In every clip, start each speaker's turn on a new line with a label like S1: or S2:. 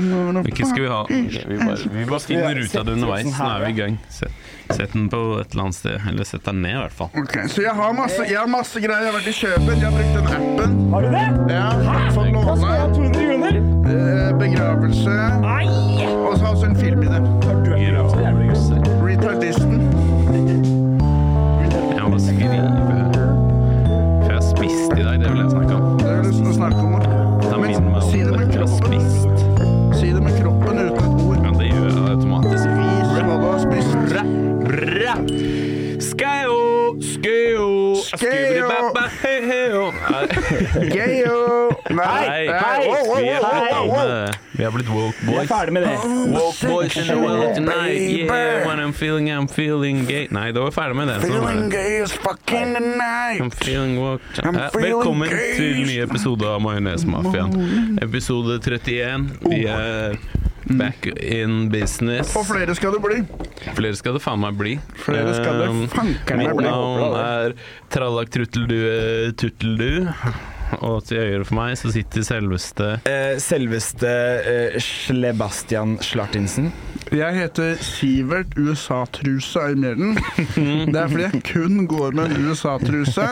S1: Hvilken skal vi ha?
S2: Vi bare, vi bare finner ut av det underveis. Nå er vi i gang. Sett, sett den på et eller annet sted. Eller sett den ned, i hvert fall.
S1: Ok, Så jeg har, masse, jeg har masse greier. Jeg har vært i Kjøben, jeg har brukt den appen.
S3: Har du det?
S1: Ja, fått
S3: Da skal jeg ha
S1: låne
S3: 200 kroner!
S1: eh, begravelse.
S3: Nei!
S1: Og så har vi også en film i det. Retardisten.
S2: Jeg må skrive For jeg har spist i dag, det vil jeg snakke om.
S1: Det har jeg lyst til å snakke om. da.
S2: Da
S1: Men
S2: minner meg om
S1: si det med
S2: det. Jeg har
S1: kroppen.
S2: spist.
S1: Si det med kroppen uten et ord.
S2: Ja, det gjør jeg automatisk.
S1: Vis hva du har spist.
S2: Bra! Skæo, skæo, skubribabba, heo.
S1: Gayo! Nei!
S2: Hei,
S1: Nei. Wow, wow,
S2: vi
S1: wow,
S2: er blitt
S1: wow, wow.
S2: gamle. Vi er blitt woke
S3: Jeg er
S2: boys.
S3: ferdig med det.
S2: Woke boys in the world tonight.
S1: Baby.
S2: Yeah, when I'm feeling, I'm feeling gay. Nei, da var vi ferdig med den. Sånn var
S1: Feeling
S2: det.
S1: gay as fucking tonight.
S2: I'm feeling woke.
S1: I'm
S2: Eh,
S1: feeling
S2: Velkommen
S1: gay.
S2: til en ny episode av Majonesmafiaen. Episode 31. Vi er back in business.
S1: Og Oh. flere skal det bli.
S2: Flere skal det faen meg bli.
S1: Flere skal det
S2: Um,
S1: fanken meg
S2: Mitt
S1: bli.
S2: navn er Trallak Trutteldu Tutteldu. Og til høyre for meg så sitter selveste
S4: Eh, Selveste eh, Slebastian Slartinsen.
S1: Jeg heter Sivert USA-truse Øymjellen. Det er fordi jeg kun går med en USA-truse.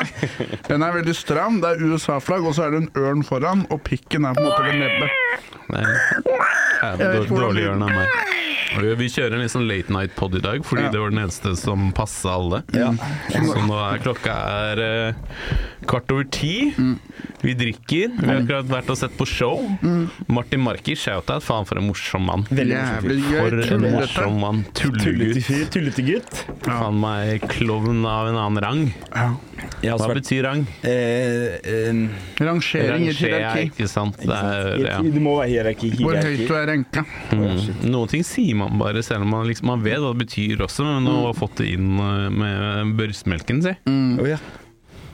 S1: Den er veldig stram, det er USA-flagg, og så er det en ørn foran, og pikken er på en måte ved nebbet.
S2: Nei, ja,
S1: Jeg
S2: det
S1: vet ikke
S2: er
S1: hvordan
S2: dårlig
S1: lyden-
S2: hjørne av meg. Og Vi kjører en litt sånn late night pod i dag, fordi
S1: Ja.
S2: det var den eneste som passa alle. Så nå er klokka er eh, kvart over ti.
S1: Mm.
S2: Vi drikker. Vi har akkurat vært og sett på show.
S1: Mm.
S2: Martin Marki, shout-out. Faen, for en morsom mann.
S4: Veldig morsom fyr.
S1: Jævlig gøy.
S2: For en
S1: tullete.
S2: morsom mann.
S4: Tullete
S2: Tullegutt.
S4: fyr, tullete gutt.
S1: Ja.
S2: Faen meg klovn av en annen rang.
S1: Ja.
S4: Jeg har
S2: Hva
S4: også vært
S2: betyr rang?
S4: eh, en-
S1: Rangering i hierarki.
S2: ikke sant? Det er, ja.
S4: Det må være hierarki.
S1: Hvor høyt
S4: hierarki.
S1: du er renka.
S2: Mm. Noen ting sier man bare, selv om man, liksom, man vet hva det betyr også, men nå har jeg fått det inn eh, med børsmelken, si.
S4: Å ja.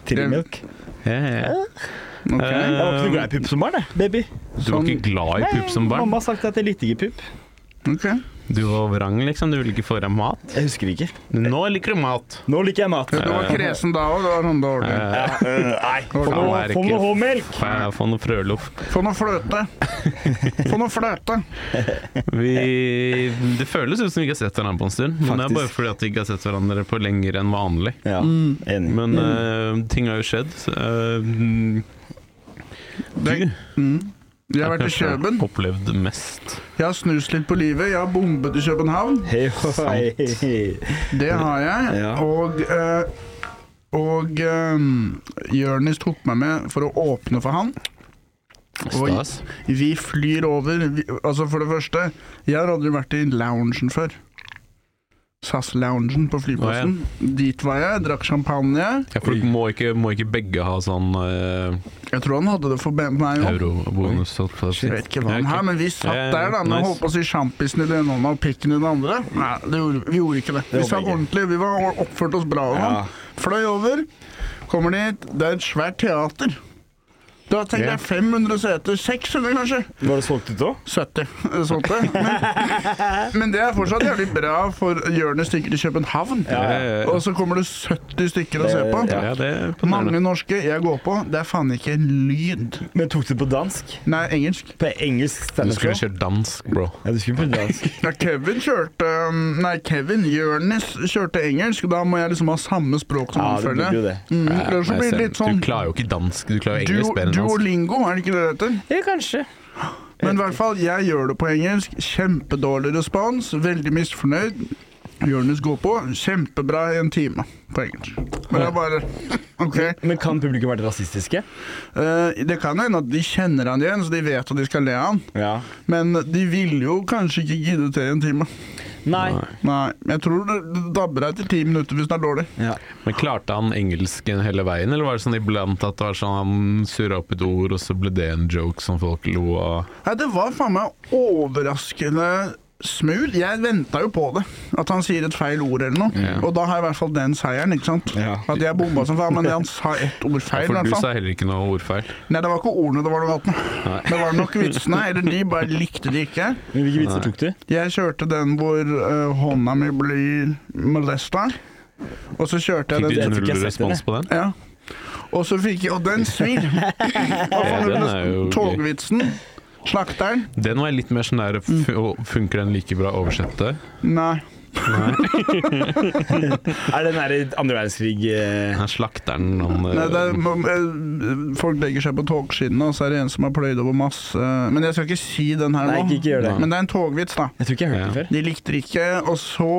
S4: Trimmelk.
S2: Ja, ja, ja.
S1: Ok.
S4: Jeg var ikke noe
S2: Eh,
S4: glad i pupp som barn, jeg, baby.
S2: du var
S1: Sånn.
S2: ikke glad i pupp som barn?
S4: Mamma har sagt at jeg likte ikke pupp.
S1: ok.
S2: Du var vrang, liksom. Du ville ikke få deg mat.
S4: Jeg husker ikke.
S2: Nå liker du mat.
S4: Nå liker jeg mat.
S1: Du var kresen da òg, det var sånn dårlig.
S2: Eh,
S4: Nei, få
S2: Faen,
S4: noe,
S2: er det
S4: få
S2: ikke-
S4: noe håmelk.
S2: Få få noe frøloff.
S1: Få noe fløte. Få noe fløte.
S2: Vi, det føles ut som vi ikke har sett hverandre på en stund. Men det
S4: Faktisk.
S2: er bare fordi at vi ikke har sett hverandre på lenger enn vanlig.
S4: Ja,
S1: Mm.
S4: enig.
S2: Men eh, ting har jo skjedd. så, eh,
S1: Det,
S2: du
S1: mm. Jeg har vært i
S2: kanskje
S1: Kjøben.
S2: opplevd mest.
S1: Jeg har snust litt på livet. Jeg har bombet i København.
S4: Hei, hei, hei.
S1: Det har jeg.
S4: Ja.
S1: Og, eh, og eh, Jørnis tok meg med for å åpne for han. Oi.
S2: Stas.
S1: Vi flyr over vi, Altså, for det første, jeg har aldri vært i loungen før. SAS-loungen på flyplassen. Dit var jeg, drakk champagne.
S2: Ja, for må ikke, må ikke begge ha sånn eh,
S1: Jeg tror han hadde det for meg òg.
S2: eurobonus? holdt på å si.
S1: Jeg vet ikke hva han
S2: Ja, ok.
S1: har, men vi
S2: Ja,
S1: satt
S2: ja,
S1: der da med
S2: nice.
S1: holdt på å si sjampisen i den ene hånda og pikken i den andre. Nei, det gjorde, vi gjorde ikke det. Vi
S4: Det var
S1: satt
S4: begge.
S1: ordentlig, vi var oppført oss bra. Ja.
S4: Ja.
S1: Fløy over, kommer dit, det er et svært teater. Da tenkte
S2: Ja.
S1: jeg 500 seter, 600 kanskje.
S4: Var det solgt ut òg?
S1: 70, eh, sånt det. Men, men det er fortsatt jævlig bra for Jørnes stykker i København.
S2: Ja, ja, ja.
S1: Og så kommer det 70 stykker å se
S4: Det-
S1: på.
S4: ja.
S2: Ja, det er imponerende.
S1: Mange norske, jeg går på. Det er faen ikke en lyd.
S4: Men tok du på dansk?
S1: Nei, engelsk.
S4: På engelsk
S2: Du
S4: standup?
S2: skulle kjørt dansk, bro.
S4: Ja, du skulle altså. på dansk.
S1: Ja, Kevin kjørte um, Nei, Kevin Jørnis kjørte engelsk. Da må jeg liksom ha samme språk som
S4: Ja,
S1: han,
S4: det
S1: føler
S4: burde jo
S1: jeg.
S4: det.
S1: Mm,
S2: Ja,
S1: Ellers så
S2: nei,
S1: blir det
S2: selv-
S1: litt sånn
S2: Du klarer jo ikke dansk. Du klarer jo
S1: duo,
S2: engelsk bedre enn dansk.
S1: Duolingo, er det ikke det det heter?
S4: Ja, kanskje.
S1: Men i hvert fall, jeg gjør det på engelsk. Kjempedårlig respons. Veldig misfornøyd. Jonis går på. Kjempebra i en time på engelsk. Og jeg bare OK.
S4: Men kan publikum være rasistiske?
S1: Eh, det kan hende at de kjenner han igjen, så de vet at de skal le av han.
S4: Ja.
S1: Men de ville jo kanskje ikke gidde til i en time.
S4: Nei.
S1: Nei, jeg tror det det dabber av etter ti minutter hvis den er dårlig.
S4: Ja.
S2: Men klarte han engelsken hele veien, eller var det sånn iblant at det var sånn han surra opp et ord, og så ble det en joke som folk lo av?
S1: Nei, det var faen meg overraskende smooth. Jeg venta jo på det. At han sier et feil ord eller noe.
S2: Ja.
S1: Og da har jeg i hvert fall den seieren, ikke sant.
S4: Ja.
S1: At jeg bomba som faen, men han sa ett ord feil. altså. i
S2: For
S1: hvert
S2: du
S1: fall.
S2: sa heller ikke noe ordfeil.
S1: Nei, det var ikke ordene det var noe galt med. Det var nok vitsene, eller de bare likte de ikke.
S4: Men hvilke vitser tok du?
S1: Jeg kjørte den hvor eh, hånda mi blir molesta, og så kjørte jeg
S2: Fikk du
S1: den
S4: tror ikke jeg
S2: null
S4: har sett den,
S2: respons på den?
S1: Ja. Og så fikk jeg Og den svir! Og
S2: Ja, den er jo gøy.
S1: togvitsen. Slakteren?
S2: Den var jeg litt mer sånn der
S1: Mm.
S2: fu- og Funker den like bra oversette?
S1: Nei.
S4: Er det den derre andre verdenskrig eh,
S2: Den slakteren han eh,
S1: Nei, det er, man, eh, folk legger seg på togskinnene, og så er det en som har pløyd over masse eh, Men jeg skal ikke si den her
S4: Nei,
S1: nå.
S4: ikke, ikke gjør det.
S1: Men det er en togvits, da.
S4: Jeg tror ikke jeg har hørt
S2: Ja.
S4: den før.
S1: De likte det ikke, og så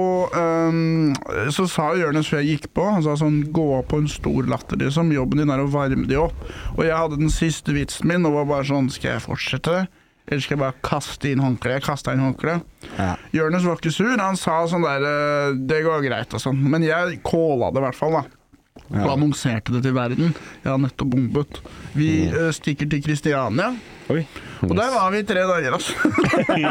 S1: ehm, Så sa Jonis før jeg gikk på Han sa sånn Gå opp på en stor latter, liksom. Jobben din er å varme de opp. Og jeg hadde den siste vitsen min og var bare sånn Skal jeg fortsette? Eller skal jeg bare kaste inn håndkleet? Jeg kastet inn håndkleet.
S4: Ja.
S1: Jonis var ikke sur. Han sa sånn der eh, Det går greit og sånn. Men jeg kåla det i hvert fall, da. Og annonserte det til verden. Jeg har nettopp bombet. Vi eh, stikker til Kristiania.
S4: Oi.
S1: Og der var vi i tre dager, altså.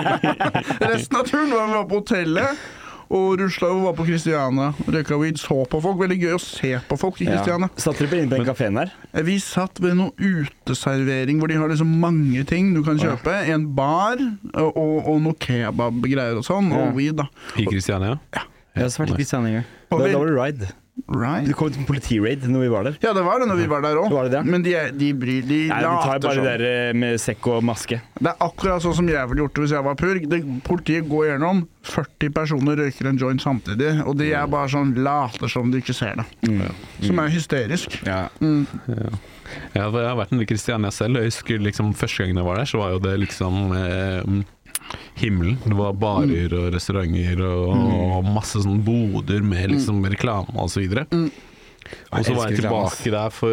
S1: Resten av turen var vi var på hotellet. Og rusla og var på Kristiania. Røyka weed, så på folk. Veldig gøy å se på folk i Kristiania.
S4: Satt dere på- inne på den kafeen der?
S1: Vi satt ved noe uteservering hvor de har liksom mange ting du kan kjøpe. En bar og, og noe kebabgreier og sånn,
S4: Ja.
S1: og weed, da.
S2: eh, I Kristiania?
S4: Jeg har også vært i Kristiania en gang.
S1: Og
S4: Da,
S1: vi-
S4: da var det ride.
S1: Right.
S4: Det kom et politiraid når vi var der.
S1: Ja, det var det når vi var der
S4: Det
S1: òg.
S4: var det, ja.
S1: Men de, er- de bryr De
S4: Nei, vi tar
S1: later
S4: bare
S1: som.
S4: det der eh, med sekk og maske.
S1: Det er akkurat sånn som jeg ville gjort det hvis jeg var purk. Det, politiet går gjennom, 40 personer røyker en joint samtidig, og de er bare sånn later som de ikke ser det.
S4: Mm.
S1: Som er hysterisk.
S4: Ja.
S2: Ja, for jeg har vært en del i Kristiania selv. og Jeg husker liksom Første gangen jeg var der, så var jo det liksom eh, himmelen. Det var barer og restauranter og,
S4: Mm.
S2: og masse sånne boder med liksom reklame og så videre. Og så var jeg
S4: Mm. elsker reklame, ass.
S2: tilbake der for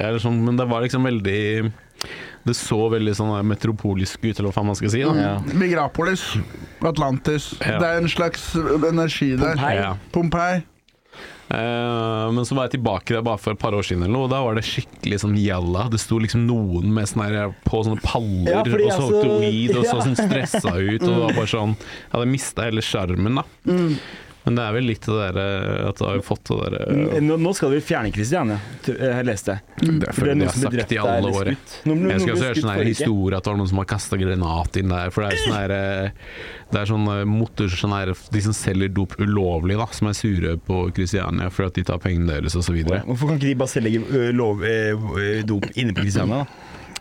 S2: eller sånn, Men det var liksom veldig Det så veldig sånn der metropolisk ut, eller hva faen man skal si. da
S4: Ja.
S1: Migrapolis, Atlantis.
S2: Ja.
S1: Det er en slags energi der.
S4: Pompeii.
S2: Ja.
S1: Pompeii.
S2: Eh, men så var jeg tilbake der bare for et par år siden, eller noe, og da var det skikkelig sånn jalla. Det sto liksom noen med sånne her, på sånne paller
S4: Ja,
S2: og
S4: fordi jeg
S2: solgte
S4: så-
S2: weed og så
S4: Ja.
S2: sånn stressa ut. Og det var bare sånn Jeg hadde mista hele sjarmen, da.
S4: Mm.
S2: Men det er vel litt det derre at du har jo fått det eh, derre
S4: Eh, Nå, nå skal vi fjerne Kristiania, tr- eh, har jeg lest Mm. det.
S2: Det
S4: For
S2: føler
S4: noen
S2: jeg har
S4: som ble
S2: sagt i
S4: drept der
S2: alle
S4: eller
S2: år. jeg.
S4: skutt. Noen- noen
S2: Jeg
S4: ble
S2: skal også
S4: skutt
S2: høre sånn her
S4: forrige uke.
S2: historie at det var noen som har kasta granat inn der. For det er jo sånn her eh, Det er sånn eh, motor sånn her De som selger dop ulovlig, da, som er sure på Kristiania for at de tar pengene deres og så videre.
S4: Hvorfor kan ikke de bare selge ø, lov, ø, dop inne på Kristiania, da?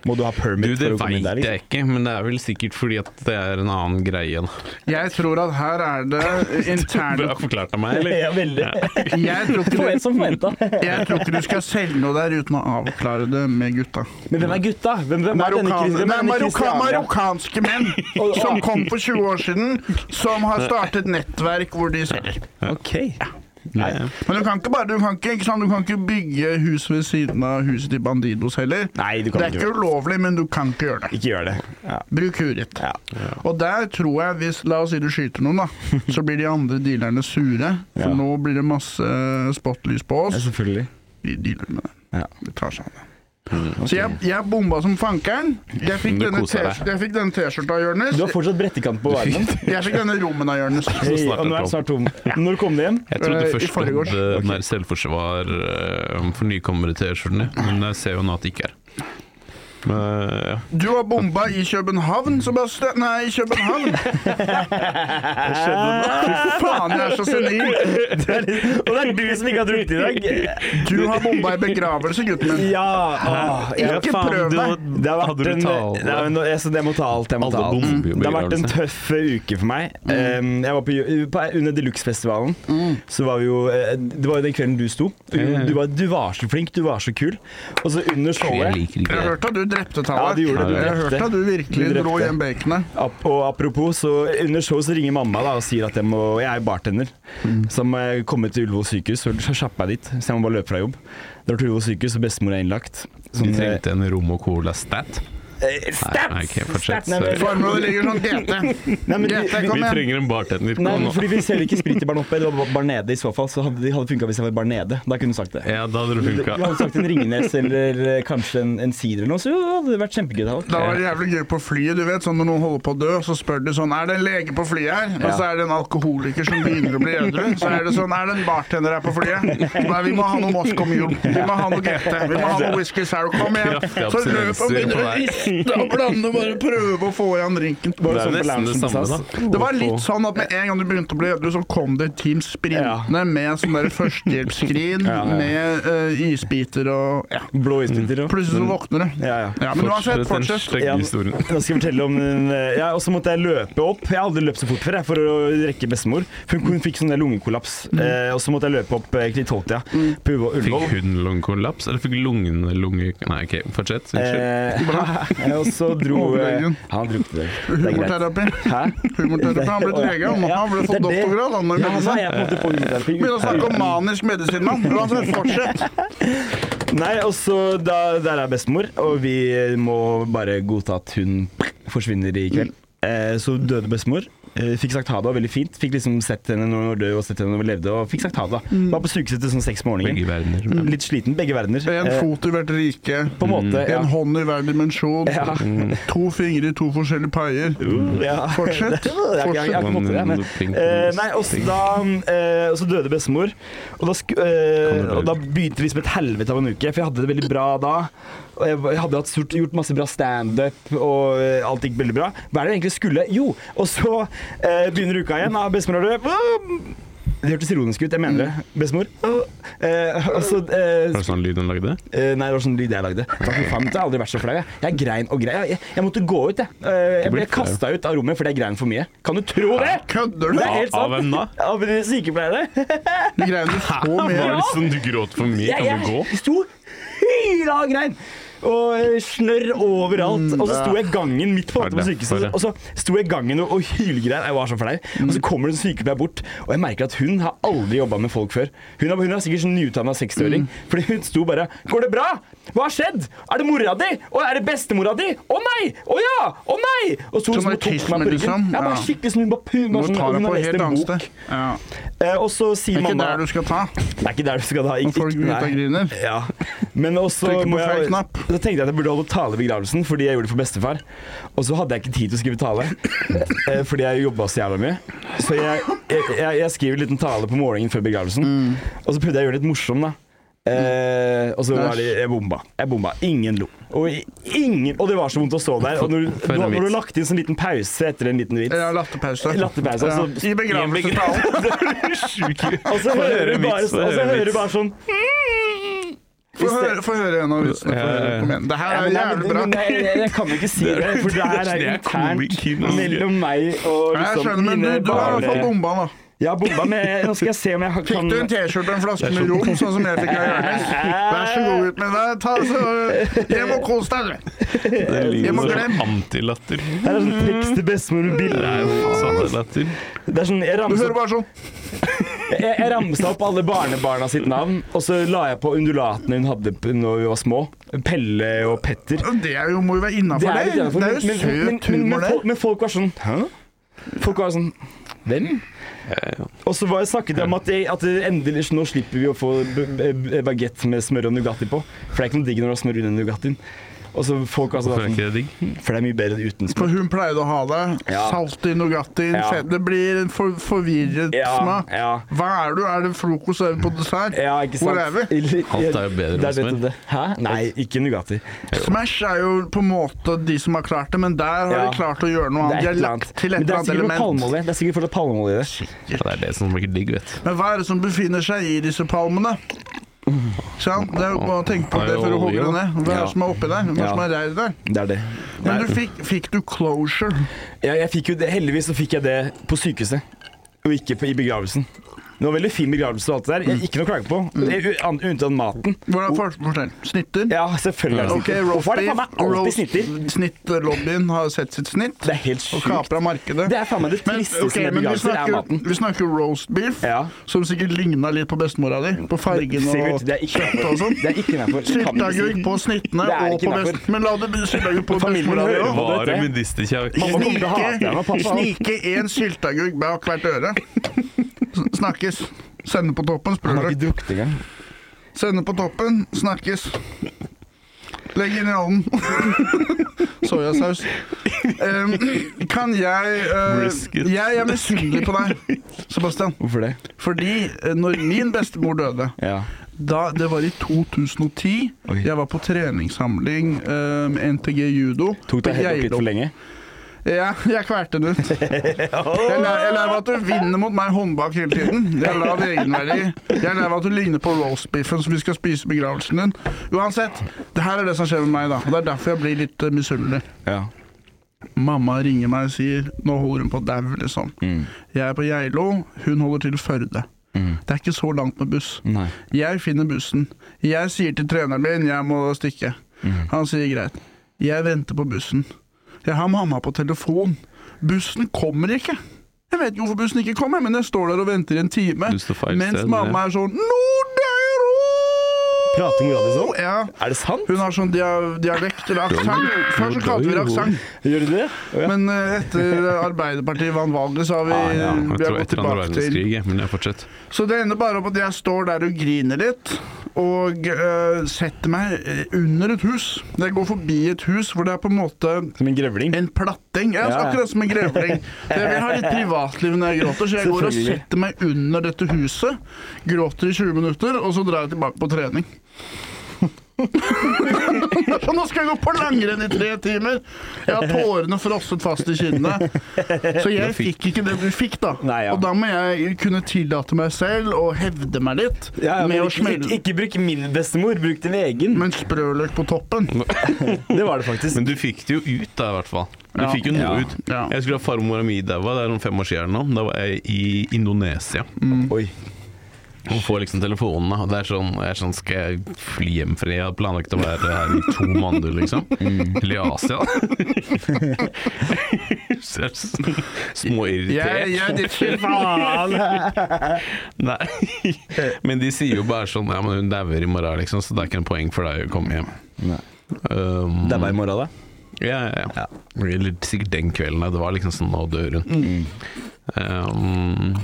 S4: Må du ha permit
S2: Du, det
S4: for å komme
S2: veit
S4: inn der? Liksom?
S2: jeg ikke, men det er vel sikkert fordi at det er en annen greie. da.
S1: Jeg tror at her er det interne
S2: Bra forklart av meg, eller?
S4: Ja, veldig.
S1: jeg tror,
S4: Det var
S1: ikke
S4: en
S1: du,
S4: som forventet.
S1: jeg tror ikke du skal selge noe der uten å avklare det med gutta.
S4: Men hvem er gutta? Hvem, hvem er denne
S1: Marokkan-
S4: Kristi- hvem
S1: det
S4: er
S1: er
S4: denne
S1: marokka,
S4: Kristiania?
S1: marokkanske menn
S4: Og-
S1: som kom for 20 år siden, som har startet nettverk hvor de selger.
S4: Ok.
S2: Nei.
S1: Men du kan ikke, bare, du kan ikke, ikke, sant? du kan ikke bygge hus ved siden av huset til Bandidos heller.
S4: Nei, du
S1: Det
S4: kan
S1: er
S4: ikke
S1: ikke
S4: gjøre det.
S1: ulovlig, men du kan ikke gjøre det.
S4: Ikke gjør det. Ja.
S1: Bruk hurett.
S4: Ja.
S1: Og der tror jeg, hvis la oss si du skyter noen, da, så blir de andre dealerne sure. For
S4: Ja.
S1: nå blir det masse eh, spotlys på
S4: Ja,
S1: oss.
S4: selvfølgelig.
S1: De dealer med det.
S4: Ja. Mm,
S1: Det tar seg av det. Så jeg, jeg bomba som fankeren. Jeg fikk
S2: Du
S1: denne
S2: koser deg.
S1: T-skj- jeg fikk denne T-skjorta av Jonis.
S4: Du har fortsatt brettekant på armen.
S1: Jeg fikk denne rommen av Jonis.
S4: Hei,
S2: snart
S4: og nå
S2: er
S4: er den snart tom. Når kom du hjem?
S2: Jeg
S1: Eh,
S2: trodde
S1: i
S2: først du
S1: forgårs.
S2: hadde den der selvforsvar eh, for nykommere til T-skjortene, men jeg ser jo nå at det ikke er. Men, eh, ja.
S1: Du har bomba i København, Sebastian. Nei, i København. Fy faen, jeg er så senil.
S4: Det er litt- Og det er du som ikke har drukket i dag.
S1: Du har bomba i begravelse, gutten min.
S4: Ja. Åh, jeg-
S1: Ikke prøv
S2: du-
S1: deg.
S4: Det har vært
S2: Hadde du
S4: en,
S2: tale?
S4: Nei, men nå- jeg, så jeg må ta alt. Jeg må
S2: Alle
S4: ta alt.
S2: bomber jo Mm.
S4: Det har vært en
S2: begravelse.
S4: tøff uke for meg. Um, jeg var på, på, under Deluxe-festivalen. Så var vi jo eh, Det var jo den kvelden du sto. Du var, du var så flink, du var så kul. Og så under
S2: Jeg liker
S4: showet
S1: Jeg
S2: ikke det.
S1: hørte at du drepte tallet.
S4: Ja, du gjorde det, du
S1: jeg
S4: drepte.
S1: hørte at du virkelig
S4: Du drepte.
S1: dro hjem baconet.
S4: Ap og apropos, så under show så ringer mamma da og sier at jeg må Jeg er bartender,
S2: Mm.
S4: så jeg må komme til Ullevål sykehus. Så så kjappe jeg dit, så jeg må bare løpe fra jobb. Drar til Ullevål sykehus, og bestemor er innlagt.
S2: De
S4: Sånn, eh,
S2: trengte en rom og cola-stat.
S4: eh,
S2: Nei,
S4: Stats!
S2: ok, fortsett,
S4: Stats! Nei, men-
S1: Formålet ligger sånn GT.
S4: Nei, men
S1: GT,
S4: de-
S1: kom
S2: Vi
S1: igjen.
S2: trenger en bartender.
S4: Nei,
S2: Kom
S4: men
S2: nå.
S4: fordi vi selger ikke sprit i baren oppe. Det var bare nede i så fall. Så hadde det hadde funka hvis jeg var bare nede. Da kunne du sagt det.
S2: Ja, da hadde det
S4: Du
S2: funka.
S4: hadde sagt en Ringnes eller eh, kanskje en, en sider eller noe, så hadde det vært kjempegøy. Da.
S1: Da var det jævlig gøy på flyet. du vet, sånn Når noen holder på å dø, så spør du sånn Er det en lege på flyet her? Og
S4: Ja.
S1: så er det en alkoholiker som begynner å bli edru. Så er det sånn Er det en bartender her på flyet? Nei, vi må ha noe Moscow Mule. Vi må ha noe GT. Vi må ha noe Whisky Sour. Kom igjen.
S2: Kraftige
S1: Så løp og
S2: abstinenser på
S1: begynner å
S2: deg.
S1: riste Da blande og bare prøve å få igjen drinken.
S4: Bare
S2: Det er nesten
S4: sånn på
S2: det samme,
S4: loungen på SAS.
S2: da.
S1: Det var litt sånn at med en gang du begynte å bli edru, så kom det et team sprintende med sånn der førstehjelpsskrin,
S4: Ja, ja.
S1: med eh, isbiter og ja.
S4: Blå isbiter. jo.
S1: Plutselig så våkner du.
S4: Ja, ja.
S1: Ja, men uansett,
S2: den
S1: fortsett.
S2: stygge
S4: Ja,
S2: historien.
S4: Nå skal jeg fortelle om den eh, Ja, og så måtte jeg løpe opp. Jeg har aldri løpt så fort før jeg, for å rekke bestemor. For hun fikk sånn der lungekollaps. Eh, og så måtte jeg løpe opp eh, til Toltia på Ullevål- Ullevål.
S2: Fikk hun lungekollaps, eller fikk lungene lunge... Nei, OK, fortsett. Unnskyld.
S4: Eh, og så dro eh,
S1: Overlegen.
S4: Han dro til det. Det er greit.
S1: Humorterapi.
S4: Hæ?
S1: Humorterapi. Han ble
S4: Å, ja.
S1: lege, han,
S4: Ja,
S1: han ble
S4: det
S1: fått
S4: er det.
S1: doktorgrad. Han
S4: Ja,
S1: med
S4: nå er
S1: medisin.
S4: jeg på en måte på hundeterapi.
S1: Begynner å snakke om manisk medisinmann. Uansett, fortsett.
S4: Nei, og så da, der er bestemor, og vi må bare godta at hun forsvinner i kveld. Eh, så døde bestemor. Eh, fikk sagt ha det, og veldig fint. Fikk liksom sett henne når hun var død, og sett henne når hun levde, og fikk sagt ha det. Var på sykehuset sånn seks på
S2: Begge
S4: morgenen.
S2: verdener. Ja.
S4: Litt sliten, begge verdener.
S1: En
S4: Eh,
S1: fot i hvert rike.
S4: på en måte, ja.
S1: En hånd i hver dimensjon.
S4: Ja.
S1: To fingre i to forskjellige paier.
S4: ja.
S1: Fortsett.
S4: Jeg- jeg- jeg- jeg har ikke fått
S2: Sånn,
S4: til det, men- Eh, nei, og så da, eh, og så døde bestemor, og da, sku,
S2: Kom
S4: eh,
S2: det bra
S4: og da
S2: ut.
S4: begynte det liksom et helvete av en uke, for jeg hadde det veldig bra da. Og jeg var- jeg hadde hatt sort, gjort masse bra standup, og eh, alt gikk veldig bra. Hva er det jeg egentlig skulle? Jo, og så eh, begynner uka igjen, da, bestemor er død. Ah! Det hørtes ironisk ut, jeg mener det. Bestemor. Ah! Eh, og så eh,
S2: Var det sånn lyd hun lagde?
S4: Eh, nei, det var sånn lyd jeg lagde. Da, fy faen, jeg har aldri vært så flau. Jeg, jeg grein og grein. Jeg, jeg måtte gå ut, jeg. Eh, jeg ble
S2: blir flau.
S4: kasta ut av rommet fordi jeg grein for mye. Kan du tro det?!
S1: Kødder
S4: Det
S1: du?
S4: er helt sant.
S2: Av hvem da?
S4: Av de sykepleierne.
S1: Du greier jo så
S2: Hva
S1: mye.
S2: er det som du gråt for mye?
S4: Jeg,
S2: Kan du gå?
S4: jeg sto hyla og grein. Og eh, snørr overalt.
S1: Mm,
S4: Og så sto jeg i gangen midt på,
S2: Var det
S4: på
S2: derfor,
S4: sykehuset.
S2: ja?
S4: Og så sto jeg i gangen og, og hylgrein. Jeg var så flau. Og
S1: Mm.
S4: så kommer det en sykepleier bort, og jeg merker at hun har aldri jobba med folk før. Hun er, hun er sikkert sånn nyutdanna
S1: Mm.
S4: 60-åring. Fordi hun sto bare 'Går det bra? Hva har skjedd? Er det mora di? Å, er det bestemora di? Å nei! Å ja! Å nei! Og så
S1: Sånn
S4: hun liksom og tok
S1: autisme,
S4: meg på ryggen.
S1: liksom.
S4: Ja,
S1: Ja.
S4: bare skikkelig sånn, hun bare pu-
S1: Nå
S4: bare sånn,
S1: tar
S4: hun
S1: du på et
S4: har lest
S1: helt
S4: en
S1: annet
S4: bok.
S1: sted. Ja.
S4: Eh, og så
S1: Det
S4: sier
S1: er ikke
S4: mamma
S1: der du skal ta.
S4: det er ikke der du skal da. Ikke,
S1: Når folk
S4: ikke-
S1: gråter og
S4: nei.
S1: griner.
S4: Ja. Men også
S1: Trykker på
S4: må
S1: feil
S4: jeg, da
S1: knapp.
S4: tenkte jeg at jeg burde holde tale i begravelsen, fordi jeg gjorde det for bestefar. Og så hadde jeg ikke tid til å skrive tale, eh, fordi jeg jobba så jævla mye. Så jeg, jeg, jeg, jeg skriver en liten tale på morgenen før begravelsen,
S2: Mm.
S4: og så prøvde jeg å gjøre det litt morsom, da. Eh, og så var det Jeg bomba. Jeg bomba. Ingen lo. Og, i- ingen, og det var så vondt å stå der. Og når,
S2: For
S4: du-
S2: en
S4: når du
S2: vits.
S4: har lagt inn sånn liten pause etter en liten vits
S1: Ja, latterpause.
S4: Latterpause,
S1: Ja.
S4: altså.
S1: I begravelsestalen.
S4: Og så hører du bare,
S2: vits,
S4: og så
S2: høre
S4: hører du
S2: vits.
S4: bare sånn
S1: Få høre- Få høre en av vitsene. Få høre. Kom igjen. Det her
S4: Ja,
S1: er
S4: men-
S1: jævlig bra.
S4: men- men jeg, jeg, jeg kan ikke si det, for det her
S2: Det
S4: er
S2: er
S4: internt
S2: komikernes-
S4: mellom meg og
S1: Jeg
S4: liksom
S1: skjønner, men du,
S4: mine
S1: du har i hvert fall
S4: barn.
S1: bomba, da.
S4: Jeg har bomba, men jeg- nå skal jeg se om jeg har-
S1: Fikk
S4: kan
S1: du en T-skjorte og en flaske med rom, sånn som jeg fikk av Jonis? Vær så god ut med deg. Ta så Hjem og kos deg, du.
S2: Det
S1: Jeg må
S2: ligner sånn
S1: glemme.
S2: antilatter.
S4: Det er sånn tekst til bestemor med
S2: Det
S4: bilder.
S2: er jo sånn latter.
S4: Det er sånn, jeg
S1: Du
S4: ramsa,
S1: hører bare sånn.
S4: jeg, jeg ramsa opp alle barnebarna sitt navn, og så la jeg på undulatene hun hadde p- når vi var små. Pelle og Petter.
S1: Det er jo, må jo være innafor,
S4: Det er,
S1: det.
S4: litt
S1: Det er
S4: innenfor, men-
S1: jo
S4: men- men-
S1: søt
S4: men- men
S1: humor,
S4: folk-
S1: det.
S4: Men folk var sånn Hæ? Folk var sånn Hvem? Og så var jeg snakket jeg om at, jeg, at det endelig nå slipper vi å få bagett med smør og Nugatti på. For det er ikke noe digg når du har smør under Nugattien. Og så folk var
S2: Hvorfor er
S4: sånn
S2: ikke det digg?
S4: For det er mye bedre uten smør.
S1: For hun pleide å ha det.
S4: Ja.
S1: Salt i Nugatti.
S4: Ja.
S1: fett. Det blir en for, forvirret
S4: Ja,
S1: smak.
S4: ja.
S1: Hva er du? Er det frokost? Er det på dessert?
S4: Ja, ikke sant?
S1: Hvor er vi?
S2: Alt er jo bedre
S4: Det
S2: med
S4: nettopp det. Hæ? Nei, ikke Nugatti.
S1: Smash er jo på en måte de som har klart det, men der har
S4: Ja.
S1: de klart å gjøre noe annet. De har lagt til
S4: Men
S1: et
S4: det
S1: eller annet
S4: er sikkert noe
S1: element.
S4: palmeolje. Det er sikkert fortsatt palmeolje i det.
S2: Ja, det er det som blir digg, vet du.
S1: Men hva er det som befinner seg i disse palmene? Ikke sant? Det er jo bare å tenke på
S2: Det er
S1: det
S2: jo
S1: før du hogger det
S2: olje, da.
S1: ned. Hva er
S4: Ja.
S1: det som er oppi der? Hva er det
S4: Ja.
S1: som er reir der?
S4: Det er det.
S1: Men du fikk, fikk du closure?
S4: Ja, jeg fikk jo det, heldigvis så fikk jeg det på sykehuset, og ikke på, i begravelsen. Det var veldig fin begravelse og alt det der. Jeg, ikke noe å klage på.
S1: Mm.
S4: Jeg- an- Unntatt maten.
S1: Hvordan for, fortell? Snitter?
S4: Ja, selvfølgelig er det
S1: Ok,
S4: snitter. Hvorfor er det faen meg alltid
S1: roast-
S4: snitter?
S1: Snittlobbyen har sett sitt snitt
S4: Det er helt
S1: og
S4: sjukt.
S1: kapra markedet.
S4: Det er faen meg det
S1: Men,
S4: tristeste
S1: ok,
S4: med
S1: men vi,
S4: begravelser, er
S1: snakker,
S4: maten.
S1: vi snakker roast beef,
S4: Ja.
S1: som sikkert ligna litt på bestemora di. På fargen og
S4: Sivert, det er ikke
S1: kjøttet og sånn.
S4: Det er ikke innenfor. Det kan du
S1: Sylteagurk
S4: si.
S1: på snittene
S4: Det er
S1: og
S4: ikke
S1: på
S4: innenfor.
S1: best... Men la det sylteagurk på
S4: Familien
S1: bestemora di
S4: vil ha
S1: òg.
S4: det.
S2: Var det
S4: vet jeg.
S2: medisterkjakk?
S4: Mamma kommer til å hate deg, men
S1: Snike,
S4: pappa også.
S1: snike en sylteagurk bak hvert øre. S- Snakkes. Sende på toppen,
S4: Han
S1: spør
S4: har
S1: du.
S4: ikke drukket engang.
S1: Sende på toppen, snakkes. Legg inn i ovnen. Soyasaus. Um, kan jeg eh,
S2: Brisket.
S1: Jeg er misunnelig på deg, Sebastian.
S4: Hvorfor det?
S1: Fordi eh, når min bestemor døde,
S4: Ja.
S1: Da, det var i 2010.
S4: Oi.
S1: Jeg var på treningssamling eh, med NTG judo.
S4: Tok
S1: på
S4: deg helt opp litt
S1: Geilo.
S4: for lenge?
S1: Ja, jeg kvalte den ut. Jeg lærer jeg lærer meg at du vinner mot meg håndbak hele tiden. Jeg lar det egenverdi. Jeg lærer meg at du ligner på roastbiffen som vi skal spise i begravelsen din. Uansett, det her er det som skjer med meg, da. Og det er derfor jeg blir litt eh, misunnelig.
S4: Ja.
S1: Mamma ringer meg og sier 'nå holder hun på å daue', liksom. Jeg er på Geilo, hun holder til i Førde. Det er ikke så langt med buss.
S4: Nei.
S1: Jeg finner bussen. Jeg sier til treneren min jeg må stikke.
S2: Mhm.
S1: Han sier greit. Jeg venter på bussen. Jeg har mamma på telefon. Bussen kommer ikke. Jeg vet ikke hvorfor bussen ikke kommer, men jeg står der og venter i en time.
S2: Du står feil
S1: Mens
S2: sted,
S1: mamma
S2: ja.
S1: er sånn Nordøyro!
S4: Prater mora di sånn?
S1: Ja.
S4: Er det sant?
S1: Hun har sånn dia dialekt eller aksent. Først så kalte vi det aksent.
S4: Gjør du det? Å, ja.
S1: Men eh, etter Arbeiderpartiet vant valget, så har vi,
S4: Ah, ja.
S2: Jeg
S1: vi har
S2: tror
S1: gått
S2: etter andre
S1: tilbake til
S2: verdenskrig, jeg, men jeg fortsetter.
S1: Så det ender bare opp at jeg står der og griner litt, og eh, setter meg eh, under et hus. Jeg går forbi et hus hvor det er på en måte
S4: Som en grevling?
S1: en platting. Jeg
S4: Ja,
S1: er
S4: ja.
S1: akkurat som en grevling. Så Jeg vil ha litt privatliv når jeg gråter, så jeg går og
S4: Selvfølgelig.
S1: setter meg under dette huset. Gråter i 20 minutter, og så drar jeg tilbake på trening. Så nå skal jeg gå på langrenn i tre timer! Jeg har tårene frosset fast i kinnene. Så jeg fikk ikke det du fikk, da.
S4: Nei, ja.
S1: Og da må jeg kunne tillate meg selv å hevde meg litt
S4: Ja, ja,
S1: med
S4: men
S1: å
S4: ikke, ikke,
S1: smelle
S4: ikke bruk min bestemor, bruk din egen.
S1: med en sprøløk på toppen.
S4: Det var det faktisk.
S2: Men du fikk det jo ut, da, i hvert fall. Du
S1: Ja.
S2: fikk jo noe
S4: Ja.
S2: ut.
S1: Ja.
S2: Jeg skulle ha farmora mi daua, det er om fem år siden nå. Da var jeg i Indonesia.
S4: Oi.
S2: Og får liksom telefonen, da. Og det er sånn, jeg er sånn Skal jeg fly hjem for jeg hadde planlagt å være her i to måneder, liksom? Eller i Asia, da. Så jeg er sånn
S1: Jeg,
S2: Småirritert.
S1: jeg, jeg,
S2: Nei. Men de sier jo bare sånn Ja, men hun dauer i morgen, liksom, så det er ikke noe poeng for deg å komme hjem.
S4: Nei.
S2: Um,
S4: Det er bare i morgen, da.
S2: Ja, ja, ja. Eller sikkert den kvelden. da. Det var liksom sånn Nå dør hun.
S4: Mm.
S2: Um,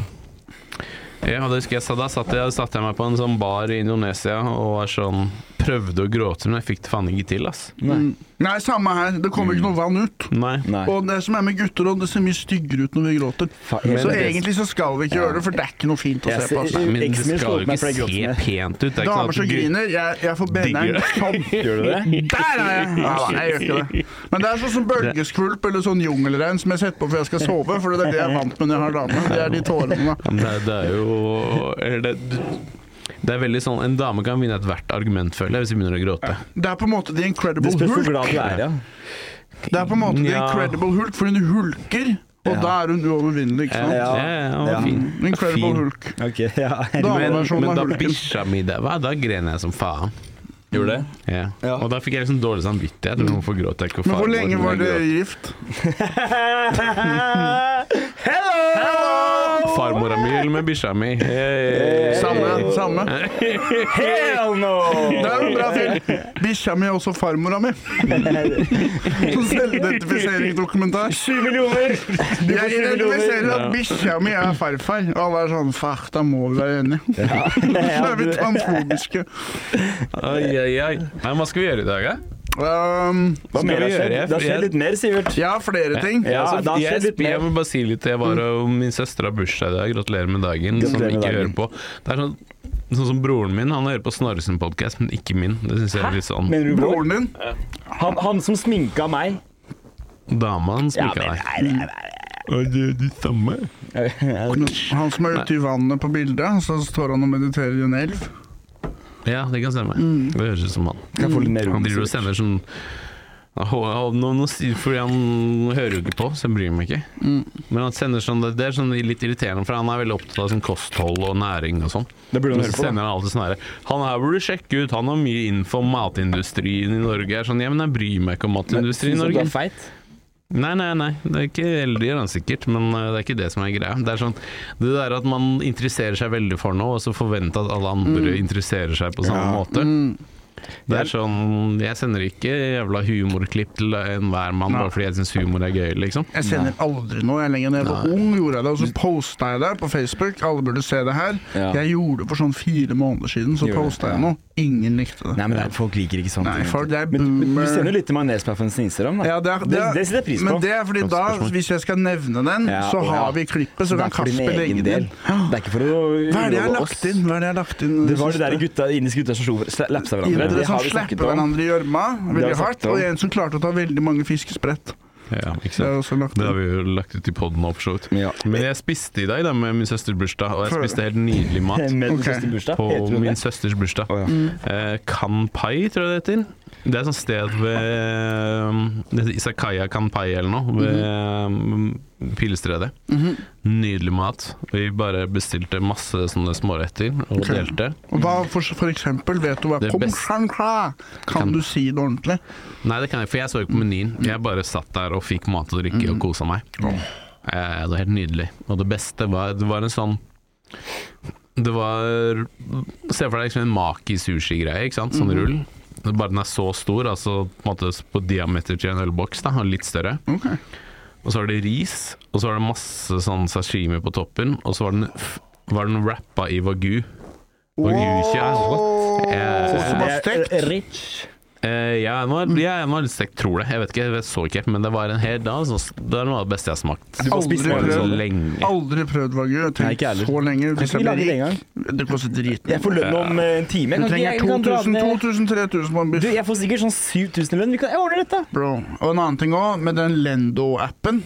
S2: ja, det husker jeg sa, Da satt jeg, satt jeg meg på en sånn bar i Indonesia og var sånn prøvde å gråte, men jeg fikk det faen ikke til. ass
S1: Mm. Nei, samme her. Det kommer ikke noe vann ut.
S2: Nei.
S4: Mm. Nei.
S1: Og det som er med gutter, og det ser mye styggere ut når vi gråter.
S4: Fa- men
S1: Så
S4: det-
S1: egentlig så skal vi ikke gjøre det, for det er ikke noe fint å
S4: Jeg
S1: se på.
S4: ser-
S1: Altså.
S2: Nei, men det
S4: Eksen min slo
S2: skal jo
S4: opp meg
S2: ikke
S4: for jeg gråt
S2: se
S4: med.
S2: pent ut. Det er ikke
S1: Damer
S2: sånn
S1: som
S2: at du-
S1: griner, jeg, jeg får beneren sånn.
S4: Gjør du det?
S1: Der er jeg! Ja, nei, jeg gjør ikke det. Men det er sånn som bølgeskvulp eller sånn jungelregn som jeg setter på før jeg skal sove, for det er det jeg er vant med når jeg har dame. Det er de tårene. da.
S2: Men Det, det er jo eller det, det er veldig sånn En dame kan vinne ethvert argument, føler jeg, hvis hun begynner å gråte.
S1: Det er på en måte The
S4: Det
S1: Incredible
S4: spørs hvor
S1: Hulk.
S4: glad du er, ja.
S1: Det er på en måte The
S2: Ja.
S1: Incredible Hulk, for hun hulker, og da er hun uovervinnelig, ikke sant?
S4: Ja.
S2: Eh, Ja, ja, ja,
S4: Ja.
S2: Fin.
S1: The Incredible
S2: Fin.
S1: Hulk.
S4: Ok, ja.
S1: Dameversjonen
S2: Men, men
S1: av
S2: da
S1: hulken.
S2: bikkja mi daua, da gren jeg som faen.
S4: Gjorde det?
S2: Ja.
S4: Ja.
S2: Og da fikk jeg liksom dårlig samvittighet. men Hvorfor gråter jeg ikke? og
S1: Men hvor
S2: farmor,
S1: lenge
S2: men
S1: var
S2: jeg
S1: dere
S2: gråter.
S1: gift?
S4: Hello!
S2: Farmora mi eller med bikkja mi? Hey.
S1: Samme. samme.
S4: Eh. Hell no!
S1: Det er en bra film. Bikkja mi er også farmora mi. Sånn Selvidentifiseringsdokumentar.
S4: Sju millioner! Du får
S1: Jeg
S4: sju millioner.
S1: identifiserer at bikkja mi er farfar. Og alle er sånn Fuck, da må vi være enige. Så
S4: Ja,
S1: er vi
S4: du-
S1: transfobiske.
S2: Ai, ai, ai. Nei, hva skal vi gjøre i dag, da?
S1: Um,
S4: Hva mer
S2: Skal
S4: har
S2: vi gjøre?
S4: skjedd? Det har skjedd litt mer, Sivert.
S1: jeg har flere ting.
S4: Ja,
S2: Altså,
S4: det har
S2: jeg,
S4: skjedd litt
S2: sp- jeg
S4: mer.
S2: må bare si litt. Jeg var og Min søster har bursdag i dag. Gratulerer med dagen. som
S4: Gratulerer med
S2: ikke hører
S4: dagen.
S2: på. Det er sånn, sånn som broren min. Han hører på Snorre sin podkast, men ikke min. Det syns jeg er litt sånn
S4: Mener du bror?
S1: Broren din.
S4: Han, han som sminka meg.
S2: Dama hans sminka deg. Er det de samme?
S1: Han som er ute i vannet på bildet, så står han og mediterer i en elv.
S2: Ja, det kan stemme. Det høres ut som han.
S4: Kan jeg få litt mer rom?
S2: Han driver og sender sånn Hå- hå- nå, nå, sier- fordi han hører jo ikke på, så jeg bryr meg ikke. Men han sender sånn, det, det er sånn litt irriterende, for han er veldig opptatt av sånn kosthold og næring og sånn.
S4: Det burde
S2: Men så
S4: han høre på. da.
S2: sender han alltid sånn her Han her burde du sjekke ut, han har mye info om matindustrien i Norge. Jeg er sånn, ja, men jeg bryr meg ikke om matindustrien i
S4: Synes du
S2: Norge.
S4: er feit?
S2: Nei, nei, nei. Det er ikke eldre gjør han sikkert, men eh, det er ikke det som er greia. Det er sånn Det der at man interesserer seg veldig for noe, og så forvente at alle andre interesserer seg på samme måte. Det er sånn, Mm. Jeg sender ikke jævla humorklipp til enhver mann bare fordi jeg syns humor er gøy, liksom.
S1: Jeg sender aldri noe. Jeg lenger da jeg var
S2: Nei.
S1: ung, gjorde jeg det. Og så posta jeg det på Facebook. Alle burde se det her.
S4: Ja.
S1: Jeg gjorde det for sånn fire måneder siden, så
S4: Gjorde det,
S1: posta
S4: ja.
S1: jeg noe. Ingen likte det.
S4: Nei, men det er, folk liker ikke sånt.
S1: Nei, folk, det er
S4: men, men du
S1: boomer.
S4: sender jo litt til majonespaffen sin Instagram, da.
S1: Ja, det, er- det, er-
S4: det setter jeg pris på.
S1: Men det er fordi da,
S2: Spørsmål.
S1: hvis jeg skal nevne den,
S4: Ja,
S1: så
S4: og ja.
S1: har vi klippet, så
S4: Det er
S1: kan
S4: for din
S1: Kasper
S4: egen
S1: legge det
S4: del.
S1: inn.
S4: Det er ikke for å
S1: Hva er det jeg har
S4: uroe
S1: lagt inn? Hva er det jeg har lagt inn?
S4: Det var det
S1: siste?
S4: der gutta, indiske gutta som slo- sla- lapsa hverandre.
S1: Indere
S4: Det
S1: som
S4: har vi snakket
S1: slipper
S4: om.
S1: hverandre i gjørma
S4: Det har
S1: veldig
S4: vi
S1: hardt,
S4: snakket om.
S1: og en som klarte å ta veldig mange fiskesprett.
S2: Ja, ikke
S1: Det er
S2: sant?
S1: også lagt
S2: Det har
S1: inn.
S2: vi jo lagt ut i poden nå, for så vidt.
S4: Ja.
S2: Men jeg spiste i dag da med min søsters bursdag, og jeg
S1: Før-
S2: spiste helt nydelig mat.
S4: Med den
S1: Ok.
S4: siste bursdag.
S2: På
S4: Heter hun
S2: min
S4: det?
S2: søsters bursdag.
S4: Å, ja.
S2: Eh, Kanpai, tror jeg det heter. Det er et sånt sted ved um, Det heter Isakaya Kanpai eller noe, ved um, Pilestredet. Nydelig mat. Vi bare bestilte masse sånne småretter og
S1: Ok.
S2: delte.
S1: Og Hva for, for eksempel, vet du hva
S2: Det
S1: Pom
S2: beste-
S1: Shan Kra Kan
S2: Kan-
S1: du si det ordentlig?
S2: Nei, det kan jeg ikke, for jeg så ikke på menyen. Jeg bare satt der og fikk mat og drikke og
S1: Mm.
S2: kosa meg. Eh, det var helt nydelig. Og det beste var Det var en sånn Det var Se for deg liksom en maki-sushi-greie, ikke sant?
S1: Mm.
S2: Sånn rull. Det er Bare den er så stor, altså på, en måte på diameter til en ølboks, da, og litt større.
S1: Ok.
S2: Og så var det ris, og så var det masse sånn sashimi på toppen, og så var den, f- var den rappa i wagyu. Wagyu-kjær.
S1: Så
S2: Eh,
S1: som var stekt.
S4: Eh, Rich.
S2: Eh, ja, den
S4: Mm.
S2: var, ja, den var litt stekt, tror det. Jeg vet ikke, jeg så ikke helt, men det var en hel dag. Så det er noe av det beste jeg har smakt.
S4: Du får
S1: Aldri
S4: spise med
S1: prøvd.
S2: Så
S4: alle.
S2: lenge.
S1: Aldri prøvd wagyu. Jeg
S4: Nei, ikke
S1: tenkte
S4: heller.
S1: så lenge.
S4: Kan
S1: Hvis
S4: ikke
S1: jeg
S4: vi lage det en
S1: blir
S4: gang?
S1: rik Det koster driten.
S4: Jeg får lønn om eh, en time.
S1: Du
S4: Kan ikke-
S1: trenger
S4: jeg kan dra
S1: 2000,
S4: ned-
S1: 2000-3000 på en
S4: Du,
S1: biff.
S4: jeg får sikkert sånn 7000 i lønn. Vi kan, jeg ordner dette.
S1: Bro. Og en annen ting òg, med den Lendo-appen.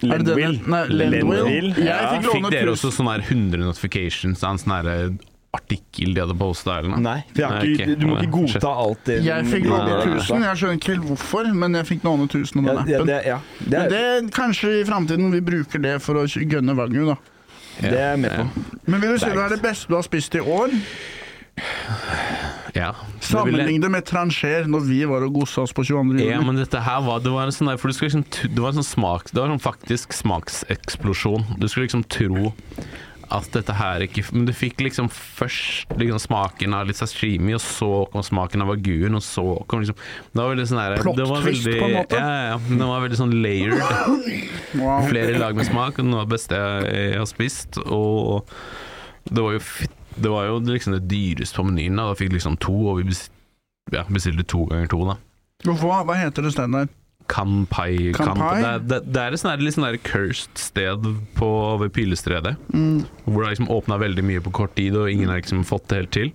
S1: Er det den-
S4: Lendwill.
S1: Nei, Lendwill.
S4: Lendwill.
S1: Jeg
S4: Ja.
S1: fikk
S2: Fikk
S1: låne
S2: dere også
S1: tusen.
S2: sånn her 100 notifications av en sånn her artikkel de hadde posta?
S4: Nei, for jeg har
S2: Nei,
S4: ikke,
S2: ok.
S4: du må ikke
S2: Nei, shit.
S4: godta alt det
S1: Jeg fikk
S4: Ja,
S1: låne
S4: ja, ja.
S1: 1000. Jeg skjønner ikke helt hvorfor, men jeg fikk låne 1000 av
S4: Ja,
S1: den
S4: ja,
S1: appen.
S4: det, ja. det,
S1: Men
S4: er,
S1: det, kanskje i framtiden vi bruker det for å gønne wagyu, da.
S4: det er jeg med på.
S1: Men vil du si det er det beste du har spist i år?
S2: Ja. Det ville-
S1: Sammenlign det med Trancher når vi var og gossa oss på 22.
S2: Ja,
S1: juli.
S2: men dette her var Det var en sånn der For du skulle liksom t- Det var en sånn smak Det var en faktisk smakseksplosjon Du skulle liksom tro at dette her ikke Men du fikk liksom først liksom smaken av litt sashimi Og så kom smaken av waguen Og så kom liksom Det var veldig sånn der
S1: Plot
S2: det var
S1: twist,
S2: veldig-
S1: på en måte.
S2: Ja, ja, ja men Det var veldig sånn layered
S1: Wow.
S2: Flere lag med smak og Noe av det beste jeg, jeg har spist Og det var jo fitt- Det var jo liksom det dyreste på menyen da Da fikk liksom to Og vi bestilte, ja, bestilte to ganger to da
S1: Hva, hva heter det stedet der? Kanpai?
S2: Kanpai Kanpai? Det, er- det, det er et sånn her- litt sånn der cursed sted på, ved Pilestredet.
S4: Mm.
S2: Hvor det har liksom åpna veldig mye på kort tid, og ingen har liksom fått det helt til.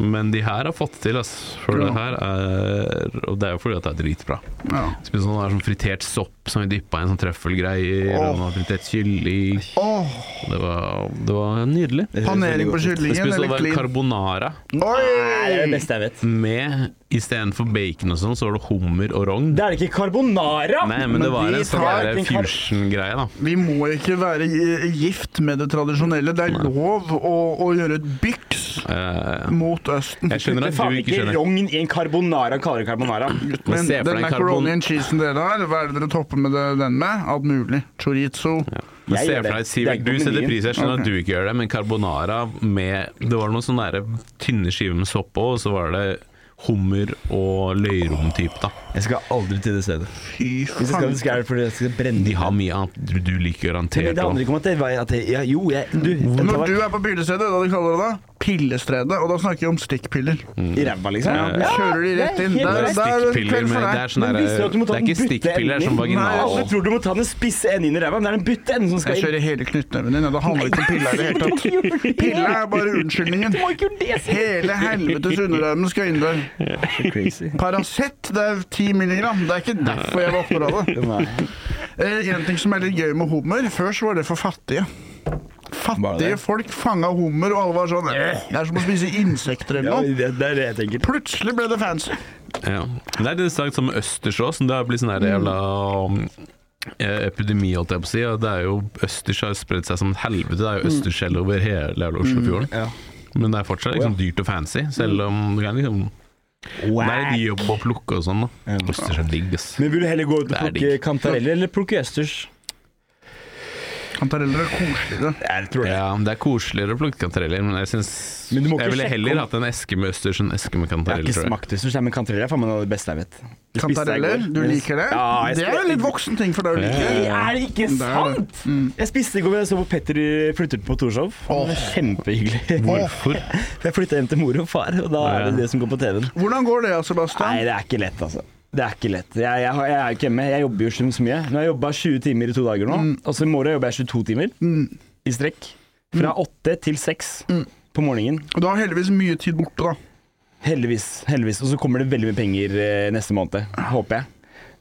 S2: Men de her har fått det til, ass. For
S1: Bra.
S2: det her er Og det er jo fordi at det er dritbra.
S1: Ja.
S2: Spesielt sånn, det er sånn fritert sopp som vi dyppa i en sånn trøffelgreier, og noe fritert kylling.
S1: Åh,
S2: Det var, det var nydelig.
S4: Det høres veldig
S1: panering på
S4: godt ut.
S1: kyllingen
S2: Spesielt det
S1: eller
S2: var
S1: klin?
S2: carbonara
S4: Nei, det er det
S1: Oi!
S4: beste jeg vet.
S2: med istedenfor bacon og sånn, så var det hummer og rogn.
S4: Det er det ikke carbonara!
S2: Nei, men,
S1: Men
S2: det var
S1: de
S2: en sånn
S1: tar
S2: der
S4: ikke en kar-
S2: fusion-greie, da.
S1: Vi må ikke være i- gift med det tradisjonelle. Det er lov å, å gjøre et byks
S2: Eh,
S1: mot Østen.
S2: Jeg skjønner at
S4: faen
S2: du ikke
S4: ikke
S2: skjønner.
S4: rogn i en carbonara kaller det carbonara.
S1: Men
S2: se
S1: den
S2: for deg
S1: macaroni
S2: karbon-
S1: and cheesen dere har, hva er det dere topper med det, den med? Alt mulig. Chorizo.
S2: Men
S4: Jeg
S2: se
S4: gjør
S2: for
S4: det.
S2: deg,
S4: Det er
S2: Sivert,
S4: ikke
S2: du
S4: på
S2: setter
S4: menyen.
S2: pris. Jeg skjønner
S1: Ok.
S2: at du ikke gjør det, men carbonara med Det var noen sånne der tynne skiver med sopp på, og så var det hummer og løyrom-type, da.
S4: Jeg skal aldri til det stedet.
S1: Fy
S4: Hvis jeg skal,
S1: faen.
S4: så skal jeg fordi jeg skal brenne
S2: De har mye annet du, du liker
S4: Men
S2: garantert
S4: Det handler
S2: òg.
S4: ikke om at det var at jeg, ja, Jo, jeg Du, jeg
S1: Når
S4: tar
S1: du er på pillestedet, da de kaller det da, pillestredet, og da snakker vi om stikkpiller.
S2: Mm.
S4: meg i ræva, liksom.
S1: Du kjører de rett inn.
S4: Ja,
S1: Der,
S4: det er
S1: der er det en
S2: Stikkpiller
S1: kveld
S2: med
S1: for
S2: Det
S1: deg.
S2: er sånn
S4: Men
S2: der
S4: visste du at du må ta
S2: Det er ikke
S4: den butte
S2: stikkpiller, det er
S4: enden?
S2: sånn vaginal.
S1: Nei,
S4: Jeg tror du må ta den spisse enden inn i ræva, men det er den bytte enden som skal
S1: Jeg
S4: inn.
S1: kjører hele knyttneven din. Ja, det handler ikke om pilla i det hele tatt. Pilla er bare unnskyldningen. Hele helvetes underarmen skal inn der.
S4: Crazy.
S1: Paracet, det er 10 milligram. Det er ikke derfor jeg var opptatt av det. Eh, En ting som er litt gøy med hummer Før så var det for fattige.
S4: Var det
S1: Fattige
S4: det?
S1: folk fanga hummer, og alle var sånn «Eh, Det er som å spise insekter
S4: Ja,
S1: eller noe.
S4: det, det er det jeg tenker.
S1: Plutselig ble det fancy.
S2: Ja. Det er litt sagt som østersås. Det har blitt sånn her jævla um, eh, epidemi, holdt jeg på å si. og Det er jo Østers har spredt seg som et helvete. Det er jo østersskjell over hele jævla Oslofjorden.
S4: Mm. Ja. Mm.
S2: Men det er fortsatt liksom, dyrt og fancy, selv om du kan liksom Det er litt jobb å plukke og sånn, da. Østers er digg, ass.
S4: Men vil du heller gå ut og
S2: Det er
S4: plukke
S2: digg.
S4: kantareller eller plukke østers?
S1: Kantareller er koseligere.
S4: Jeg tror det.
S2: Ja, det er koseligere å plukke kantareller, men jeg syns
S4: Men du må ikke
S2: Jeg ville
S4: sjekke
S2: heller
S4: om-
S2: hatt en eske med østers enn en eske med
S4: Jeg har
S2: kantareller,
S4: ikke
S2: tror jeg.
S4: smakt det, så men kantareller er faen meg noe av det beste jeg vet. Det spiste jeg i
S1: Kantareller,
S4: går.
S1: du
S4: Men-
S1: liker det?
S4: Ja, jeg
S1: det er
S4: spiste-
S1: en litt voksen ting for deg å like.
S4: Nei, Er det ikke
S1: Det Mm. er det.
S4: sant?! Jeg spiste i går, jeg så på Petter flyttet på Torshov. Det var Kjempehyggelig.
S2: Hvorfor?
S4: For jeg flytta hjem til mor og far, og da er det det som går på TV-en.
S1: Hvordan går det,
S4: Nei,
S1: Sebastian?
S4: det er ikke lett, altså. Det er ikke lett. Jeg, jeg, har- jeg er jo ikke hjemme. Jeg jobber jo så så mye. Nå har jeg jobba 20 timer i to dager nå,
S1: Mm.
S4: og så i morgen jobber jeg 22 timer i strekk. Fra åtte til seks
S1: Mm.
S4: på morgenen.
S1: Og Du har heldigvis mye tid borte, da.
S4: Heldigvis. heldigvis. Og så kommer det veldig mye penger eh, neste måned, håper jeg.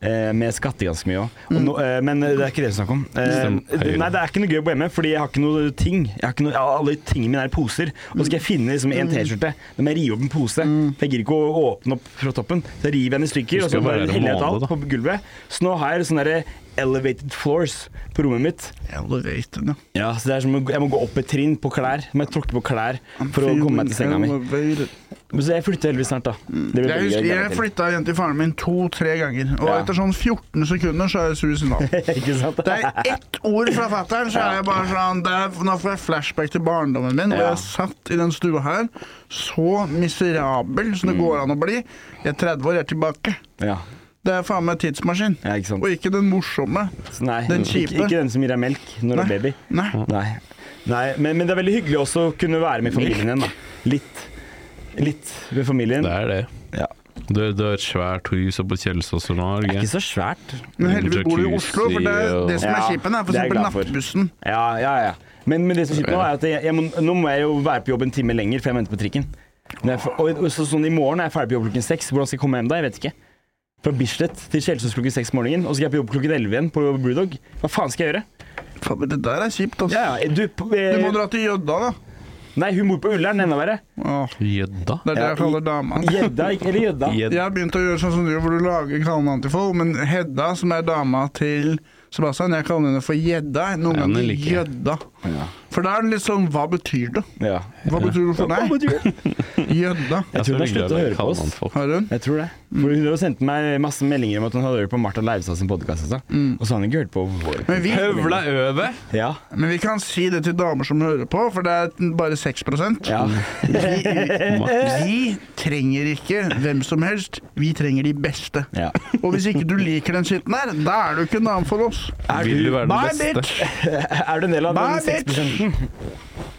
S4: Eh, men jeg skatter ganske mye òg. Eh, men det er ikke det vi snakker om. Eh,
S2: Stem Høyre.
S4: det- nei, det er ikke noe gøy å bo hjemme, fordi jeg har ikke noe ting. Jeg har ikke noe, alle tingene mine er i poser. Og så skal jeg finne liksom, en T-skjorte. Da må jeg rive opp en pose. For jeg gidder ikke å åpne opp fra toppen. Så jeg river jeg den i stykker,
S2: Du
S4: og
S2: skal
S4: så bare
S2: være
S4: heller jeg
S2: male,
S4: alt
S2: da.
S4: på gulvet. Så nå har jeg sånne der elevated floors på rommet mitt.
S1: Elevated, ja.
S4: Ja, så det er som å- Jeg må gå opp et trinn på klær. Jeg må tråkke på klær
S1: Ah,
S4: for å komme meg til senga mi.
S1: mi.
S4: Men Så jeg flytter heldigvis snart, da. Det
S1: Mm.
S4: blir
S1: Jeg,
S4: veldig
S1: husker,
S4: gøy,
S1: jeg
S4: garantert.
S1: flytta hjem til faren min to-tre ganger, og
S4: Ja.
S1: etter sånn 14 sekunder så er jeg suicidal.
S4: ikke sant?
S1: Det er ett ord fra fatter'n, så er jeg bare sånn det er, Nå får jeg flashback til barndommen min, hvor
S4: Ja.
S1: jeg satt i den stua her, så miserabel som det går an å bli. Jeg er 30 år, jeg er tilbake.
S4: Ja,
S1: Det er faen meg tidsmaskin.
S4: ja ikke sant.
S1: Og ikke den morsomme.
S4: Så nei,
S1: den
S4: ikke,
S1: kjipe.
S4: ikke den som gir deg melk når du er baby.
S1: Nei.
S4: Nei. nei men, men det er veldig hyggelig også å kunne være med familien igjen, da. Litt. Litt med familien.
S2: Det er det.
S4: Ja.
S2: Du, du har et svært hus oppe på Kjelsås og nå, har du
S4: Det er
S2: ikke?
S4: ikke så svært.
S1: Men heldigvis bor du i Oslo, for det, er det som er
S4: Ja,
S1: kjipen, er
S4: det
S1: f.eks.
S4: er jeg glad for.
S1: nattbussen.
S4: Ja, ja, ja. Men, men det som sitter nå, er at jeg, jeg må, nå må jeg jo være på jobb en time lenger, for jeg venter på trikken. Når jeg får- og, og så, sånn I morgen er jeg ferdig på jobb klokken seks. Hvordan skal jeg komme hjem da? Jeg vet ikke. Fra Bislett til Kjelsås klokken seks om morgenen, og så skal jeg på jobb klokken elleve igjen på Brewdog. Hva faen skal jeg gjøre?
S1: Faen, men det der er kjipt, altså.
S4: Ja, ja, du, på-
S1: Du må
S4: eh,
S1: dra til Jødda, da.
S4: nei, hun bor på Ullern, enda verre.
S1: Åh,
S2: Jødda?
S1: det er det
S4: Ja,
S1: jeg kaller dama.
S4: Gjedda, ikke- eller gjedda.
S2: Jed-
S1: Jeg har begynt å gjøre sånn som du, hvor du lager kallenavn til folk. Men Hedda, som er dama til Sebastian, jeg kaller henne for Gjedda. Noen
S2: Ja, den
S1: ganger
S2: liker jeg.
S1: Gjedda. For da er det litt sånn Hva betyr det?
S4: Ja.
S1: Hva betyr det for
S4: Hva
S1: deg?
S4: betyr det?
S1: Gjedda.
S4: Jeg tror hun har
S2: så hyggelig
S4: sluttet å
S2: at
S4: høre på
S2: kaller
S4: oss.
S2: man folk.
S1: Har hun?
S4: Jeg tror det. For hun har sendt meg masse meldinger om at hun hadde hørt på Martha Leivstad sin podkast. Og så har hun ikke hørt på vår.
S1: Mm. Men vi,
S2: Høvla øve!
S4: Ja.
S1: men vi kan si det til damer som hører på, for det er bare 6
S4: ja.
S1: Mm. Vi trenger ikke hvem som helst, vi trenger de beste.
S4: ja.
S1: Og hvis ikke du liker den skitten her, da er du ikke en dame for oss.
S4: Er,
S2: Vil du
S4: du,
S2: være den
S1: Bye,
S2: beste?
S1: bitch!
S4: er du en del av
S1: Bye,
S4: den 6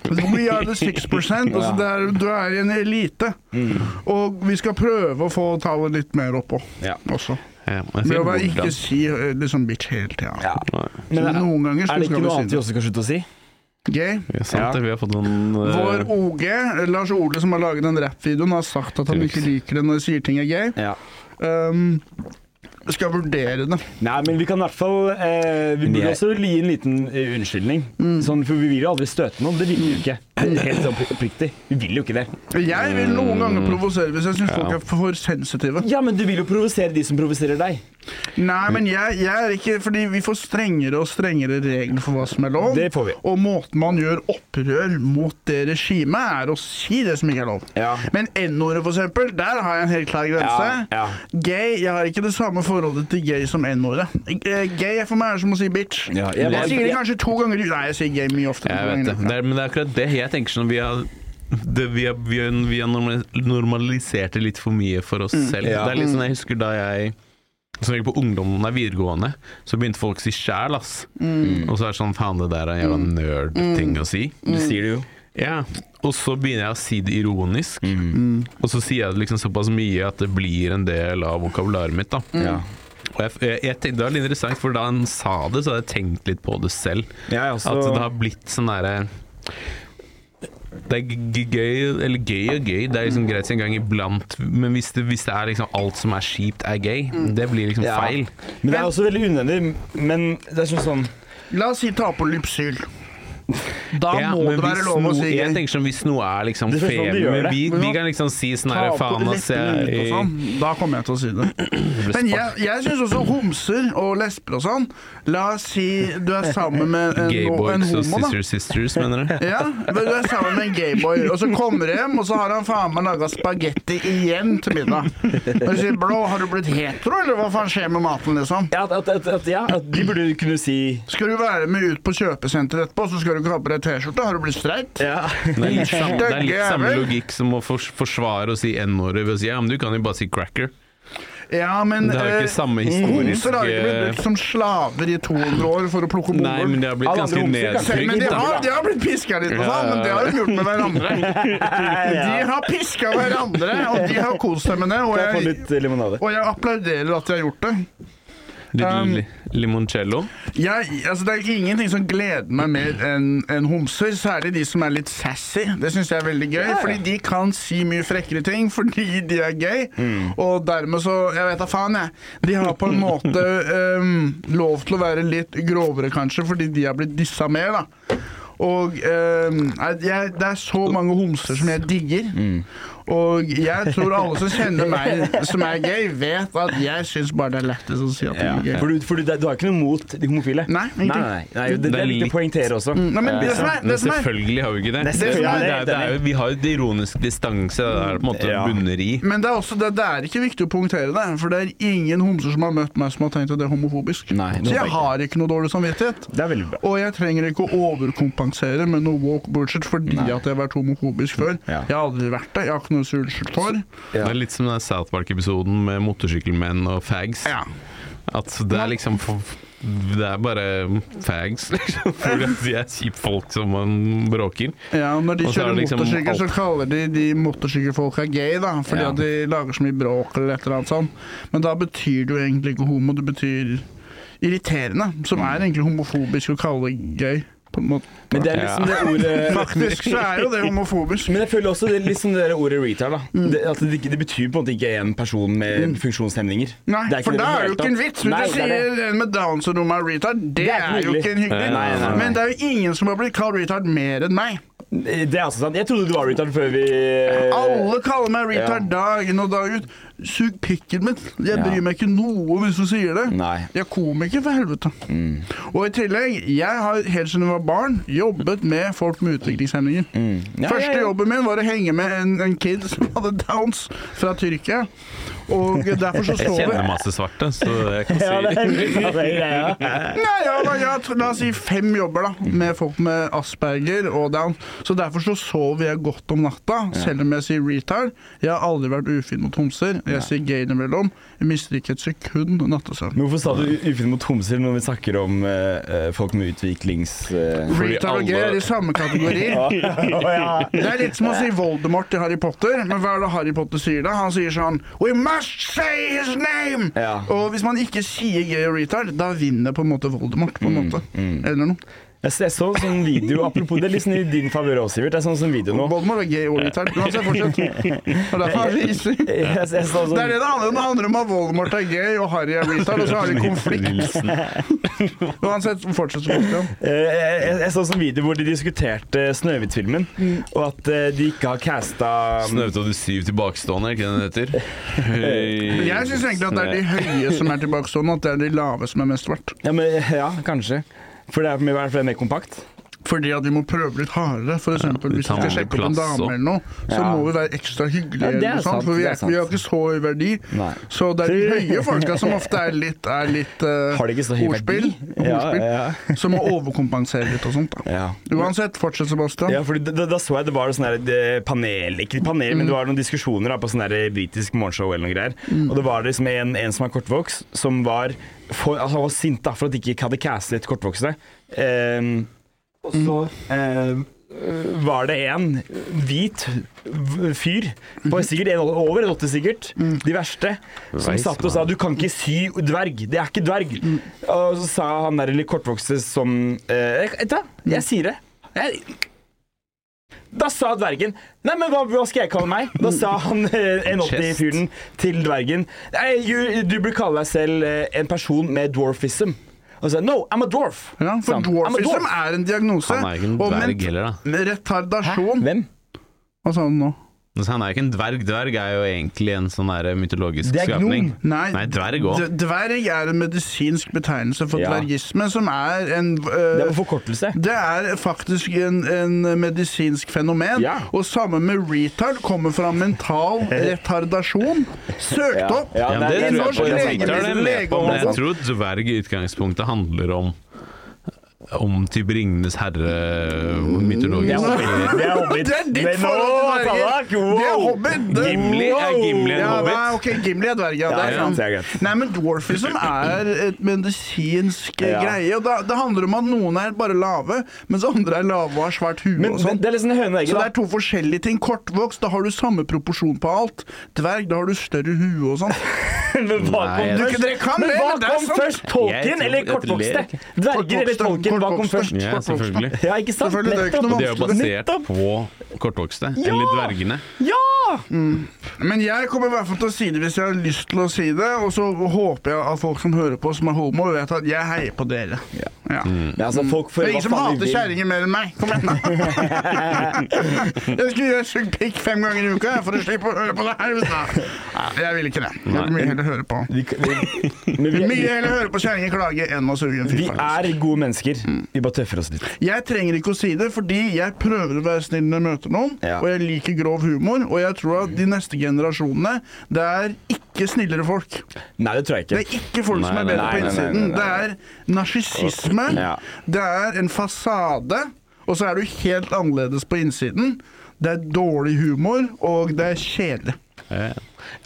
S1: We are the 6 altså det er, Du er i en elite. Og vi skal prøve å få tallet litt mer oppå
S4: Ja.
S1: også.
S2: Ja,
S1: Med
S2: men jeg
S1: å
S2: sier
S1: bare ikke
S2: hvordan.
S1: si eh, liksom bitch hele tida.
S4: Ja.
S2: Nei,
S4: Men
S1: Så
S4: er,
S1: noen ganger så
S4: er det ikke
S1: skal
S4: noe
S1: vi
S4: annet
S1: si
S4: vi
S1: det.
S4: også kan slutte å si?
S1: Gay.
S2: det er sant,
S4: Ja.
S2: det. Vi har fått noen eh,
S1: Vår OG, Lars Ole, som har laget den rappvideoen, har sagt at han ikke liker det når jeg sier ting er gay.
S4: Ja.
S1: Um, skal vurdere det.
S4: Nei, men vi kan i hvert fall eh, Vi burde
S2: Jeg-
S4: også gi en liten eh, unnskyldning.
S1: Mm.
S4: Sånn, for vi vil jo aldri støte noen. Det vil vi jo ikke. Det er Helt sånn oppriktig. Vi vil jo ikke det.
S1: Jeg vil noen ganger provosere hvis jeg syns folk
S2: Ja.
S1: er for sensitive.
S4: Ja, men du vil jo provosere de som provoserer deg.
S1: Nei, men jeg, jeg er ikke Fordi vi får strengere og strengere regler for hva som er lov.
S4: Det får vi.
S1: Og måten man gjør opprør mot det regimet, er å si det som ikke er lov.
S4: Ja.
S1: Men N-ordet, for eksempel, der har jeg en helt klar grense.
S4: Ja, ja.
S1: Gay, Jeg har ikke det samme forholdet til gay som N-ordet. Eh, Gay for meg er som å si bitch.
S4: Ja, jeg var-
S1: jeg sier det kanskje to ganger i Nei, jeg sier gay mye oftere.
S2: Jeg vet det. det er, men det er akkurat det jeg tenker sånn Vi har, det, vi har, vi har, vi har normal- normalisert det litt for mye for oss selv.
S4: Mm. ja.
S2: Det er litt sånn, Jeg husker da jeg som regel på ungdommen og videregående, så begynte folk å si sjæl, ass.
S4: Mm.
S2: Og så er det sånn faen, det der er en jævla nerd-ting å si.
S4: Du sier det jo.
S2: Ja, og så begynner jeg å si det ironisk.
S1: Mm.
S2: Og så sier jeg det liksom såpass mye at det blir en del av vokabularet mitt. da
S1: Mm.
S4: Ja.
S2: Og jeg, jeg, jeg tenkte, Det var litt interessant, for da han sa det, så hadde jeg tenkt litt på det selv.
S4: Jeg er også
S2: At det har blitt sånn derre det er g- g- gøy, eller gøy og gøy, det er
S1: Mm.
S2: liksom greit en gang iblant, men hvis det, hvis det er liksom alt som er kjipt, er gøy,
S1: Mm.
S2: det blir liksom
S4: Ja.
S2: feil.
S4: Men det er også veldig unødvendig. Men det er sånn sånn
S1: La oss si ta på lypsyl. Da
S2: Ja,
S1: må
S2: men
S1: det være
S2: hvis
S1: lov å
S2: noe-
S1: si
S2: Jeg tenker som hvis noe er liksom
S4: Det
S1: sånn
S4: spørs om du
S2: femi
S4: gjør
S2: men
S4: det.
S2: vi,
S1: Men
S2: vi
S1: nå-
S2: kan liksom si sånn
S1: Ta
S2: her
S1: opp
S2: Faen, ass,
S1: leppene ut
S2: jeg
S1: og sånn. Da kommer jeg til å si det. Men jeg, jeg syns også homser og lesber og sånn La oss si du er sammen med en,
S2: Gay
S1: Eh, en
S2: boys og
S1: homo, da.
S2: sister sisters, mener du?
S1: Ja, men du er sammen med en gayboy, og så kommer du hjem, og så har han faen meg laga spagetti igjen til middag. Og du sier 'blå, har du blitt hetero', eller hva faen skjer med maten, liksom?
S4: Ja, at, at, at, at, ja, at de burde kunne si
S1: Skal du være med ut på kjøpesenteret etterpå, så skal du ikke ha på deg T-skjorte? Har du blitt streit?
S4: ja.
S2: Det er litt, sam, det er litt
S1: Stygge
S2: samme
S1: jævel.
S2: logikk som å fors forsvare og si n-ordet ved å si ja, men du kan jo bare si cracker.
S1: Ja, men
S2: Det har jo
S1: eh,
S2: ikke samme historisk
S1: homser har ikke blitt brukt som slaver i 200 år for å plukke
S2: Nei, men
S1: bomull.
S2: det har blitt
S4: Alle
S2: ganske
S4: andre homser kan
S1: Selv- Men
S2: nedtrykt,
S1: de
S2: da.
S1: har, de har blitt piska litt, og
S2: Ja,
S1: sånn, men det har de gjort med hverandre. De har piska hverandre, og de har kost seg med det. Og
S4: Kan jeg få
S1: jeg,
S4: litt eh, limonade?
S1: og jeg applauderer at de har gjort det.
S2: Litt
S1: Um,
S2: li- limoncello.
S1: Jeg, altså det er ikke ingenting som gleder meg mer enn enn homser, særlig de som er litt sassy. Det syns jeg er veldig gøy, fordi de kan si mye frekkere ting fordi de er gay. Og dermed så Jeg vet da faen, jeg. De har på en måte ehm, lov til å være litt grovere, kanskje, fordi de har blitt dissa mer, da. Og ehm, nei, jeg, det er så mange homser som jeg digger. Og jeg tror alle som kjenner meg som er gay, vet at jeg syns bare det er lettest å si at de
S4: Ja.
S1: er gay.
S4: For, du, for du, du har ikke noe mot de homofile?
S1: Nei,
S4: nei,
S1: ingenting.
S4: nei, nei. Det, det er Mm, viktig å poengtere også.
S1: Nei, men det
S4: sånn-
S1: som er,
S2: Men
S1: det som er
S2: selvfølgelig har vi ikke det.
S4: Nei,
S2: det,
S4: selvfølgelig
S2: er- det, er-
S4: er det
S2: det er jo, vi har jo et ironisk distanse det er på en måte
S4: Ja.
S2: bunner i.
S1: men det er også det, det er ikke viktig å punktere det, for det er ingen homser som har møtt meg som har tenkt at det er homofobisk.
S4: Nei, det
S1: så
S4: håper jeg
S1: jeg har ikke noe dårlig samvittighet.
S4: Det er veldig bra.
S1: Og jeg trenger ikke å overkompensere med noe woke bullshit fordi at jeg har vært homofobisk før.
S4: Ja.
S1: Jeg har aldri vært det. Jeg har ikke noe unnskyldt hår.
S4: Ja.
S2: Det er litt som den South Park-episoden med motorsykkelmenn og fags. At det er liksom for- Det er bare fags, liksom. For at de er kjipfolk som man bråker.
S1: Ja, når de
S2: Og så er
S1: kjører
S2: det liksom
S1: motorsykkel, så
S2: alt.
S1: kaller de de motorsykkelfolka gay, da, fordi
S4: Ja.
S1: at de lager så mye bråk eller et eller annet sånt. Men da betyr det jo egentlig ikke homo, det betyr irriterende, som er egentlig homofobisk å kalle det gøy, på en måte.
S4: Men det er liksom det ordet
S1: Faktisk så er jo det homofobisk.
S4: Men jeg føler også det er litt sånn det der ordet retard. da
S1: Mm.
S4: det, at det, ikke- det betyr på en måte ikke en person med funksjonshemninger.
S1: Nei,
S4: Det er ikke
S1: for
S4: det
S1: da
S4: det
S1: er det jo ikke
S4: hele
S1: en
S4: tatt.
S1: vits. Hvis
S4: Nei,
S1: du
S4: det er det.
S1: sier en med Downs og noen er retard, det,
S4: er ikke
S1: er jo
S4: hyggelig.
S1: ikke en hyggelig.
S2: Nei, nei, nei, nei.
S1: Men det er jo ingen som har blitt kalt retard mer enn meg.
S4: Eh, Det er også sant. Jeg trodde du var retard før vi
S1: Alle kaller meg retard
S4: Eh, ja.
S1: dag inn og dag ut. Sug pikken min. Jeg
S4: Ja.
S1: bryr meg ikke noe hvis du sier det.
S4: Nei. Mm.
S1: Jeg er komiker, for helvete. Og i tillegg, jeg har helt siden jeg var barn, jobbet med folk med utviklingshemninger.
S4: Mm. Ja, ja,
S1: Første
S4: ja.
S1: jobben min var å henge med en, en kid som hadde Downs fra Tyrkia. Og derfor så
S2: Jeg
S1: så vi
S2: kjenner masse svarte, så jeg kan
S4: Ja, det
S2: si
S4: er litt av det greia.
S1: Nei, ja, da, ja, t- la oss si fem jobber da med folk med asperger og down. Så derfor så sover jeg godt om natta, selv om jeg sier retard. Jeg har aldri vært ufin mot homser. Jeg sier gay innimellom. Jeg mister ikke et sekund nattesøvn.
S4: Men hvorfor sa du ufin mot homser når vi snakker om eh, eh, folk med utviklings... eh,
S2: Fordi
S1: Retard og gay
S2: alle-
S1: er i samme kategori. Det er litt som å si Voldemort til Harry Potter. Men hva er det Harry Potter sier da? Han sier sånn We must say his name!
S4: Ja.
S1: Og hvis man ikke sier gay og retard, da vinner på en måte Voldemort. på en måte. Eller noe.
S4: Jeg så jeg så en sånn video Apropos, det er liksom i din favør også, Sivert. Det er sånn sånn video nå.
S1: Voldemort er gay og retard. Uansett, fortsett. Og derfor er det easy.
S4: Jeg, jeg, jeg så
S1: Det er
S4: sånn
S1: det det handler om. Det handler om at Voldemort er gay og Harry er retard, og så har de konflikt.
S2: Nilsen.
S1: Uansett, fortsett som Christian.
S4: Eh, jeg, jeg- jeg så sånn video hvor de diskuterte Snøhvit-filmen,
S1: Mm.
S4: og at eh, de ikke har casta
S2: Snøvete og de syv tilbakestående, er ikke det den heter?
S1: Jeg syns egentlig at det er de høye som er tilbakestående, at det er de lave som er mest verdt.
S4: Ja, men, ja, kanskje. For det er i hvert fall mer kompakt.
S1: Fordi at vi må prøve litt hardere. For eksempel, hvis vi
S2: tar
S1: skal
S2: mye
S1: sjekke opp en
S2: plass
S1: dame
S2: også.
S1: eller noe, så
S4: Ja.
S1: må vi være ekstra hyggelige.
S4: Ja, det er
S1: eller noe sånt,
S4: sant,
S1: for vi,
S4: det er
S1: er,
S4: sant.
S1: vi har ikke så høy verdi.
S4: Nei.
S1: Så det er de høye folka som ofte er litt, er litt eh,
S4: Har de ikke så høy
S1: ordspill,
S4: verdi? Ja,
S1: ordspill
S4: ja.
S1: som må overkompensere litt og sånt. Da.
S4: Ja.
S1: Uansett, fortsett, Sebastian.
S4: Ja, for da, da- da så jeg det var sånn der eh, panel Ikke panel, men det var noen diskusjoner da, på sånn der britisk morgenshow eller noe greier. Og det var liksom en, en som er kortvokst, som var for, altså, Han var sint da for at de ikke hadde castet kortvokste. Ehm, og så ehm, var det en hvit v- fyr, på sikkert en, over en åtte sikkert, de verste, som
S2: Veis,
S4: satt og sa du kan ikke sy dverg, det er ikke dverg. Og så sa han der litt kortvokste som eh, «Jeg- Vet du hva, jeg sier det. Jeg, da sa dvergen Nei, men hva, hva skal jeg kalle meg? Da sa han eh, en 80-fyren til dvergen Nei, you- du burde kalle deg selv eh, en person med dwarfism. Og Og så sa jeg, No, I'm a dwarf!
S1: Ja,
S4: sa
S1: for
S4: han. I'm a
S1: dwarfism er en diagnose.
S2: Han er jo ikke en
S1: og men-
S2: dverg heller, da.
S1: med retardasjon.
S4: Hvem?
S1: Hva sa du nå?
S2: Altså, han er jo ikke en dverg. Dverg er jo egentlig en sånn der mytologisk
S4: Det er
S2: skapning.
S4: gnom.
S1: Nei,
S2: Nei, dverg òg.
S1: d- dverg er en medisinsk betegnelse for
S4: Ja.
S1: dvergisme, som er en
S4: Det
S1: øh,
S4: er en forkortelse.
S1: det er faktisk en, en medisinsk fenomen.
S4: Ja.
S1: Og samme med retard kommer fra mental retardasjon. Søkt
S4: Ja,
S1: opp!
S4: ja,
S2: Ja, men det
S4: det
S1: er
S2: tror jeg
S1: norsk
S2: på. Jeg
S1: lege-
S2: tror det er med på, men
S1: lege-
S2: jeg tror dverg i utgangspunktet handler om om type Ringenes eh,
S4: Det er
S2: herre-mytologisk.
S4: hobbit. Det er hobbit.
S1: Det er ditt
S4: Men nå,
S1: forhold til
S4: Tallak,
S1: dverger!
S4: wow.
S1: Det er hobbit! Det-
S2: Gimli er Gimli en
S1: ja,
S2: hobbit?
S1: Nei, ok, Gimli er dverg, ja.
S4: Ja,
S1: Det er
S4: ja,
S1: sant.
S4: det er greit.
S1: Nei, men dwarfism er et medisinsk eh,
S4: Ja.
S1: greie. Og da, det handler om at noen er bare lave, mens andre er lave og har svært hue
S4: Men
S1: og
S4: det,
S1: sånn.
S4: det er liksom en høne
S1: Så
S4: og
S1: det er
S4: egget, da.
S1: to forskjellige ting. Kortvokst, da har du samme proporsjon på alt. Dverg, da har du større hue og sånn.
S4: Men hva
S2: Nei,
S4: kom
S2: jeg-
S4: først?
S1: Dere kan
S4: Men
S1: det,
S4: hva
S1: men det er
S4: kom
S1: sant.
S4: først?
S2: Jeg
S4: Tolken
S2: tror-
S4: eller
S2: jeg ler
S4: kortvokste?
S2: ikke.
S4: Dverger eller
S1: Kortvokste,
S4: tolken? Hva kom
S1: kortvokste.
S4: først?
S2: Ja, selvfølgelig.
S4: Ja, ikke sant?
S1: Selvfølgelig, det er ikke noe
S4: Nettopp.
S2: Det er jo basert
S4: Nettopp.
S2: på kortvokste.
S4: Ja!
S2: Eller dvergene.
S4: Ja!
S1: Men jeg kommer i hvert fall til å si det hvis jeg har lyst til å si det. Og så håper jeg at folk som hører på som er homo, vet at jeg heier på dere. Ja.
S4: Ja, altså, folk får
S1: Det er
S4: hva
S1: ingen som
S4: faen de
S1: hater
S4: vil.
S1: kjerringer mer enn meg. Kom igjen, da. jeg skulle gjøre sugd pikk fem ganger i uka jeg, for å slippe å høre på det her. vet du. Nei, jeg vil ikke det. Jeg vil mye heller høre på.
S4: Vi- vi- Men vi,
S1: Mye heller høre på kjerringer klage enn å suge en
S4: vi
S1: fyr. faktisk.
S4: er gode mennesker. Vi bare tøffer oss litt.
S1: Jeg trenger ikke å si det, fordi jeg prøver å være snill når jeg møter noen,
S4: Ja.
S1: og jeg liker grov humor, og jeg tror at de neste generasjonene, det er ikke snillere folk.
S4: Nei, det tror jeg
S1: Det
S4: ikke.
S1: er ikke folk som
S2: Nei,
S1: er
S2: nei,
S1: bedre
S4: nei,
S1: på
S4: nei, nei,
S1: innsiden.
S4: nei,
S1: Det
S4: nei.
S1: er narsissisme.
S4: Ja.
S1: Det er en fasade. Og så er du helt annerledes på innsiden. Det er dårlig humor, og det er kjedelig.
S2: Ja, ja.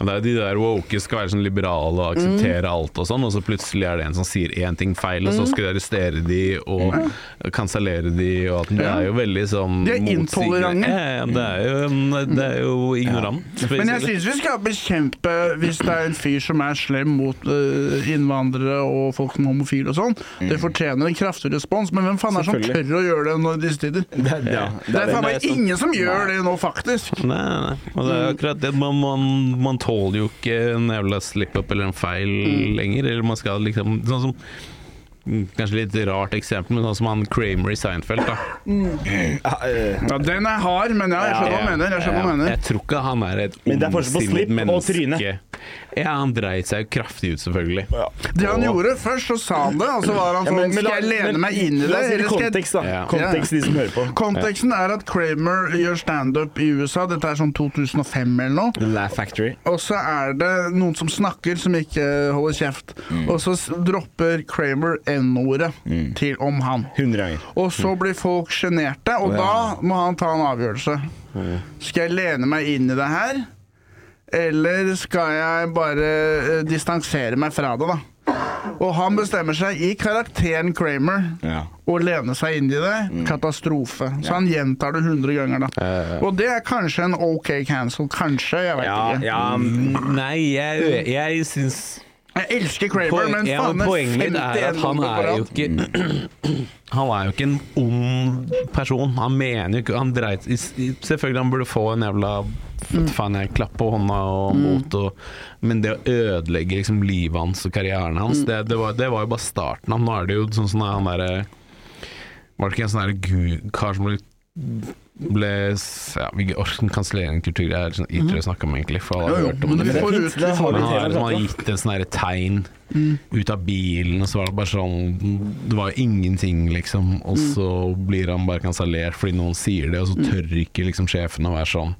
S2: Men det er jo de der woke skal være sånn liberale og akseptere
S1: Mm.
S2: alt og sånn, og så plutselig er det en som sier én ting feil, og så skal de arrestere de og kansellere de og alt. Det er jo veldig
S1: Mm.
S2: sånn
S1: De er
S2: motsigende.
S1: intolerante.
S2: Ja, ja, det er jo, det er jo ignorant.
S1: Men jeg syns vi skal bekjempe hvis det er en fyr som er slem mot øh, innvandrere og folk som er homofile og sånn. Det fortjener en kraftig respons, men hvem faen er det som
S4: Mm. Selvfølgelig.
S1: tør å gjøre det nå i disse tider?
S4: Det er, ja, det
S1: Det er faen
S4: det.
S1: meg ingen som gjør det nå, faktisk.
S2: Nei, nei, nei. Og det
S1: Mm.
S2: er jo akkurat det. Man, man, man tåler jo ikke en jævla slip-up eller en feil
S1: Mm.
S2: lenger. Eller man skal liksom Sånn som mm, Kanskje litt rart eksempel, men sånn som han Kramer i Seinfeld. da
S4: Ja,
S1: Altså,
S4: eh,
S1: Ja, den er hard, men ja, jeg skjønner hva du mener. Jeg skjønner hva du mener.
S2: Jeg tror ikke han er et
S4: Men det er forskjell på
S2: ondsinnet
S4: slipp og
S2: menneske.
S4: tryne.
S2: Ja, han dreit seg jo kraftig ut, selvfølgelig.
S1: Det han gjorde først, så sa han det, og så var han
S4: ja,
S1: sånn
S4: men- men la-
S1: Skal jeg lene
S4: men-
S1: meg inn i
S4: la
S1: det?
S4: oss si
S1: Eller skal jeg
S4: Kontekst, da.
S2: Ja.
S4: Kontekst, de som hører på.
S1: Konteksten er at Kramer gjør standup i USA, dette er sånn 2005 eller noe.
S4: The Laugh Factory.
S1: Og så er det noen som snakker, som ikke holder kjeft. Og så s- dropper Kramer N-ordet til om han.
S4: 100 ganger.
S1: Og så blir folk sjenerte, og da må han ta en avgjørelse. Skal jeg lene meg inn i det her, eller skal jeg bare eh, distansere meg fra det, da? Og han bestemmer seg i karakteren Kramer
S4: Ja.
S1: å lene seg inn i det.
S2: Mm.
S1: Katastrofe. Så han gjentar det 100 ganger, da. Og det er kanskje en OK cancel. Kanskje, jeg veit
S4: Ja,
S1: ikke.
S4: ja,
S2: Mm, Nei, jeg, jeg syns
S1: Jeg elsker Kramer,
S2: Poen-
S1: men
S2: ja,
S1: faen,
S2: men Poenget mitt er at
S1: 51
S2: han
S1: nummer på
S2: er jo
S1: rad.
S2: ikke Han er jo ikke en ond person. Han mener jo ikke Han dreit i- i- Selvfølgelig han burde få en jævla
S1: Mm.
S2: Faen, jeg klapp på hånda og mot og Men det å ødelegge liksom livet hans og karrieren
S1: Mm.
S2: hans, det, det, var, det var jo bare starten. av. Nå er det jo sånn som han derre Var det ikke en sånn derre gu- kar som ble ble ja, vi orker kansellere en kulturgreie, det er sånn idrett å snakke om egentlig, for alle
S1: Mm. Jo,
S2: har
S1: jo,
S2: hørt om
S1: men
S2: det.
S1: vi
S4: det
S1: får
S4: finnes,
S1: ut
S4: det har
S2: Men
S4: vi
S2: han har
S4: hele
S2: liksom han har
S4: tatt.
S2: gitt en sånn her tegn ut av bilen, og så var det bare sånn Det var jo ingenting, liksom. Og så blir han bare kansellert fordi noen sier det, og så tør ikke liksom sjefen å være sånn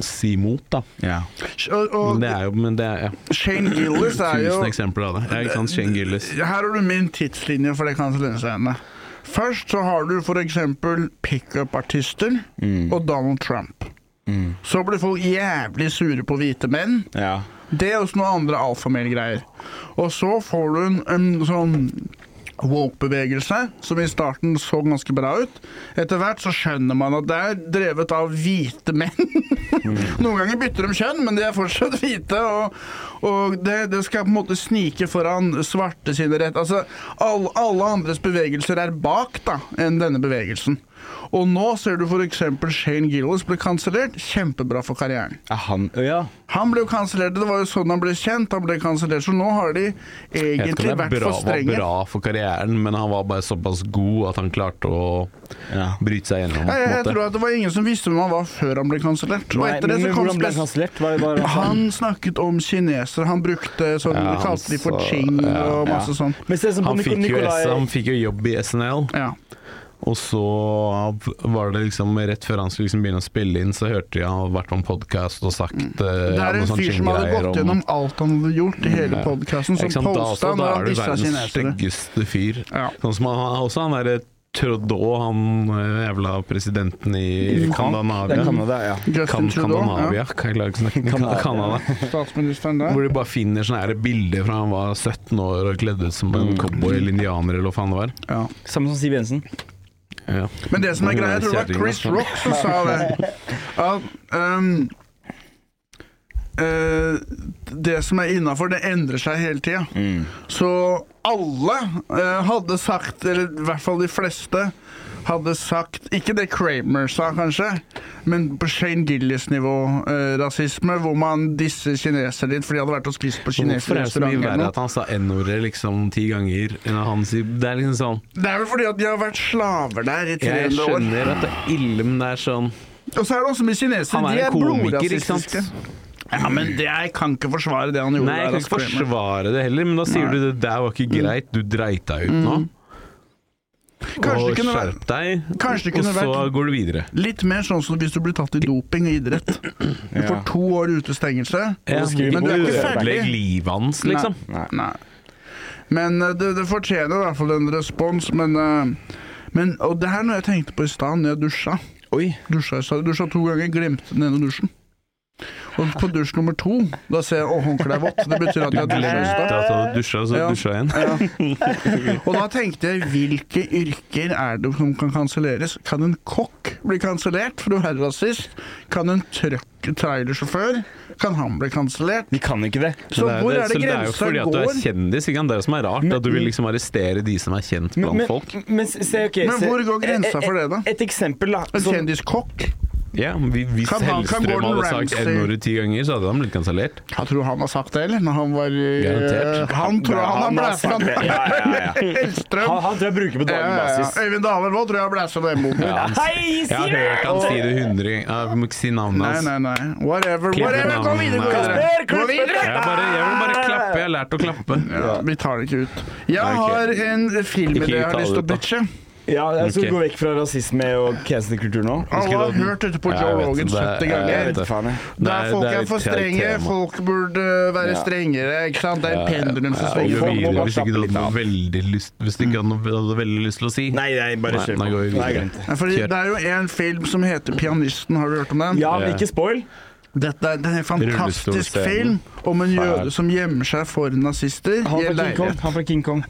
S2: Si imot, da.
S4: Ja.
S1: Og,
S2: Men
S1: og
S2: det er jo men det er, ja.
S1: Shane Gillis er jo
S2: Tusen eksempler av det. Ja, ikke sant? Shane Gillis.
S1: Her har du min tidslinje for det kansellingsgreiene. Først så har du for eksempel pickup-artister og Donald Trump. Så blir folk jævlig sure på hvite menn.
S4: ja.
S1: Det er også noen andre alfamilgreier. Og så får du en, en sånn woke-bevegelse, som i starten så ganske bra ut. Etter hvert så skjønner man at det er drevet av hvite menn. Noen ganger bytter de kjønn, men de er fortsatt hvite. Og, og det, det skal på en måte snike foran svarte sine rett. Altså, alle, alle andres bevegelser er bak da, enn denne bevegelsen. Og nå ser du f.eks. Shane Gillis bli kansellert. Kjempebra for karrieren.
S4: Er han Ja.
S1: Han ble jo kansellert, det var jo sånn han ble kjent. Han ble kansellert, så nå har de
S2: Jeg vet
S1: egentlig
S2: ikke om det
S1: vært
S2: er
S1: for
S2: bra, var
S1: strenge.
S2: bra for karrieren, men han var bare såpass god at han klarte å
S4: Ja.
S2: bryte seg gjennom. på
S1: Nei,
S2: en
S1: jeg, jeg
S2: måte.
S1: tror at det var ingen som visste hvem han var før han ble kansellert. Og
S4: Nei,
S1: etter det
S4: men
S1: så kom
S4: hvordan ble han
S1: spes-
S4: kansellert? Hva- hva-
S1: Han snakket om kinesere. Han brukte sånn
S2: Ja,
S1: De kalte de for
S2: han sa-
S1: ching
S2: ja,
S1: og masse sånn.
S4: Men se som på
S2: Han
S4: Nico-
S2: fikk, jo,
S4: Nikolai
S2: han fikk jo jobb i SNL,
S1: Ja.
S2: og så var det liksom rett før han skulle liksom begynne å spille inn, så hørte jeg han hadde vært på en podkast og sagt eh,
S1: Mm. Det
S2: ja,
S1: er
S2: noe
S1: en
S2: sånn
S1: fyr som hadde
S2: Ching-greier
S1: gått
S2: om-
S1: gjennom alt han hadde gjort i hele
S2: Ja.
S1: podkasten,
S2: Ikke
S1: som
S2: sant, da
S1: posta
S2: også,
S1: når
S2: da
S1: han
S2: er du
S1: dissa
S2: verdens
S1: kinesere.
S2: styggeste fyr.
S1: Ja.
S2: Sånn som han, også han derre Trudeau, han eh, jævla presidenten i
S1: Mm.
S4: Det er
S2: Candanavia.
S4: Canada, ja.
S1: Justin
S2: Kan,
S1: Trudeau.
S2: Candanavia, kan jeg klare ikke å snakke
S4: Canada.
S2: Canada.
S1: Ja. Statsministeren der.
S2: Hvor de bare finner sånne her bilder fra han var 17 år og kledd ut som en cowboy eller indianer eller hva faen det var.
S1: Ja.
S4: Samme som Siv Jensen.
S2: Ja.
S1: Men det som er
S2: Hun
S1: greia, jeg tror det var
S2: kjerringa,
S1: Chris
S2: altså.
S1: Rock som sa det. At ehm, eh, det som er innafor, det endrer seg hele tida.
S2: Mm.
S1: Så alle eh, hadde sagt, eller i hvert fall de fleste, hadde sagt Ikke det Kramer sa, kanskje, men på Shane Gillis-nivå eh, rasisme, hvor man disser kinesere litt, for de hadde vært og spist på kinesisk
S2: Hvorfor er det så mye
S1: restaurant. eller
S2: verre
S1: noe.
S2: at han sa n-ordet liksom ti ganger enn at han sier Det er liksom sånn
S1: Det er vel fordi at de har vært slaver der i
S2: Jeg
S1: 300 år.
S2: skjønner at det er ille, men det er sånn
S1: Og så er det også med kinesere.
S2: Han
S1: De
S2: er
S1: er
S2: en komiker, ikke sant?
S1: blodrasistiske. Ja, men det, jeg kan ikke forsvare det han gjorde.
S2: Nei, jeg
S1: der,
S2: kan ikke
S1: altså, Kramer.
S2: forsvare det heller, men da sier
S1: Nei. Mm.
S2: du det der var ikke greit, du dreit deg ut nå.
S1: Kanskje det
S2: Og
S1: kunne vært
S2: skjerp deg,
S1: Kanskje det
S2: og
S1: kunne
S2: så
S1: vært-
S2: går du videre.
S1: litt mer sånn som hvis du blir tatt i doping og idrett. Du får to år utestengelse.
S2: Ja,
S4: skriver
S2: men
S4: de
S2: du er
S4: på
S2: ikke
S4: øret.
S2: ferdig. Legg livet hans, liksom.
S4: Nei.
S1: Nei. Men eh, det, det fortjener i hvert fall en respons, men eh, men, og det her er noe jeg tenkte på i stad når jeg dusja.
S4: Oi.
S1: Dusja, i stad. dusja to ganger, glemte den ene dusjen. Og på dusj nummer to, da ser jeg å, håndkleet er vått. Det betyr at
S2: Du
S1: jeg har dusja i
S2: glemte
S1: stad.
S2: at du hadde dusja, så
S1: Ja.
S2: dusja igjen.
S1: Og da tenkte jeg, hvilke yrker er det som kan kanselleres? Kan en kokk bli kansellert for å være rasist? Kan en trøkk- trailersjåfør? Kan han bli kansellert?
S4: Vi kan ikke det.
S1: Så
S2: Men
S1: hvor
S2: det-
S1: er det
S2: så er jo
S1: grensa
S2: fordi at du er
S1: går?
S2: kjendis, ikke sant? det er det som er rart. at du vil liksom arrestere de som er kjent
S4: Men,
S2: blant
S4: men,
S2: folk.
S4: men se, ok
S1: Men
S4: se,
S1: hvor går grensa
S4: et-
S1: for det, da?
S4: Et eksempel, da.
S1: En
S4: som-
S1: kjendiskokk?
S2: Ja, vi- Hvis
S1: Kan han- kan
S2: Hellstrøm
S1: Gordon
S2: hadde sagt
S1: Ramsay-
S2: n-ordet ti ganger, så hadde han blitt kansellert.
S1: Jeg tror han har sagt det, eller? Når han var eh,
S2: Garantert.
S1: Han tror han har blæsta
S4: sagt det.
S1: den.
S4: Ja, ja, ja.
S1: Hellstrøm.
S4: Han, han tror jeg bruker på
S1: Ja,
S4: daglig
S1: ja, ja.
S4: basis.
S1: Øyvind Dahlvold tror jeg har blæsta den mot
S2: Ja, han-
S4: Hei,
S2: Jeg har
S4: sier
S2: hørt han
S4: du?
S2: si det hundre ganger. Jeg må ikke si navnet
S1: Nei,
S2: hans.
S1: nei, nei. Whatever.
S2: Klipper
S1: Whatever. Gå
S2: navnet.
S1: videre, gå videre.
S4: Kasper,
S1: Gå
S4: Kasper!
S1: videre.
S2: Jeg, bare, jeg vil bare klappe. Jeg har lært å klappe.
S1: Ja, vi tar det ikke ut. Jeg
S2: Nei, ok.
S1: har en filmidé jeg
S2: ta
S1: har
S2: det
S1: lyst til
S2: ut,
S1: å
S2: da.
S1: bitche.
S4: Ja, jeg skal
S2: Ok.
S4: gå vekk fra rasisme og cancelkultur nå.
S1: Alle har
S2: Husker du-
S1: hørt dette på
S2: Ja, jeg
S1: Joe
S2: vet
S1: Rogan
S2: det.
S1: 70
S2: Jeg
S1: ganger.
S2: vet det.
S4: faen, jeg.
S1: Der folk er for
S2: et
S1: strenge,
S2: tema.
S1: folk burde eh, være
S4: Ja.
S1: strengere. ikke sant? Det er et pendelen som
S2: Ja,
S1: svinger.
S2: og
S1: folk må
S2: vi videre
S1: bare
S2: hvis ikke
S1: slappe
S2: du hadde
S1: litt av.
S2: noe veldig lyst Hvis du ikke hadde noe hadde veldig lyst til å si.
S4: Nei, nei, bare
S2: Nei,
S4: kjør
S2: nei,
S4: på.
S2: går vi
S4: Nei,
S2: videre.
S4: glemt det.
S1: Nei, fordi
S2: Kjør.
S1: det er jo en film som heter 'Pianisten'. Har du hørt om den?
S4: Ja, men
S2: Ja.
S4: ikke spoil.
S1: Dette er det er en fantastisk
S2: Rullestolscenen.
S1: film om en jøde
S2: Fæl.
S1: som gjemmer seg for nazister
S4: Han
S1: i en
S4: fra King Kong.
S1: leilighet.
S4: Han fra King Kong.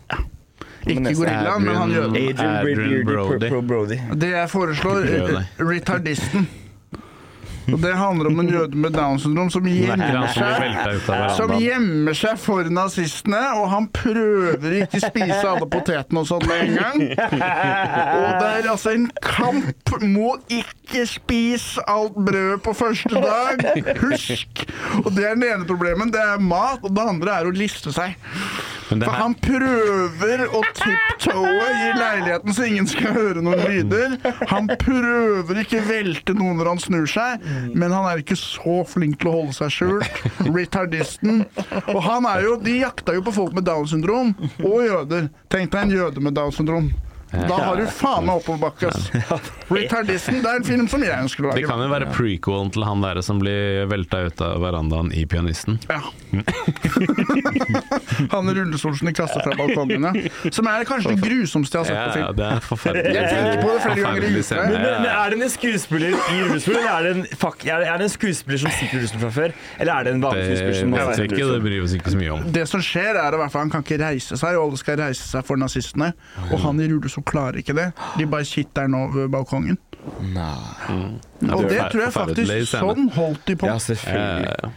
S1: Ikke
S4: Nesten.
S1: gorillaen, men han jøden.
S2: Adrian
S4: Adrian Brody.
S2: Brody.
S4: Pro- Pro Brody.
S1: Det jeg foreslår,
S2: Ikke prøv
S1: eh, retardisten. Og det handler om en jøde med Downs syndrom som
S2: Det er ikke
S1: gjemmer
S2: han som blir
S1: seg
S2: velta ut av
S1: Eh, Som
S2: verandaen.
S1: gjemmer seg for nazistene, og han prøver ikke å spise alle potetene og sånn med en gang. Og det er altså en kamp mot ikke spis alt brødet på første dag. Husk! Og det er den ene problemet. Det er mat, og det andre er å liste seg.
S2: Men det
S1: For
S2: her,
S1: han prøver å tiptoe i leiligheten så ingen skal høre noen lyder. Han prøver ikke velte noen når han snur seg, men han er ikke så flink til å holde seg skjult. Retardisten. Og han er jo De jakta jo på folk med Downs syndrom og jøder. Tenk deg en jøde med Downs syndrom. Da har du faen meg oppoverbakke, ass. Retardisten. Det er en film som jeg ønsker å
S2: det
S1: lage.
S2: kan jo være prequelen til han derre som blir velta ut av verandaen i Pianisten.
S1: Ja. Han rullestolsen de kaster fra balkongene. Som er kanskje det grusomste jeg har sett
S2: Ja,
S1: på film.
S2: ja, det er forferdelig.
S1: Jeg tenkte på det flere ganger i
S2: Forferdelig
S1: uka.
S2: scene.
S4: Men,
S2: Ja,
S4: men
S2: ja.
S4: er det en skuespiller i rullestol, eller er det en, fuck, er det, er det en skuespiller som sitter i rullestol fra før? Eller er det en vanlig
S2: Det
S4: skuespiller som
S2: vet vi ikke, det bryr vi oss ikke så mye om.
S1: Det som skjer er i hvert fall Han kan ikke reise seg, og alle skal reise seg for nazistene. Og han i rullestol klarer ikke det. De bare sitter han over balkongen. Mm.
S4: Nei.
S1: Og det
S2: Forferdelig
S1: tror jeg faktisk
S2: scene.
S1: Sånn holdt de på. Eh,
S4: Ja, selvfølgelig.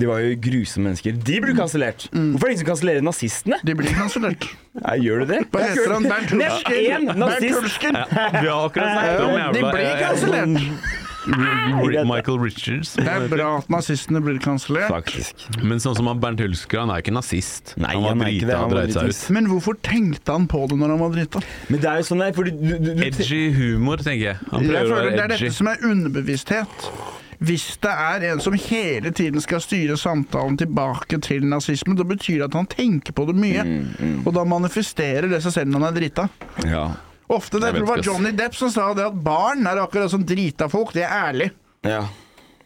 S4: De var jo grusomme mennesker. De burde kansellert!
S1: Mm.
S4: Hvorfor er det ingen som kansellerer nazistene?
S1: De blir kansellert.
S4: Nei, gjør du det?
S1: Hva
S4: Jeg
S1: heter
S4: har
S1: han?
S4: ikke hørt-
S1: Bernt
S4: Nevn én
S1: Hulsker? Bernt
S4: nazist!
S1: Hulsker!
S2: Vi har akkurat snakket om
S1: De
S2: jævla
S1: blir kansellert!
S2: Ri- Michael Richards.
S1: Det er bra at nazistene blir kansellert.
S4: Faktisk.
S2: Men sånn som han Bernt Hulsker, han er ikke nazist.
S4: Nei,
S2: han var
S4: han er ikke det,
S2: drita
S4: han
S2: og
S4: var
S2: dreit seg ut.
S4: dritings.
S1: Men hvorfor tenkte han på det når han var drita?
S4: Men det er jo sånn der, fordi du, du, du
S2: Edgy humor, tenker jeg. Han
S1: Jeg
S2: prøver å
S1: føler Det
S2: være
S1: er dette
S2: edgy.
S1: som er underbevissthet. Hvis det er en som hele tiden skal styre samtalen tilbake til nazismen, da betyr det at han tenker på det mye.
S2: Mm,
S1: Og da manifesterer det seg selv når han er drita.
S4: Ja.
S1: Ofte det
S2: Jeg vet
S1: var
S2: ikke, ass.
S1: Johnny Depp som sa det at barn er akkurat som drita folk, det er ærlig.
S4: ja.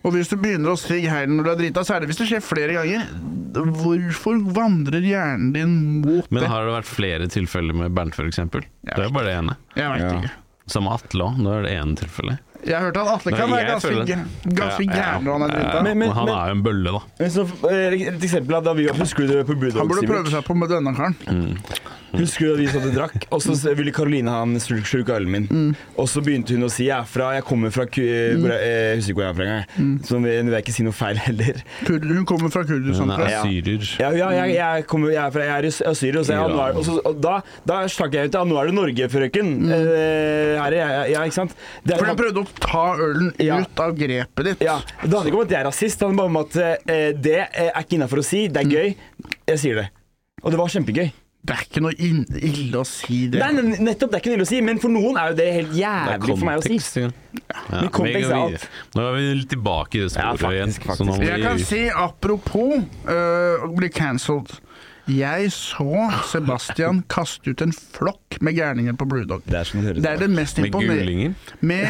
S1: Og hvis du begynner å si hei når du er drita, særlig hvis det skjer flere ganger, hvorfor vandrer hjernen din mot
S2: Men
S1: det?
S2: har det vært flere tilfeller med Bernt, f.eks.? Det er jo bare det ene.
S1: Jeg veit
S4: Ja.
S1: ikke.
S2: Som Atle òg, nå er det ene tilfellet.
S1: Jeg hørte at Atle kan
S2: Nei,
S1: være
S2: jeg
S1: ganske,
S2: føler det.
S1: gæ- ganske
S2: Ja, ja.
S1: gæren når han er drita.
S4: Men-
S2: Men han er jo en bølle, da.
S4: Men Så, eh, et eksempel er da vi var på Husker du det på Bulldogs?
S1: Han burde prøve seg på med denne karen.
S4: Husker du at vi satt og drakk, og så ville Karoline ha en slurk slurk av ølen min.
S1: Mm.
S4: Og så begynte hun å si 'jeg er fra Jeg kommer fra Ku... Hvor jeg, eh, husker ikke hvor jeg er fra engang.
S1: Mm.
S4: jeg. Så nå vil jeg ikke si noe feil heller.
S1: Kurd, hun kommer fra Kurdistan.
S2: Han
S1: tror
S2: er
S1: jeg.
S2: syrer.
S4: Ja, ja jeg, jeg, kommer, jeg er fra jeg er i Syria, og, så, ja, nå er, og, så, og da, da stakk jeg ut. Ja, nå er det Norge, frøken. Eh, her er jeg, ja, ikke sant? Det er
S1: For
S4: sånn-
S1: den prøvde å ta ølen
S4: Ja.
S1: ut av grepet ditt.
S4: Ja, Det handler ikke om at jeg er rasist, det handler bare om at eh, det eh, er ikke innafor å si. Det er gøy. Jeg sier det. Og det var kjempegøy.
S1: Det er ikke noe inn- ille å si det.
S4: Nei, nei, nettopp, det er ikke noe ille å si, men for noen er jo det helt
S2: Det er
S4: jævlig for meg å si.
S2: kontekst, ja. Ja,
S4: Men kontekst
S2: vi går
S4: er alt.
S2: videre. Nå er vi litt tilbake i det
S4: Ja,
S2: sporet igjen.
S4: faktisk,
S2: Så nå må
S1: Jeg kan
S2: vi
S1: si, apropos øh, å bli cancelled Jeg så Sebastian kaste ut en flokk med gærninger på Brewdog.
S4: Det er sånn det høres
S1: Det er det mest
S2: Med
S1: imponerende
S2: gulinger.
S1: Med,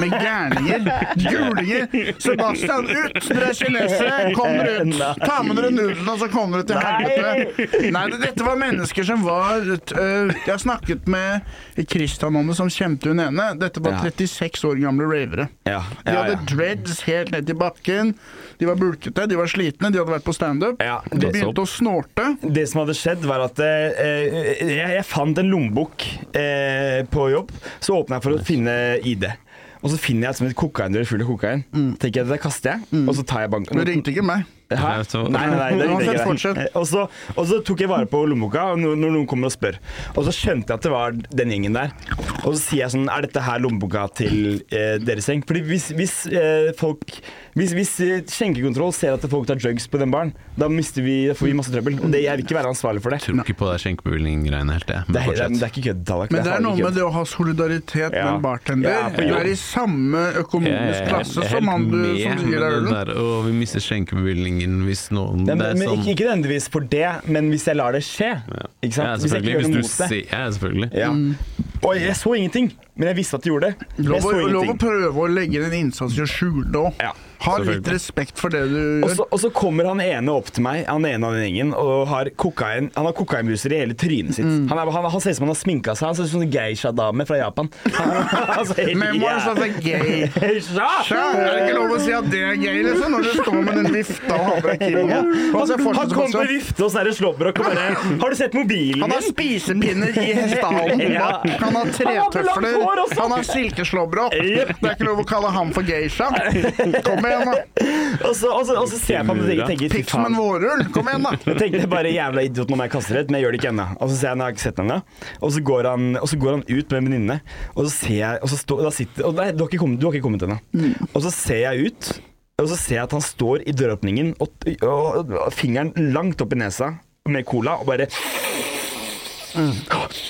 S1: med gærninger. Gulinger! Sebastian, ut! Dere er kinesere! Kom dere ut! Ta med dere nudlene, og så kom dere til helvete! Nei, det- dette var mennesker som var øh, Jeg har snakket med Christian om det, som kjente hun ene. Dette var
S4: Ja.
S1: 36 år gamle ravere.
S4: Ja,
S1: De
S4: ja,
S1: hadde
S4: ja.
S1: dreads helt ned til bakken. De var bulkete, de var slitne, de hadde vært på standup.
S4: Ja,
S1: de
S4: det
S2: så-
S1: begynte å snorte.
S4: Det som hadde skjedd, var at eh, jeg, jeg fant en lommebok eh, på jobb. Så åpna jeg for å finne ID. Og så finner jeg et som et kokainrør fullt av kokain. Tenker jeg, Det der kaster jeg, og så tar jeg banken.
S1: Du ringte ikke meg.
S4: Hæ?
S2: Nei, så-
S4: Nei, nei, nei, det
S1: Uansett,
S4: ringte jeg ikke
S1: fortsett.
S4: det. Og så, og så tok jeg vare på lommeboka og når, når noen kommer og spør. Og så skjønte jeg at det var den gjengen der. Og så sier jeg sånn Er dette her lommeboka til eh, deres gjeng? Fordi hvis, hvis eh, folk Hvis, hvis eh, skjenkekontroll ser at folk tar drugs på den baren, da mister vi, da får vi masse trøbbel. Og det, jeg vil ikke være ansvarlig for det.
S2: tror ikke på det skjenkebevilgning-greiene helt, jeg.
S4: Det
S2: Men
S4: er, det er, det
S2: fortsett.
S4: er ikke kødd, Tallak.
S1: Men det er
S4: farlig
S1: noe
S4: kødd.
S1: med det å ha solidaritet med
S4: Ja.
S1: en bartender.
S4: Ja, på
S1: du
S4: jobb.
S1: er i samme økonomisk
S2: Jeg er
S1: klasse
S2: helt
S1: som han du som
S2: med
S1: gir deg
S2: med det
S1: ølen.
S2: der, Og vi mister skjenkebevilgningen hvis noen det er
S4: Nei, men, men
S2: sånn-
S4: ikke, ikke nødvendigvis for det, men hvis jeg lar det skje. Ikke
S2: Ja,
S4: sant? hvis jeg ikke
S2: selvfølgelig.
S4: gjør
S2: Hvis du
S4: noe mot det.
S2: sier Ja, selvfølgelig.
S4: Ja. Og jeg så ingenting, men jeg visste at de gjorde det. Jeg
S1: Mm. Lov,
S4: så
S1: å- lov å
S4: ingenting.
S1: prøve å legge inn en innsats i å skjule det òg.
S4: Ja,
S1: ha litt
S2: selvfølgelig.
S1: respekt for det du
S4: Og
S1: gjør.
S4: så, og så kommer han ene opp til meg, han ene av den gjengen, og har kokain, han har kokainbruser i hele trynet sitt.
S1: Mm.
S4: Han, er, han, han ser ut som han har sminka seg. Han ser ut som en geisha-dame fra Japan. Han ser helt
S1: Memoirs of a gay. Tja, er det ikke lov å si at det er gay, liksom? Når du står med den vifta og har på deg kimono. Og
S4: Han,
S1: så fortsetter
S4: han kom på
S1: Sebastian.
S4: vifte og sånn her slåbrok og bare Har du sett mobilen
S1: Han har
S4: min?
S1: spisepinner i hestehalen
S4: Ja.
S1: bak. Han har
S4: Han har
S1: tretøfler.
S4: blankt hår også.
S1: Han har silkeslåbrok.
S4: Jep.
S1: Det er ikke lov å kalle ham for geisha. Kom igjen, da.
S4: Og så, og, så, og så ser jeg på ham og tenker, tenker fy
S1: Pikk som en
S4: faen.
S1: vårrull. Kom igjen, da.
S4: Jeg tenkte bare jævla idiot når jeg kaster rett, men jeg gjør det ikke ennå. Og så ser jeg, nå har jeg ikke sett den ennå. Og så går han, og så går han ut med en venninne, og så ser jeg og så står- da sitter, og Nei, du har ikke kommet, du har ikke kommet ennå.
S1: Mm.
S4: Og så ser jeg ut, og så ser jeg at han står i døråpningen og, og, og fingeren langt opp i nesa med cola og bare
S1: Mm.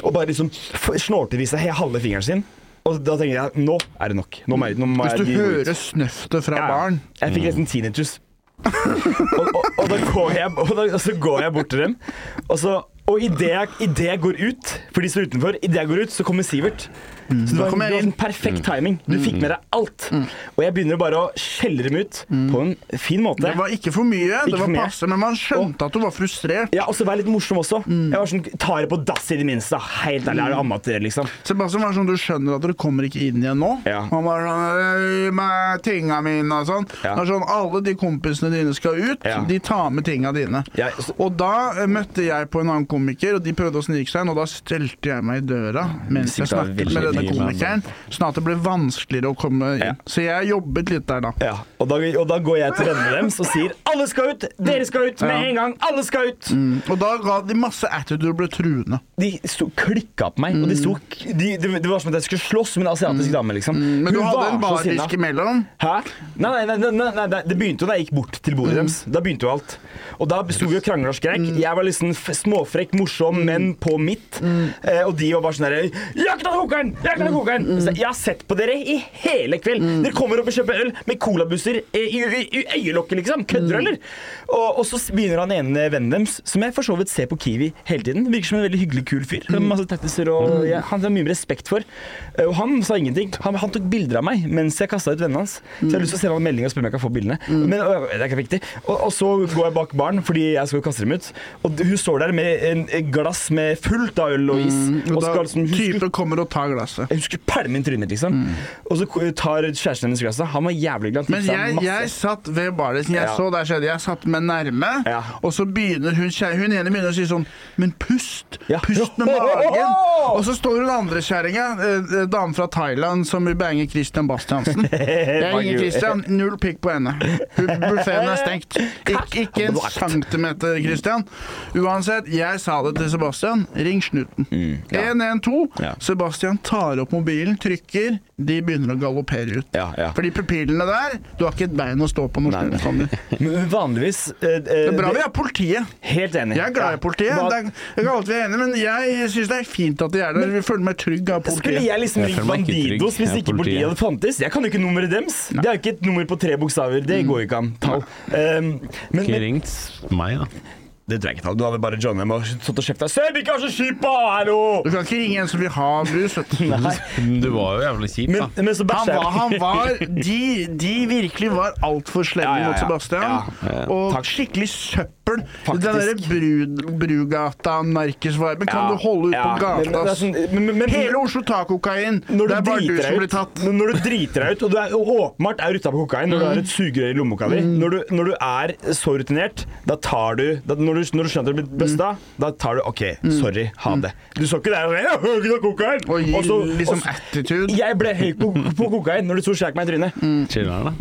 S4: Og bare liksom f- snorter i seg he- halve fingeren sin. Og da tenker jeg nå er det nok. Nå må jeg, nå må
S1: Hvis
S4: jeg
S1: du
S4: gå ut.
S1: hører snøftet fra
S4: Ja.
S1: barn
S4: Jeg fikk nesten tinnitus. og, og, og, da går jeg, og, da, og så går jeg bort til dem, og så og idet jeg, i det jeg går ut, for de står utenfor, i det jeg går ut, så kommer Sivert. Så det var,
S1: Mm. kommer jeg
S4: det
S1: inn.
S4: var
S1: Mm.
S4: sånn perfekt timing. Du fikk med deg alt. Og jeg begynner bare å skjelle dem ut på en fin måte.
S1: Mm. Det var ikke for mye,
S4: Ikke
S1: det var
S4: for mye.
S1: passe, men man skjønte at du var frustrert.
S4: Ja, Og så vær litt morsom også.
S1: Mm.
S4: Jeg var sånn, Tar det på dass i det minste. da. Helt ærlig, er det amatør, liksom?
S1: Sebastian var sånn, du skjønner at dere kommer ikke inn igjen nå.
S4: Ja.
S1: Han var sånn, «Øy, med tinga mine og sånn.
S4: Ja.
S1: Det er sånn, alle de kompisene dine skal ut,
S4: Ja.
S1: de tar med tinga dine.
S4: Jeg, så,
S1: Og da eh, møtte jeg på en annen komiker, og de prøvde å snike seg inn, og da stelte jeg meg i døra mens jeg
S4: Sikta
S1: snakket med
S4: veldig
S1: det denne
S4: Gi meg
S1: komikeren, sånn at det blir vanskeligere å komme
S4: Ja.
S1: inn. Så jeg jobbet litt der, da.
S4: Ja, og da, og da går jeg til vennene deres og sier 'alle skal ut! Dere skal ut! Med
S1: Ja.
S4: en gang! Alle skal ut!'
S1: Mm. Og da ga de masse attitude og ble truende.
S4: De sto, klikka på meg, og de sto
S1: Mm.
S4: de, det, det var som at jeg skulle slåss med en asiatisk dame, liksom.
S1: Mm, Men du
S4: Hun
S1: hadde
S4: var
S1: en
S4: så sinna.
S1: barisk imellom.
S4: Hæ? Nei, nei, nei, nei, nei, nei, det- det begynte jo da jeg gikk bort til
S1: Mm.
S4: bordet deres. Da begynte jo alt. Og da sto vi og krangla og skrek. Jeg var liksom f- småfrekk,
S1: Mm.
S4: morsom, men på mitt. Eh, og de var bare sånn derre 'Jeg har ikke tatt kokeren! Jeg har ikke
S1: Mm.
S4: tatt kokeren!' Så jeg har sett på dere i hele kveld. Dere kommer opp og kjøper øl med colabusser i, i, i, i øyelokket, liksom. Kødder du,
S1: Mm.
S4: eller? Og, og så s- begynner han ene vennen deres, som jeg for så vidt ser på Kiwi hele tiden. Virker som en veldig hyggelig, kul fyr. Masse tattiser og
S1: Mm.
S4: ja, Han har mye respekt for. Eh, Og han sa ingenting. Han, han tok bilder av meg mens jeg kasta ut vennene hans. Så
S1: Mm.
S4: jeg har lyst til å sende han en melding og spørre om jeg kan få bildene. Men øh, det er ikke viktig. Og, og så går jeg bak baren fordi jeg skal jo kaste dem ut. Og hun står der med en, et glass med fullt av øl og is.
S1: Mm. Og
S4: Og
S1: da
S4: skal liksom hun skulle-
S1: type kommer og tar glasset.
S4: hun skulle pælme inn trynet, liksom. Og så ko- tar kjæresten hennes glasset. Han var jævlig glad.
S1: Men
S4: tipset han
S1: jeg,
S4: masse.
S1: jeg satt ved bardisken. Jeg
S4: Ja.
S1: så der skjedde. Jeg satt meg nærme,
S4: Ja.
S1: og så begynner hun kjæ- Hun ene begynner å si sånn Men pust!
S4: Ja.
S1: Pust med magen!
S4: Ohohoho!
S1: Og så står hun andre kjerringa, eh, eh, dame fra Thailand, som vil bange Christian Bastiansen. Jeg ringer Christian. Null pikk på henne. Buffeen er stengt. Ik ikke en centimeter, Christian. Uansett, jeg sa det til Sebastian. Ring snuten.
S4: Mm, ja.
S1: 112.
S4: Ja.
S1: Sebastian tar opp mobilen, trykker. De begynner å galoppere ut.
S4: Ja, ja.
S1: Fordi pupillene der Du har ikke et bein å stå på når
S4: Nei.
S1: snuten kommer.
S4: Men vanligvis eh, eh,
S1: Det er bra vi har politiet.
S4: Helt enig.
S1: Jeg er glad i politiet.
S4: Hva-
S1: Det er, jeg kan alltid være enig, men jeg syns det er fint at de er der. Vi føler meg trygg av
S4: Skulle
S1: politiet.
S4: jeg liksom
S2: Jeg
S4: ringt
S2: føler meg ikke trygg.
S4: Bandidos hvis
S2: Jeg er
S4: ikke
S2: politiet.
S4: politiet hadde fantes? Jeg kan jo ikke nummeret deres. Det er jo ikke et nummer på tre bokstaver. Det
S2: Mm.
S4: går jo ikke an. Tall. Um, men,
S2: Ikke
S4: men
S2: ringt meg, da.
S4: det tror jeg ikke tall. Du hadde bare John M. og stått og kjefta. Se, vi ikke har så kjipt, da! Hallo!
S1: Du kan ikke ringe en som vil ha brus. vet du.
S4: Nei.
S2: Du var jo jævlig kjip,
S4: Men,
S2: da.
S4: men så
S1: Han
S4: bæsja
S1: var,
S4: jeg.
S1: han var de, de virkelig var altfor slemme
S4: Ja, ja, ja.
S1: mot Sebastian.
S4: Ja,
S1: Og
S4: Takk.
S1: skikkelig søppel. Den
S4: Faktisk.
S1: derre bru, Brugata-narkisviben kan
S4: Ja,
S1: du holde ut
S4: ja.
S1: på
S4: Men- men
S1: gata.
S4: det er
S1: ass.
S4: sånn- men- men- men-
S1: Hele Oslo tar kokain.
S4: Når du,
S1: Det er bare du
S4: driter
S1: som
S4: deg
S1: blir
S4: ut,
S1: tatt.
S4: når- når du driter deg ut, og du er åpenbart er ruta på kokain når du har et sugerør i lommeboka di
S1: Mm.
S4: når, du, når du er så rutinert, da tar du da, når, du når du skjønner at du blir
S1: Mm.
S4: busta, da tar du OK, sorry, ha det. Du så ikke der og sånn, «Jeg har ikke noe kokain!
S1: Og gir
S4: så-
S1: Mm. liksom
S4: og så-
S1: attitude.
S4: Jeg ble høy på, på kokain når du sto og skjæk meg i trynet.
S1: Mm.
S2: Chiller'n, da.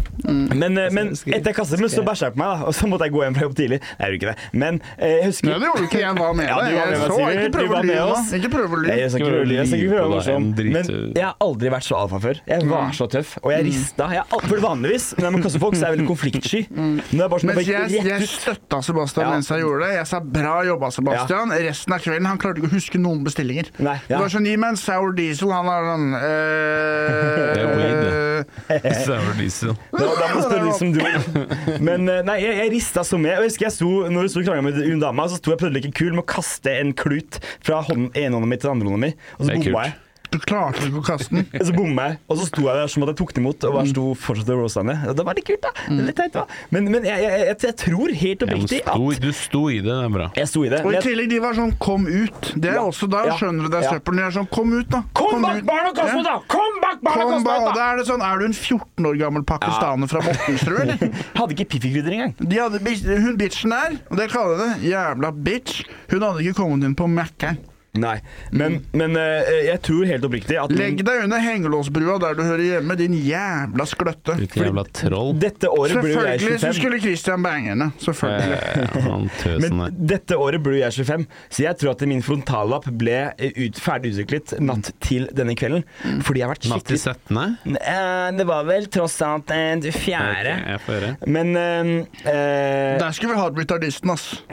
S4: Men, eh, men etter jeg kastet meg, så bæsja jeg på meg, da. Og så måtte jeg gå hjem fra jobb tidlig. Nei, jeg gjorde ikke det. Men eh, jeg husker
S1: Nei, det gjorde du ikke. Jeg var med
S4: Ja,
S1: deg.
S4: du var
S1: Jeg
S4: med
S1: så.
S4: meg,
S1: Ikke
S4: Sigurd. Du
S1: prøv å
S4: var med
S1: lyve.
S4: oss.
S1: nå. Ikke prøv å
S4: Nei,
S1: lyve.
S4: Jeg skal ikke prøve å lyve, jeg skal ikke prøve å sånn være morsom.
S2: Lyve på deg, en
S4: Men
S2: drittøv.
S4: jeg har aldri vært så alfa før. Jeg var
S1: Mm.
S4: så tøff. Og jeg rista. Jeg, al- for vanligvis når jeg må kaste folk, så er jeg veldig konfliktsky. Nå er jeg bare sånn,
S1: Mm. Mens
S4: jeg bare
S1: jeg,
S4: gikk
S1: jeg
S4: rett ut.
S1: støtta Sebastian
S4: Ja.
S1: mens jeg gjorde det. Jeg sa 'bra jobba, Sebastian'. Resten av kvelden han klarte ikke å huske noen bestillinger.
S4: Nei,
S1: Det
S4: ja.
S1: var sånn 'gi meg en sour diesel', han var sånn
S2: Det er
S1: øh,
S2: weed,
S4: Eh.
S2: Sour diesel.
S4: Da, da må jeg spørre de som dro. Men eh, nei, jeg, jeg rista så med. Og jeg husker jeg sto, når jeg sto og krangla med hun dama, så sto jeg og prøvde å leke kul med å kaste en klut fra hånden, ene hånda mi til den andre hånda mi, og
S2: Det
S4: så
S2: er
S4: bomma
S2: kult.
S4: jeg.
S1: Du klarte ikke å kaste den.
S4: Og så bomma jeg, og så sto jeg der som at jeg tok den imot, og bare sto fortsatt og rosa ned. Og Det var litt kult, da. Det er Litt teit, da. Men, men jeg, jeg, jeg, jeg tror helt
S2: Ja, men
S4: oppriktig
S2: sto,
S4: at Eh,
S2: du sto i det, det er bra.
S4: jeg sto i det.
S1: Og
S4: men
S1: i
S4: jeg-
S1: tillegg de var sånn 'kom ut'. Det er
S4: Ja.
S1: også da
S4: Ja.
S1: skjønner du det er
S4: Ja.
S1: søppel. De er sånn 'kom ut, da'.
S4: Kom bak
S1: ut.
S4: barna og kast
S1: Ja.
S4: meg, da! Kom bak barna og
S1: Kom
S4: kast meg,
S1: bak, og
S4: da!
S1: da er det sånn Er du en 14 år gammel pakistaner fra Mortensrud, eller?
S4: Hadde ikke Piffi-krydder engang.
S1: De hadde, bitch- hun bitchen der, og det kaller jeg det, jævla bitch, hun hadde ikke kommet inn på Mækkern.
S4: Nei, men, men eh, jeg tror helt oppriktig at
S1: Legg deg under hengelåsbrua der du hører hjemme, din jævla skløtte.
S2: Ditt jævla troll.
S4: dette året blir jo jeg
S1: Selvfølgelig så
S4: 25.
S1: skulle Christian bange henne. Selvfølgelig.
S2: Eh, Han tøsen
S4: Men
S2: der.
S4: dette året blir jo jeg 25, så jeg tror at min frontallapp ble eh, ut, ferdig utviklet natt til denne kvelden. Fordi jeg har vært
S2: Natt til
S4: skikkelig
S2: 17.
S4: Eh, Det var vel tross alt eh, det
S2: Ok,
S4: fjerde.
S2: jeg får høre.
S4: Men eh, eh,
S1: Der skulle vi hatt retardisten, ass.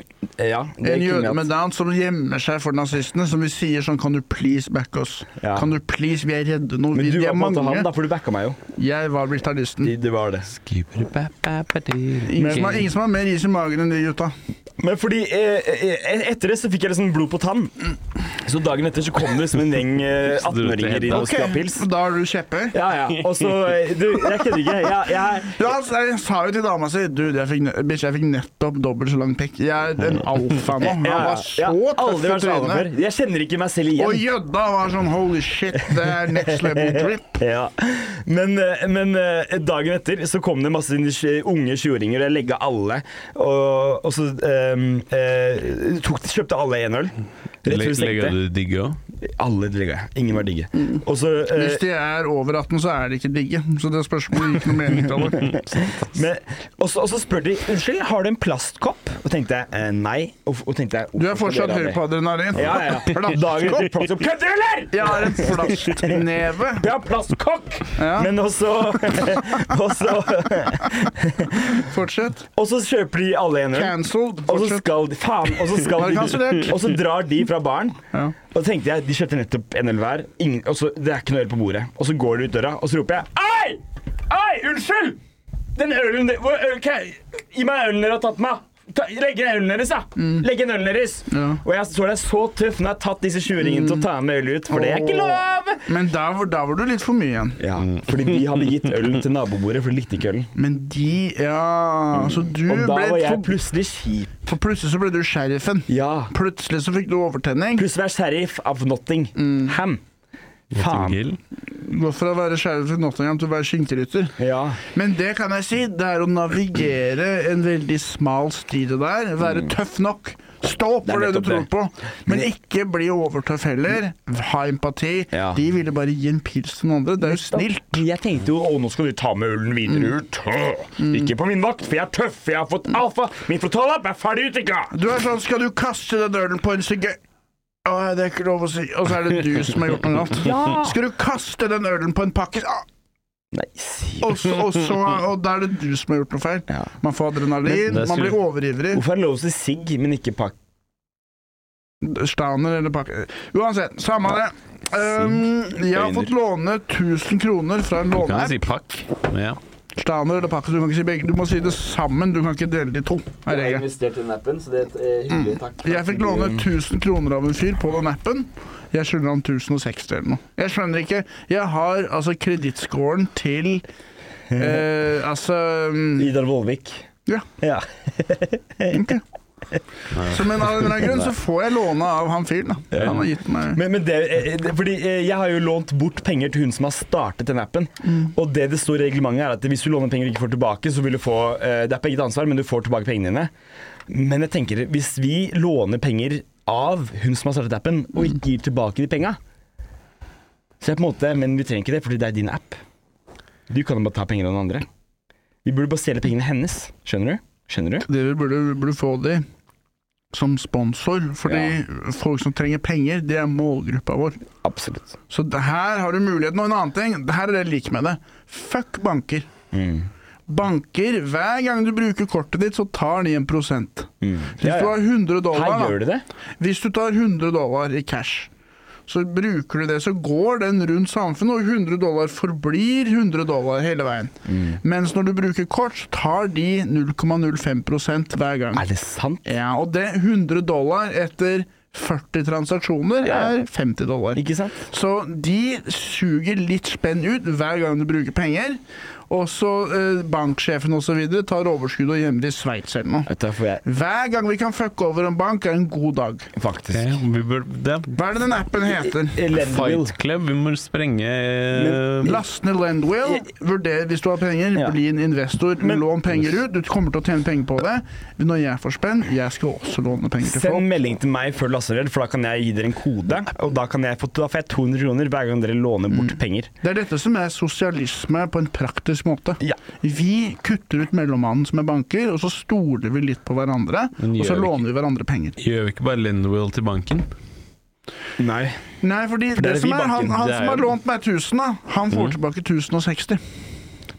S4: Ja. det
S1: En
S4: kunne
S1: jøde
S4: jeg
S1: med
S4: hatt.
S1: down som gjemmer seg for nazistene, som vi sier sånn Kan du please backe oss?
S4: Ja.
S1: Kan du please, vi er redde nå.
S4: Men
S1: Vi,
S4: du
S1: de
S4: var på
S1: er
S4: en måte han,
S1: mange.
S4: da, for du backa meg jo.
S1: Jeg var retardisten.
S4: Det- det var det.
S1: Ingen som har- ingen som har mer is i magen enn de gutta.
S4: Men fordi eh, eh, Etter det så fikk jeg liksom blod på tann. Så dagen etter så kom det liksom en gjeng eh,
S2: Så du
S4: 18-åringer inn og
S1: Ok,
S4: skulle ha pils.
S1: da er du kjepphøy.
S4: Ja, ja. Og så eh, Du, jeg kødder ikke. Jeg, jeg,
S1: Ja, altså, jeg sa jo til dama si Du, jeg fikk, ne- bitch, jeg fikk nettopp dobbelt så lang pikk. Jeg er en alfa nå. Han
S4: jeg,
S1: var
S4: jeg
S1: så
S4: har
S1: tøff
S4: aldri
S1: i
S4: vært så alfa før.
S1: trynet.
S4: Jeg kjenner ikke meg selv
S1: Og
S4: igjen.
S1: jødda var sånn holy shit, det er next level trip.
S4: Ja. Men, eh, men eh, dagen etter så kom det masse initi- unge 20-åringer, og jeg legga alle. Og, og så eh, eh, tok, kjøpte alle én øl. Rett før vi
S2: Legger
S4: stengte.
S2: du digge òg?
S4: Alle digga jeg. Ingen var digge.
S1: Mm.
S4: Og så eh,
S1: Hvis de er over 18, så er de ikke digge. Så det spørs om det gir noe mening til det.
S4: men- og så og så spør de Unnskyld, har du en plastkopp? Og tenkte jeg eh, nei. Og, og tenkte jeg
S1: Du
S4: hvorfor
S1: er
S4: skal
S1: fortsatt
S4: dere ha
S1: høy
S4: det?
S1: på adrenalin.
S4: Ja, ja. ja. Dagen etter plastkopp. Kødder du, eller?!
S1: Jeg har en plastneve.
S4: Jeg har plastkokk!
S1: Ja.
S4: Men også Og så
S1: Fortsett.
S4: Og så kjøper de alle en øl.
S1: Cancelled.
S4: Og så
S1: Fortsett.
S4: skal de Faen! Og så, skal
S1: Var det
S4: de,
S1: kansellert?
S4: og så drar de fra baren.
S1: Ja.
S4: Og så tenkte jeg, de kjøpte nettopp en øl hver. Ingen, og så, det er ikke noe øl på bordet. Og så går de ut døra, og så roper jeg Ei! Ei, unnskyld! Den ølen der hvor, øl, kan jeg- Gi meg ølen dere har tatt meg! Ta, legg igjen ølen deres, da! Legg igjen ølen deres!
S1: Mm. Ja. Mm.
S4: Og jeg står der så tøff når jeg har tatt disse 20-ringene til å ta med øl ut, for det er ikke lov!
S1: Men da var, da var du litt for mye igjen.
S4: Ja, fordi de hadde gitt ølen til nabobordet, for de likte ikke ølen.
S1: Men de Ja, så du
S4: Og da var
S1: ble
S4: jeg
S1: for,
S4: plutselig kjip.
S1: for plutselig så ble du sheriffen.
S4: Ja.
S1: Plutselig så fikk du overtenning.
S4: Pluss være sheriff av
S1: Mm.
S4: Nottingham. Faen.
S2: Gill.
S1: Gått fra å være sheriff i Nottingham til å være skinkerytter.
S4: Ja.
S1: Men det kan jeg si, det er å navigere en veldig smal sti det der. Være tøff nok. Stå opp
S4: Mm. Det er
S1: for det du
S4: nettopp
S1: tror
S4: det.
S1: på, men ikke bli overtøff heller. Ha empati.
S4: Ja.
S1: De ville bare gi en pils til noen andre. Det er jo snilt.
S4: Jeg tenkte jo å, nå skal du ta med ølen videre ut. Åh, Ikke på min vakt, for jeg er tøff, for jeg har fått alfa. Min frontalapp er ferdig utvikla.
S1: Du er sånn, skal du kaste den ølen på en sigøy... Å, det er ikke lov å si. Og så er det du som har gjort noe galt.
S4: Ja.
S1: Skal du kaste den ølen på en pakke Ah! Å,
S4: Nei, si
S1: og, så, og, så, og da er det du som har gjort noe feil.
S4: Ja.
S1: Man får adrenalin,
S2: det
S1: man
S2: er sur-
S1: blir overivrig.
S4: Hvorfor er det lov å si sigg, men ikke pakk?
S1: Staner eller pakke Uansett, samme det. Um, jeg har fått låne 1000 kroner fra en
S2: Du kan jo
S1: låneapp.
S2: si pakk. Ja.
S1: Staner eller pakke, så du kan ikke si begge. Du må si det sammen, du kan ikke dele det i to. er regelen. Mm.
S4: investert i den appen, så det er eh, hyggelig. Takk.
S1: Jeg fikk låne 1000 kroner av en fyr på den appen. Jeg skylder han 1060 eller noe. Jeg skjønner ikke. Jeg har altså kredittscoren til eh, Altså mm,
S4: Idar Vollvik.
S1: Ja.
S4: Ja.
S1: ok. Så, men av en eller annen grunn så får jeg låne av han fyren. da. Han har gitt meg
S4: Men, men det, eh, det, fordi eh, jeg har jo lånt bort penger til hun som har startet den appen. Og det det står i reglementet er at hvis du låner penger du ikke får tilbake, så vil du få eh, Det er på eget ansvar, men du får tilbake pengene dine. Men jeg tenker, hvis vi låner penger av hun som har startet appen, og ikke gir tilbake de penga Så jeg på en måte Men vi trenger ikke det, fordi det er din app. Du kan jo bare ta penger av den andre. Vi burde bare stjele pengene hennes. Skjønner du? Skjønner du?
S1: Dere burde, burde få de som sponsor, fordi folk som trenger penger, det er målgruppa vår.
S4: Absolutt.
S1: Så det her har du muligheten. Og en annen ting, det her er det jeg liker med det. Fuck banker.
S4: Mm.
S1: Banker, hver gang du bruker kortet ditt, så tar de en prosent. Hvis
S4: Mm. Ja, ja.
S1: du har 100 dollar,
S4: Her
S1: da.
S4: gjør de det.
S1: Hvis du tar 100 dollar i cash, så bruker du det, så går den rundt samfunnet, og 100 dollar forblir 100 dollar hele veien.
S4: Mm.
S1: Mens når du bruker kort, så tar de 0,05 hver gang.
S4: Er det sant?
S1: Ja, og det 100 dollar etter 40 transaksjoner
S4: Ja.
S1: er 50 dollar.
S4: Ikke sant?
S1: Så de suger litt spenn ut hver gang du bruker penger. Og så eh, banksjefen osv. tar overskuddet og gjemmer det i Sveits eller noe.
S4: Vet du, hva, får jeg
S1: Hver gang vi kan fucke over en bank, er en god dag.
S4: faktisk
S2: Ok, vi bør, det er
S1: Hva er det den appen heter?
S4: Elendebil.
S2: Fight Club. Vi må sprenge eh,
S1: Last ned Lendwill. Vurder hvis du har penger,
S4: Ja.
S1: bli en investor.
S4: Men-
S1: lån penger ut. Du kommer til å tjene penger på det. Når jeg får spenn, jeg skal også låne penger til
S4: Send
S1: folk.
S4: melding til meg før du laster ned, for da kan jeg gi dere en kode. Og da, kan jeg få, da får jeg 200 kroner hver gang dere låner bort penger.
S1: Det er dette som er sosialisme på en praktisk måte.
S4: Ja.
S1: Vi kutter ut mellommannen som er banker, og så stoler vi litt på hverandre.
S2: Men
S1: Og så
S2: gjør
S1: låner
S2: vi
S1: vi hverandre penger.
S2: Gjør vi ikke bare Lendwill til banken?
S4: Nei.
S1: Nei, fordi
S4: der
S1: det
S4: er
S1: som
S4: vi
S1: er, han,
S4: banken.
S1: han
S2: Det er
S1: som har
S2: jo-
S1: lånt meg 1000, da, han får tilbake 1060.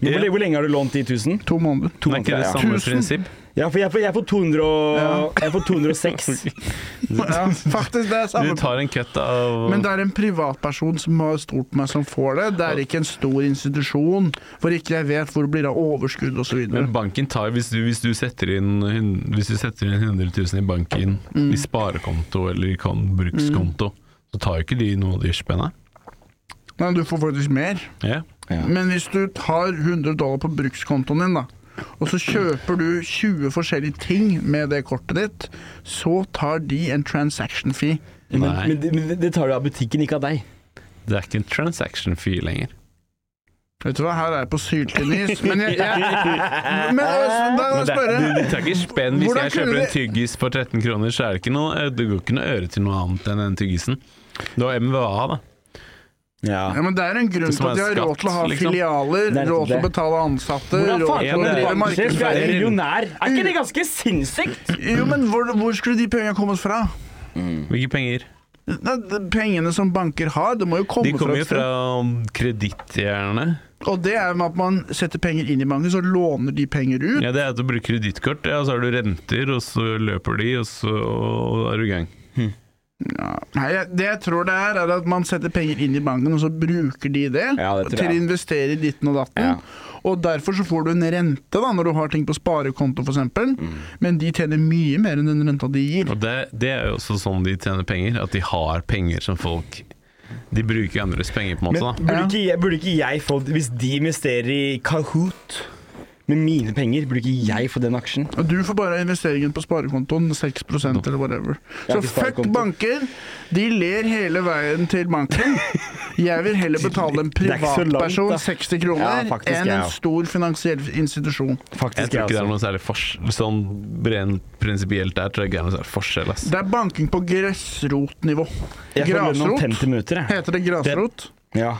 S4: Hvor, hvor lenge har du lånt de 1000?
S1: To måneder.
S2: Det er ikke det
S4: måneder, ja.
S2: samme
S1: Tusen.
S2: prinsipp?
S4: Ja, for jeg får, jeg får, 200 og,
S1: Ja.
S4: jeg får 206.
S1: Ja, faktisk, det er
S2: Du
S1: samme
S2: tar en cut av
S1: Men det er en privatperson som har stort på meg som får det. Det er ikke en stor institusjon hvor ikke jeg vet hvor det blir av overskudd osv.
S2: Men banken tar, hvis du, hvis, du setter inn, hun- hvis du setter inn 100 000 i banken,
S1: Mm.
S2: i sparekonto eller i kan- brukskonto, så tar jo ikke de noe av de spenna.
S1: Men du får faktisk mer.
S2: Ja.
S1: Men hvis du tar 100 dollar på brukskontoen din, da, og så kjøper du 20 forskjellige ting med det kortet ditt, så tar de en transaction fee.
S4: Men,
S2: Nei.
S4: men, det- men det tar du av butikken, ikke av deg.
S2: Det er ikke en transaction fee lenger.
S1: Vet du hva, her er jeg på syltynn is, men jeg, jeg Men altså, da må
S2: Men
S1: jeg
S2: det,
S1: spørre
S2: du, du tar ikke spenn. Hvis
S1: Hvordan
S2: jeg
S1: kunne
S2: kjøper en
S1: det-
S2: tyggis for 13 kroner, så er det ikke noe eh, Det går ikke noe øre til noe annet enn den tyggisen. Det var MVA, da.
S1: ja,
S4: Ja.
S1: men Det er en grunn
S2: Det som
S1: til at de
S2: er
S1: har råd til å ha
S2: skatt, liksom.
S1: filialer,
S4: Det er
S1: råd til å
S4: det.
S1: betale ansatte
S3: Hvordan
S1: råd
S3: faen
S1: til
S3: kan
S1: å
S3: en
S2: det-
S1: drive
S3: banksjef være
S1: markedsføring.
S3: millionær? Er ikke det ganske sinnssykt?
S1: Jo, men hvor, hvor skulle de pengene kommet fra?
S2: Hvilke penger?
S4: Mm.
S1: Nei, de Pengene som banker har, det må jo komme
S2: De kommer
S1: et
S2: jo
S1: sted.
S2: fra kredittgjerne.
S1: Og det er med at man setter penger inn i banken, så låner de penger ut.
S2: Ja, det er at du bruker kredittkort, ja, og så har du renter, og så løper de, og så og er du i gang.
S1: Nei, jeg- det jeg tror det er, er at man setter penger inn i banken, og så bruker de det,
S4: Ja, det tror jeg.
S1: til å investere i ditten og datten.
S4: Ja.
S1: Og derfor så får du en rente da, når du har ting på sparekonto f.eks., eksempel
S4: Mm.
S1: men de tjener mye mer enn den renta de gir.
S2: Og det, det er jo også sånn de tjener penger, at de har penger som folk De bruker andres penger, på en måte. da.
S4: Men burde ikke, jeg, burde ikke jeg få Hvis de investerer i Kahoot med mine penger, burde ikke jeg få den aksjen?
S1: Og du får bare investeringen på sparekontoen, 6 eller whatever.
S4: Jeg har
S1: Så
S4: ikke
S1: fuck
S4: sparekonto.
S1: banker! De ler hele veien til banken. Jeg vil heller betale en
S4: Det er ikke så langt,
S1: privatperson
S4: da.
S1: 60
S4: Ja,
S1: kroner
S4: faktisk,
S1: enn
S4: jeg
S1: en
S4: også.
S1: stor finansiell institusjon.
S4: Faktisk,
S2: Jeg tror ikke det
S4: altså.
S2: er noe særlig forskjell Sånn rent prinsipielt der tror jeg ikke det er noe særlig forskjell, ass.
S1: Det er banking på gressrotnivå.
S4: Jeg får lønn om
S1: Grasrot?
S4: 50 minutter, jeg.
S1: Heter det grasrot?
S4: Ja.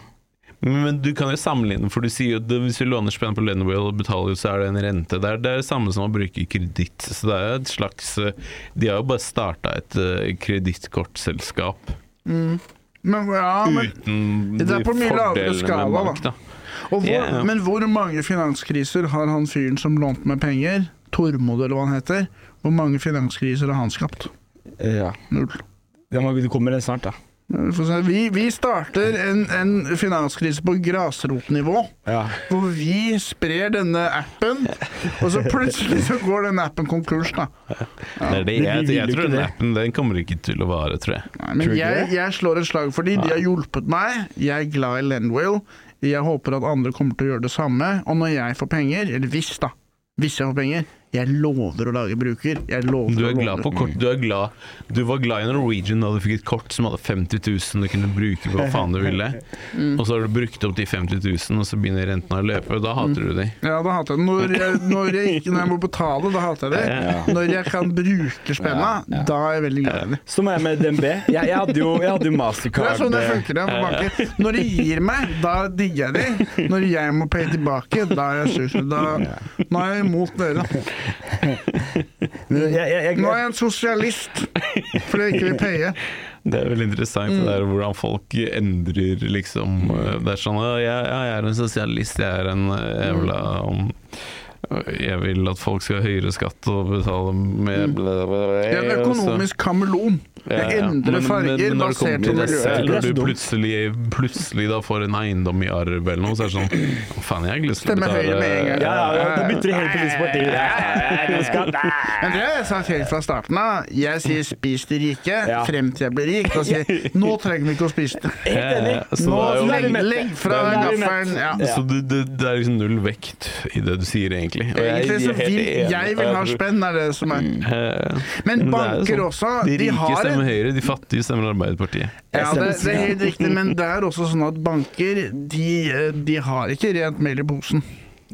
S2: Men du kan jo sammenligne, for du sier jo at hvis du låner spenn på Lenwell og betaler, så er det en rente der. Det er det samme som å bruke kreditt. Så det er jo et slags eh, De har jo bare starta et eh, kredittkortselskap
S1: Men, ja, men,
S2: uten
S1: Det er
S2: de
S1: på mye lavere
S2: fordelene med
S1: skala, da.
S2: bank, da.
S1: og hvor,
S2: Ja, ja.
S1: men hvor mange finanskriser har han fyren som lånte meg penger, Tormod eller hva han heter, hvor mange finanskriser har han skapt?
S4: ja.
S1: Null.
S4: Ja, men Du kommer snart, da.
S1: Vi får se. Vi, vi starter en, en finanskrise på grasrotnivå,
S4: Ja.
S1: hvor vi sprer denne appen, og så plutselig så går den appen konkurs, da.
S2: Det er det.
S4: Men
S2: Jeg,
S4: de
S2: jeg,
S4: vil jo
S2: tror
S4: ikke
S2: den
S4: det.
S2: appen den kommer ikke til å vare, tror jeg.
S1: Nei,
S4: Tror
S1: men
S4: du ikke
S1: jeg,
S4: det?
S1: jeg slår et slag for de. De har hjulpet meg. Jeg er glad i Lenwell. Jeg håper at andre kommer til å gjøre det samme. Og når jeg får penger, eller hvis da, hvis jeg får penger, jeg lover å lage bruker. Jeg lover
S2: Du
S1: å
S2: er
S1: låne.
S2: glad på kort. Du, er glad. du var glad i Norwegian da du fikk et kort som hadde 50 000 du kunne bruke på hva faen du ville. Og så har du brukt opp de 50 000, og så begynner rentene å løpe. og Da hater du de.
S1: Ja, da hater jeg det. Når jeg, når jeg ikke når jeg må betale, da hater jeg det. Når jeg kan bruke spenna, da er jeg veldig glad i det.
S4: Som er med DNB. Jeg, jeg hadde jo, jeg hadde
S1: Det
S4: jo
S1: er
S4: Mastercard.
S1: sånn det
S4: eh,
S1: funker ja, på banker. Når de gir meg, da digger jeg de. Når jeg må paye tilbake, da er jeg sur. Da, nå er jeg imot dere.
S4: jeg, jeg, jeg,
S1: Nå er jeg en sosialist fordi jeg ikke vil paye.
S2: Det er veldig interessant
S1: Mm.
S2: det der hvordan folk endrer liksom eh, Det er sånn «Å, jeg, ja, jeg er en sosialist, jeg er en eh, jævla
S1: Mm.
S2: om- eh, Jeg vil at folk skal ha høyere skatt og betale mer bla, bla, bla,
S1: Jeg Mm. er en
S2: og så-
S1: økonomisk kameleon.
S2: Ja,
S1: Jeg
S2: ja.
S1: endrer
S2: Men- men-
S1: farger
S2: men når det kommer
S1: basert
S2: til
S1: på
S2: deg
S1: miljøet.
S2: selv,
S4: Det er
S2: Når
S4: så
S2: du
S4: dumt.
S2: plutselig, plutselig da får en eiendom i arv eller noe, så er det sånn Faen, jeg har ikke lyst til å
S1: Stemmer Høyre med en
S2: betale
S1: gang.
S4: Ja, ja, ja, da bytter de helt politisk parti. Ja, ja, ja, skal-
S1: Men det har jeg sagt helt fra starten av. Jeg sier 'spis de rike'
S4: Ja.
S1: frem til jeg blir rik. Da sier jeg 'nå trenger vi ikke å spise det'.
S4: Helt enig.
S2: Ja, så det er
S4: Nå
S2: jo-
S4: så
S1: Legg,
S4: vi mette.
S1: legg fra
S4: Da er vi mette.
S1: gaffelen. Ja.
S4: Ja.
S2: Så du, det, det er liksom null vekt i det du sier, egentlig.
S1: Egentlig
S2: Og jeg-
S1: så
S2: jeg er helt
S1: vil
S2: enig.
S1: jeg vil ha spenn, er det som er.
S2: Eh,
S1: Men
S2: det er jo
S1: banker
S2: sånn.
S1: også.
S2: De
S1: De
S2: rike
S1: har
S2: stemmer
S1: et
S2: Høyre, de fattige stemmer Arbeiderpartiet.
S1: ja, det, det er helt riktig, men det er også sånn at banker de, eh, de har ikke rent mel i posen.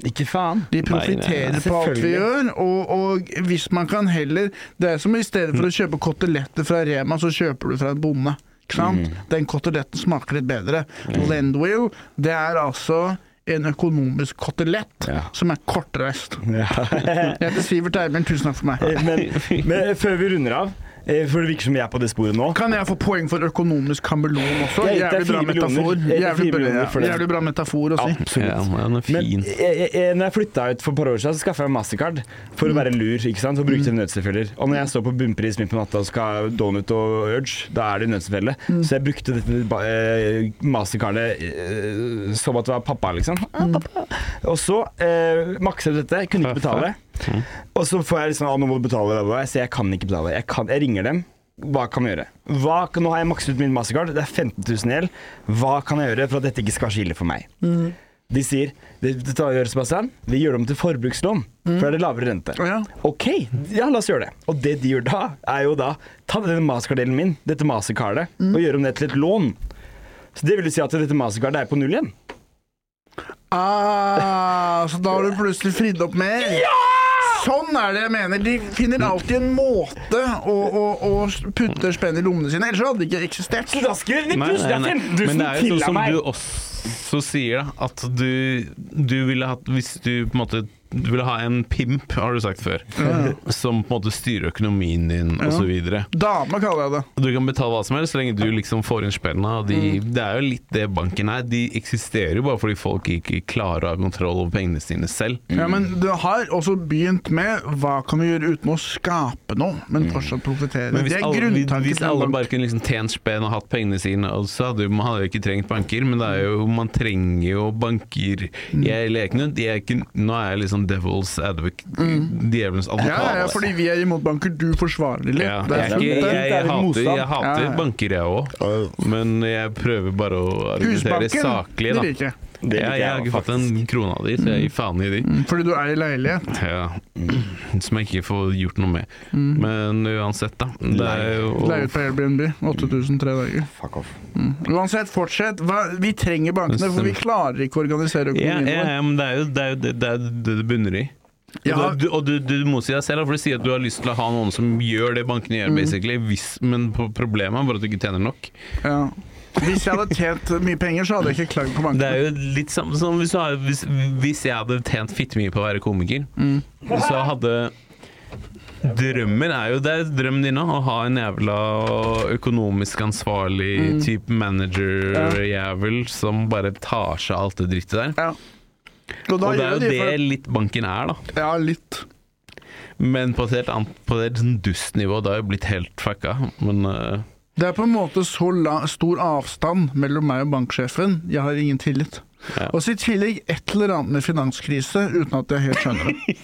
S4: Ikke faen.
S1: De
S2: nei, nei.
S1: profitterer på alt vi
S4: Selvfølgelig.
S1: gjør, og, og hvis man kan heller Det er som i stedet for å
S2: Mm.
S1: kjøpe koteletter fra Rema, så kjøper du fra en bonde. Ikke sant?
S2: Mm.
S1: Den koteletten smaker litt bedre. Lendwill, det er altså en økonomisk kotelett
S4: Ja.
S1: som er kortreist.
S4: Ja.
S1: Jeg heter Sivert Eivind, tusen takk for meg.
S4: Eh, Men, men før vi runder av, eh, for det virker som vi er på det sporet nå
S1: Kan jeg få poeng for økonomisk kameleon også?
S4: Jeg gir deg
S1: Jævlig bra
S4: fire
S1: metafor.
S4: millioner. Jeg gir deg
S1: Jævlig
S4: fire
S1: bra,
S4: millioner for
S1: ja.
S4: det.
S1: Jævlig bra metafor å si.
S2: Ja,
S4: Absolutt.
S2: den er
S4: Men
S2: fin.
S4: jeg, jeg- jeg, når jeg flytta ut for et par år siden, så skaffa jeg mastercard for å være lur. ikke sant? For å bruke til nødstilfeller. Og når jeg står på bunnpris midt på natta og skal ha donut og urge, da er det nødstilfelle. Så jeg brukte dette ba- eh, mastercardet eh, som at det var pappa, liksom. Ah, pappa. Og så eh, makser jeg dette, kunne ikke betale. Og så får jeg liksom ah, nå må du betale, bla, bla, bla. så jeg kan ikke betale. Jeg, kan, jeg ringer dem. Hva kan vi gjøre? Hva, kan- nå har jeg makset ut min mastercard, det er 15 000 i gjeld. Hva kan jeg gjøre for at dette ikke skal være så ille for meg? De sier det, det tar, gjør, Sebastian, vi gjør det om til forbrukslån, for da er det lavere rente.
S1: Å ja.
S4: Ok, ja, la oss gjøre det. Og det de gjør da, er jo da ta denne mastercarddelen min, dette mastercardet, og gjøre om det til et lån. Så det vil jo si at dette mastercardet er på null igjen.
S1: Ah, så da har du plutselig fridd opp mer? Sånn er det jeg mener. De finner alltid en måte å, å, å putte spenn i lommene sine, ellers hadde det ikke eksistert.
S3: Da skulle de
S2: Nei,
S3: plutselig ha
S2: nei, nei.
S3: 15
S2: Men
S3: 000
S2: det er jo
S3: til
S2: sånn
S3: av
S2: som
S3: meg.
S2: du også sier, da, at du, du ville hatt Hvis du på en måte du ville ha en pimp, har du sagt før, som på en måte styrer økonomien din og så videre
S1: Dame kaller jeg det.
S2: Du kan betale hva som helst, så lenge du liksom får inn spillene. Og de, Det er jo litt det banken er. De eksisterer jo bare fordi folk ikke klarer å ha kontroll over pengene sine selv.
S1: Ja, men det har også begynt med hva kan vi gjøre uten å skape noe, men
S4: Mm.
S1: fortsatt profitere.
S2: Men hvis,
S1: Det er
S2: alle, hvis-
S1: grunntanken
S2: hvis
S1: til
S2: alle
S1: en
S2: bare kunne liksom tjent spenn og hatt pengene sine, og så hadde jo- man hadde jo ikke trengt banker, men det er jo, man trenger jo banker.
S1: Mm.
S2: Jeg leker nå, de er ikke, nå er jeg liksom devil's advocate, djevelens advokat.
S1: Mm. Ja, ja, fordi vi er imot banker, du forsvarer litt.
S2: Ja,
S1: Det er
S2: jeg, er ikke,
S1: sant, det.
S2: jeg, jeg hater,
S4: motstand.
S2: jeg hater
S1: Ja, ja.
S2: banker, jeg òg, men jeg prøver bare å argumentere
S1: Husbanken,
S2: saklig,
S1: det
S2: da.
S1: liker jeg. Mm.
S4: Det liker
S2: Ja, jeg har
S4: jeg
S2: ikke fått
S4: faktisk.
S2: en krone av de, så jeg gir faen i de.
S1: Fordi du er i leilighet.
S2: Ja. mm. Som jeg ikke får gjort noe med.
S1: Mm.
S2: Men uansett, da. Det er
S1: Leie
S2: jo
S1: ut på Airbnb. 8000 tre dager.
S4: Fuck off.
S1: Uansett, fortsett. Hva, vi trenger bankene, for vi klarer ikke å organisere
S2: Ja,
S1: økonomien
S2: ja,
S1: vår.
S2: ja, men det er jo det er jo det, det, er jo det det bunner i. Og,
S1: Ja.
S2: du, og du, du motsier deg selv, da, for du sier at du har lyst til å ha noen som gjør det bankene gjør, basically, hvis, men pro- problemet er bare at du ikke tjener nok.
S1: Ja. Hvis jeg hadde tjent mye penger, så hadde jeg ikke klagd på
S2: Det
S1: bankene.
S2: er jo litt samme som hvis, du har, hvis, hvis jeg hadde tjent fitte mye på å være komiker, så hadde Drømmen er jo det er drømmen din òg, å ha en jævla økonomisk ansvarlig type manager-jævel som bare tar seg alt det drittet der.
S1: Ja. Og da
S2: Og det er
S1: gjør de
S2: jo det
S1: for...
S2: litt banken er, da.
S1: Ja, litt.
S2: Men på et helt annet På et helt sånn dustnivå. Det har jo blitt helt fucka. Men eh,
S1: Det er på en måte så la, stor avstand mellom meg og banksjefen. Jeg har ingen tillit.
S2: Ja.
S1: Og så i tillegg et eller annet med finanskrise, uten at jeg helt skjønner det.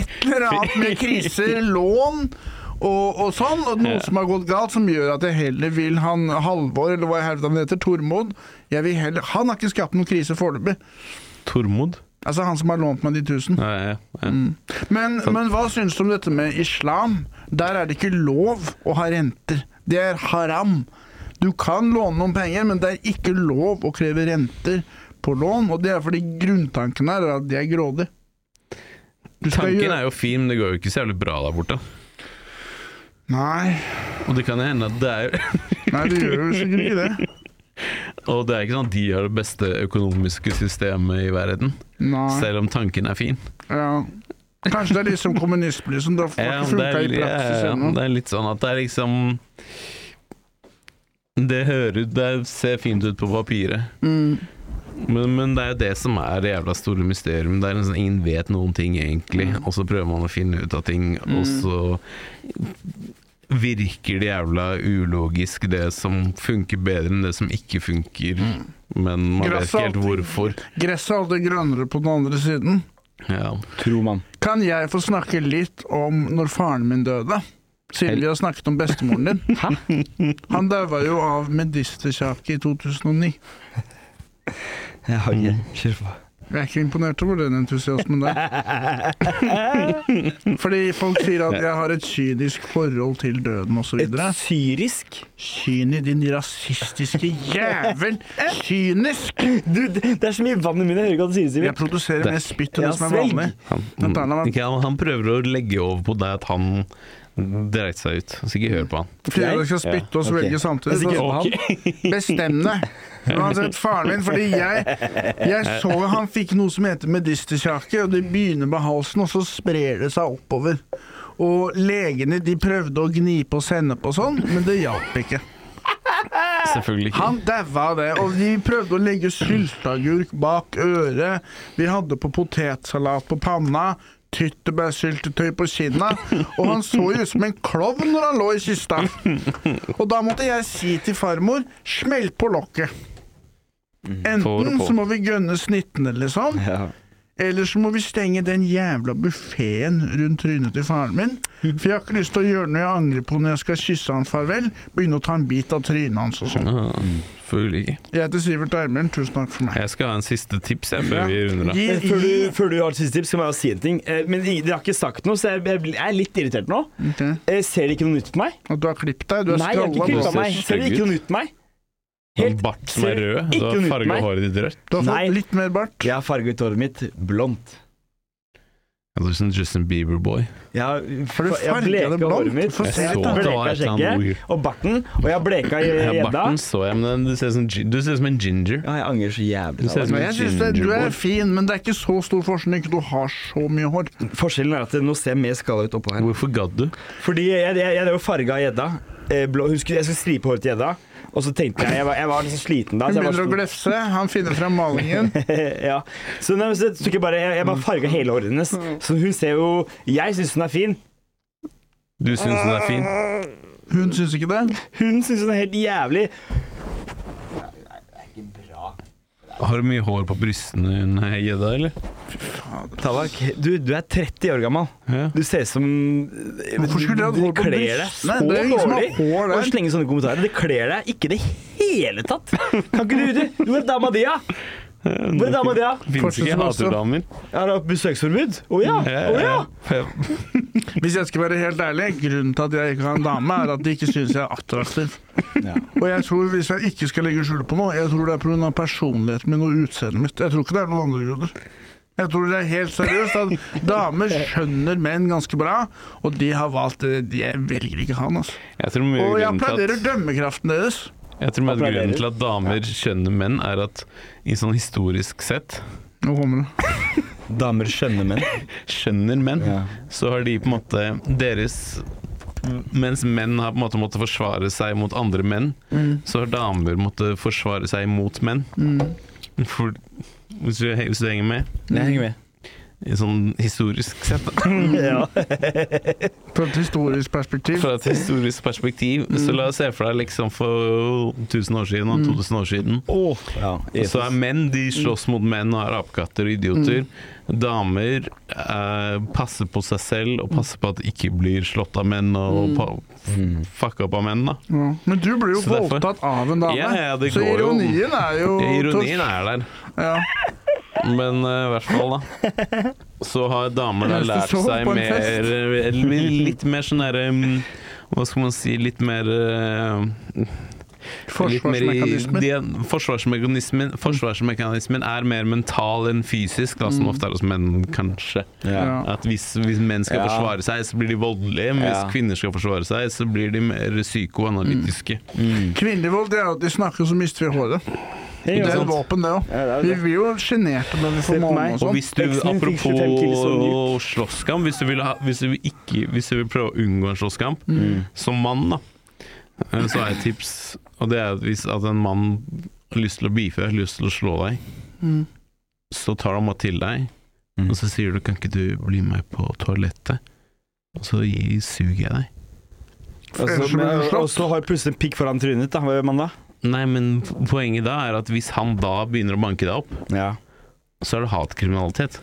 S1: Et eller annet med kriser, lån og, og sånn, og noe som har gått galt, som gjør at jeg heller vil han Halvor, eller hva i helvete han heter, Tormod jeg vil heller, Han har ikke skapt noen krise foreløpig.
S2: Tormod?
S1: Altså han som har lånt meg de tusen.
S2: Ja, ja, ja.
S1: Mm. Men, men hva syns du om dette med islam? Der er det ikke lov å ha renter. Det er haram. Du kan låne noen penger, men det er ikke lov å kreve renter på lån. Og det er fordi grunntanken her er at det er grådig. Du skal
S2: Tanken
S1: gjøre-
S2: er jo fin, men det går jo ikke så jævlig bra der borte.
S1: Nei,
S2: Og det kan jo hende at det er
S1: nei, det gjør jo sikkert ikke det.
S2: Og det er ikke sånn at de har det beste økonomiske systemet i verden.
S1: Nei,
S2: Selv om tanken er fin.
S1: ja. Kanskje det er litt som kommunistblir, som da får
S2: Ja,
S1: ikke
S2: det,
S1: funka
S2: er,
S1: i
S2: ja,
S1: praksis
S2: ja,
S1: ennå.
S2: det er litt sånn at det er liksom Det hører Det ser fint ut på papiret.
S1: Mm.
S2: Men, men det er jo det som er det jævla store mysterium. Det er en sånn, Ingen vet noen ting, egentlig.
S1: Mm.
S2: Og så prøver man å finne ut av ting, og så virker det jævla ulogisk, det som funker bedre enn det som ikke funker.
S1: Mm.
S2: Men man vet ikke helt hvorfor.
S1: Gresset er alltid grønnere på den andre siden.
S2: Ja.
S4: Tro, mann.
S1: Kan jeg få snakke litt om når faren min døde? Siden vi har snakket om bestemoren din. Han daua jo av medisterkjake i 2009.
S4: Jeg har ikke Kjør på.
S1: Jeg er ikke imponert over den entusiasmen der. Fordi folk sier at jeg har et kynisk forhold til døden osv.
S4: Et syrisk
S1: Kyni, din rasistiske jævel! Kynisk!
S4: Du, det det er så mye vann i munnen. Jeg hører ikke hva du sier,
S1: Jeg
S4: Simen.
S1: produserer mer spytt enn det som er
S4: Ja, svelg.
S1: vanlig.
S2: Han,
S1: Vent da, la meg-
S2: ikke, han, han prøver å legge over på deg at han dreit seg ut, så ikke hør på han.
S1: Fordi jeg skal spytte og
S4: Ja, ok.
S1: svelge samtidig.
S4: Jeg er
S1: så-
S4: sikker på han.
S1: Bestem deg. Uansett faren min, fordi jeg, jeg så han fikk noe som heter medisterkjake, og det begynner med halsen, og så sprer det seg oppover. Og legene de prøvde å gni på sennep og sånn, men det hjalp ikke.
S2: Selvfølgelig ikke.
S1: Han daua av det, og de prøvde å legge sylteagurk bak øret. Vi hadde på potetsalat på panna. Tyttebærsyltetøy på kinna. Og han så jo ut som en klovn når han lå i kista. Og da måtte jeg si til farmor smell på lokket.
S2: får
S1: Enten
S2: på.
S1: så må vi gønne snittene, liksom.
S4: Ja.
S1: Eller så må vi stenge den jævla buffeen rundt trynet til faren min. For jeg har ikke lyst til å gjøre noe jeg angrer på når jeg skal kysse han farvel. Begynne å ta en bit av trynet hans og sånn.
S2: Ah, Selvfølgelig ikke.
S1: Jeg heter Sivert Eimeren, tusen takk for meg.
S2: Jeg skal ha en siste tips jeg, før vi runder av.
S1: Gi,
S4: Men Eh, Før du,
S1: gi,
S4: før du har et siste tips, skal jeg bare si en ting. Eh, Men ingen- dere har ikke sagt noe, så jeg, jeg blir- jeg er litt irritert nå.
S1: Ok.
S4: Eh, Ser dere ikke noe nytt på meg?
S1: Og du har klippet deg, du har
S4: Nei, jeg har
S1: skrolla
S4: ikke
S2: Du
S4: klippet
S2: ser
S4: meg. Ser dere
S2: stygg
S4: ikke noe nytt på meg?
S2: Sånn
S3: Helt
S2: bart som er rød. Du
S3: Ikke
S2: har
S3: unnut
S2: farga
S3: meg.
S2: håret ditt rødt.
S1: Du har fått
S3: Nei.
S1: litt mer bart.
S5: Jeg har farget håret mitt blondt.
S2: Ja, Du er sånn Justin Bieber-boy.
S5: Jeg har,
S1: Har du
S5: jeg har
S1: farget det
S5: bleka håret
S1: blondt?
S5: mitt,
S1: Få
S2: Jeg
S1: se
S2: så
S1: litt, da.
S2: at det var
S3: Bleka
S2: et eller annet ord.
S3: skjegget og barten, og jeg bleka i
S2: Ja,
S3: gjedda.
S2: barten så jeg, men du ser, ut som, gin- du ser ut som en ginger.
S5: ja, jeg angrer så jævlig.
S2: Du ser ut som
S1: Men
S2: en
S1: jeg synes det, Du er
S2: gingerboy.
S1: fin, men det er ikke så stor forskjell når ikke du har så mye hår.
S5: Forskjellen er at det nå ser mer skalla ut oppå her.
S2: Hvorfor gadd du?
S4: Fordi jeg, jeg, jeg var farga av gjedda. Eh, blå- Husker jeg skulle stripe håret til gjedda, og så tenkte jeg Jeg var, jeg var liksom sliten da.
S1: Hun
S4: Så jeg
S1: begynner å
S4: var
S1: glefse, han finner frem malingen.
S4: ja. Så, nei, men så tok jeg bare Jeg, jeg
S1: Mm.
S4: bare farga hele håret hennes. Så hun ser jo Jeg syns hun er fin.
S2: Du syns den er fin.
S1: Hun syns ikke det.
S4: Hun syns hun er helt jævlig.
S2: Har du mye hår på brystene under gjedda, eller?
S4: Tallak, du, du er 30 år gammel.
S2: Ja.
S4: Du ser ut som
S1: Hvorfor skulle de ha
S4: du- du
S1: hår på
S4: kler
S1: bryst?
S4: deg
S1: Nei,
S4: så
S1: det er ingen som har
S4: dårlig.
S1: hår der.
S4: Og slenge sånne kommentarer. Det kler deg ikke i det hele tatt. Kan ikke du du? Jo, dama di, ja. Hvor er dama di, ja?
S2: Fins ikke
S1: Fortsatt også.
S2: haterdamer.
S4: Jeg har hatt besøksforbud. Å ja. Å ja.
S1: Hvis jeg skal være helt ærlig, grunnen til at jeg ikke har en dame, er at de ikke syns jeg er attraktiv.
S5: Ja.
S1: Og jeg tror, hvis jeg ikke skal legge skjul på noe, jeg tror det er pga. personligheten min og utseendet mitt. Jeg tror ikke det er noen andre grunner. Jeg tror det er helt seriøst at damer skjønner menn ganske bra, og de har valgt det. De jeg velger ikke han, altså.
S2: Jeg tror mye
S1: Og jeg
S2: grunnen til at
S1: applauderer dømmekraften deres.
S2: Jeg tror mye av
S4: Applauderer.
S2: grunnen til at damer skjønner menn, er at i sånn historisk sett
S1: Nå kommer det.
S5: Damer skjønner menn.
S2: skjønner menn,
S5: Ja.
S2: så har de på en måte deres Mens menn har på en måte måttet forsvare seg mot andre menn, så har damer måttet forsvare seg mot menn. For, hvis, du, hvis du henger med,
S5: Jeg henger med.
S2: i sånn historisk sett, da.
S1: Fra et historisk perspektiv.
S2: fra et historisk perspektiv Så la oss se for deg liksom for 1000 år siden og 2000 år siden.
S5: Ja,
S2: Så er menn, de slåss mot menn og er apekatter og idioter. Damer eh, passer på seg selv og passer på at de ikke blir slått av menn og mm. fucka opp av menn, da.
S1: Ja. Men du blir jo
S2: Så derfor-
S1: voldtatt av en dame,
S2: Ja, ja, det
S1: så
S2: går jo-
S1: ironien er jo
S2: Ironien er der,
S1: Ja.
S2: men eh, i hvert fall, da. Så har damer da
S1: Mens du
S2: lært
S1: sov
S2: seg
S1: på en
S2: mer eh, Litt mer sånn derre mm, Hva skal man si Litt mer eh, litt mer i-
S1: Forsvarsmekanismer.
S2: de- forsvarsmekanismen, forsvarsmekanismen er mer mental enn fysisk, da, som ofte er hos menn, kanskje.
S1: Ja.
S2: At hvis, hvis menn skal
S5: Ja.
S2: forsvare seg, så blir de voldelige. Men hvis
S5: Ja.
S2: kvinner skal forsvare seg, så blir de mer psykoanalytiske.
S4: Mm.
S5: Mm.
S1: Kvinnelig vold det er jo at de snakker, så mister vi håret. Det er et våpen, det òg.
S4: Ja, det er
S1: Vi
S4: det.
S1: blir jo sjenerte når vi
S4: Se
S1: får
S4: på
S1: måne og
S4: meg.
S2: Og
S1: sånn.
S2: hvis du,
S4: Eksen min fikk 25 kilos og
S2: apropos slåsskamp, hvis du vil, ha, hvis du ikke, hvis du vil prøve å unngå en slåsskamp,
S4: Mm.
S2: som mann, da, eh, så har jeg et tips. Og det er at hvis at en mann har lyst til å beefe, har lyst til å slå deg,
S1: Mm.
S2: så tar han meg til deg,
S5: Mm.
S2: og så sier du 'kan ikke du bli med på toalettet', og så gi- suger jeg deg.
S4: Og så-
S1: Ellers blir du
S4: men-
S1: slått.
S4: Og så har jeg plutselig en pikk foran trynet ditt, da. Hva gjør man da?
S2: Nei, men poenget da er at hvis han da begynner å banke deg opp,
S4: Ja.
S2: så er det hatkriminalitet,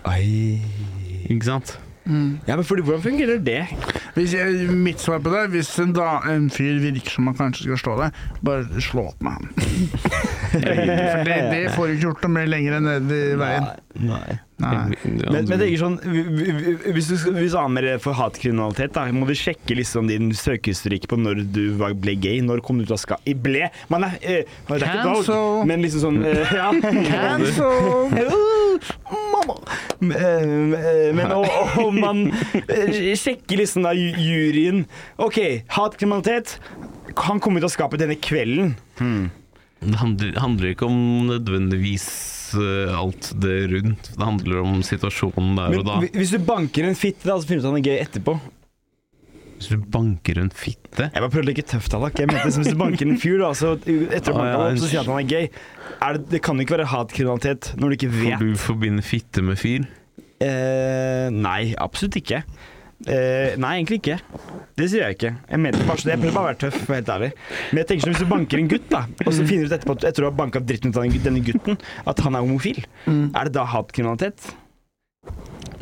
S2: ikke sant?
S1: Mm.
S4: ja, men fordi, Hvordan fungerer det?
S1: Hvis jeg, mitt svar på det er hvis en, da, en fyr virker som han kanskje skal slå deg, bare slå opp med han. For det, det får du ikke gjort noe mer lenger enn ned i veien.
S5: Nei.
S1: Nei.
S4: Men, men det er ikke sånn vi- vi- Hvis, du skal- hvis amer får hatkriminalitet, da, må du sjekke liksom din søkehistorikk på når du var- ble gay. Når kom du ut av skapet? I ble! Man er, eh, det er ikke
S1: Cancel.
S4: dog, men liksom sånn eh, ja.
S1: Cancel!
S4: Uh, Mamma! Men, eh, men og, og man eh, sjekker liksom da ju- juryen. OK, hatkriminalitet. Han kom ut av skapet denne kvelden.
S2: Det handler, handler ikke om nødvendigvis eh, alt det rundt. Det handler om situasjonen der
S4: Men,
S2: og da.
S4: hvi- hvis du banker en fitte, da, så finner du ut at han er gay etterpå.
S2: Hvis du banker en fitte
S4: Jeg bare prøvde å legge tøft av deg. Jeg mente som hvis du banker en fyr, da, så eh, etter
S2: Ah,
S4: å banke
S2: ja,
S4: han opp,
S2: en-
S4: så sier han at han er gay. Er det, det kan jo ikke være hatkriminalitet når du ikke
S2: Får
S4: vet.
S2: du forbinde fitte med fyr?
S4: Eh, nei, absolutt ikke. Eh, nei, egentlig ikke. Det sier jeg ikke. Jeg mente bare så det. Jeg prøvde bare å være tøff, for å være helt ærlig. Men jeg tenker sånn, hvis du banker en gutt, da, og så finner du ut etterpå at etter du har banka opp dritten ut av den- denne gutten, at han er homofil,
S2: Mm.
S4: er det da hatkriminalitet?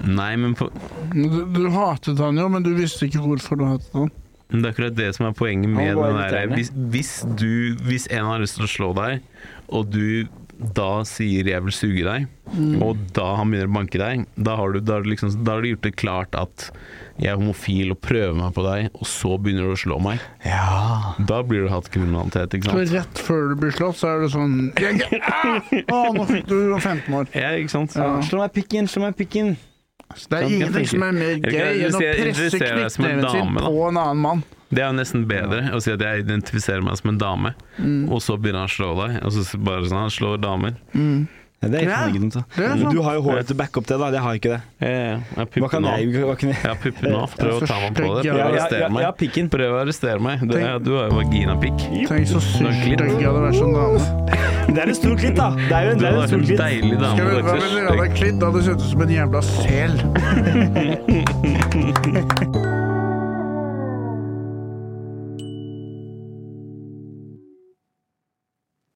S2: Nei, men, på,
S1: Du, du hatet han jo, men du visste ikke hvorfor du hatet han.
S2: men det er akkurat det som er poenget med
S4: Han var
S2: den der
S4: irriterende.
S2: hvis, hvis du Hvis en har lyst til å slå deg, og du da sier 'jeg vil suge deg',
S4: Mm.
S2: og da han begynner å banke deg, da har du, da har du, liksom, da har du gjort det klart at jeg er homofil og prøver meg på deg, og så begynner du å slå meg.
S4: Ja.
S2: Da blir du hatt kriminalitet, ikke
S1: Så
S2: sant?
S1: rett før du blir slått, så er det sånn jeg, ah! Å, nå fikk du 15 år.
S2: Ja, ikke sant?
S1: Ja.
S4: Slå meg pikken, slå meg pikken.
S1: Så det er ingenting som er mer
S2: Jeg kan
S1: gøy enn å
S2: identifisere-
S1: presse
S2: identifisere deg som en
S1: knyttneven sin
S2: dame, da.
S1: på en annen mann.
S2: Det er jo nesten bedre å si at jeg identifiserer meg som en dame,
S4: Mm.
S2: og så begynner han å slå deg. Og så bare sånn, Han slår damer.
S4: Ja, det er
S1: Ja,
S4: faen ikke dumt, da.
S1: det er sant.
S4: Men Du har jo håret til å backe opp det, da. Det har jeg ikke det.
S2: Jeg har
S4: Hva
S2: pupper
S4: kan
S2: nå.
S4: jeg, hva kan jeg?
S2: Jeg har pupper nå. Prøv å ta meg på det.
S1: Jeg er
S2: Prøv å
S4: Ja, ja,
S2: arrestere
S4: ja,
S2: meg.
S4: pikken.
S2: Prøv å arrestere meg. Du,
S1: Tenk-
S2: du har jo vaginapikk.
S1: Tenk så sykt digg
S2: Nøkler.
S1: det hadde vært som dame.
S4: Det er en stor klitt, da. Det er jo en,
S2: Du har
S4: det er en
S2: vært en
S4: stor klitt.
S2: deilig dame.
S1: Skal vi,
S2: du
S1: hva
S2: er ikke
S1: ville
S2: så
S1: dere hadde
S2: stygg.
S1: klidd? Det hadde sett ut som en jævla sel.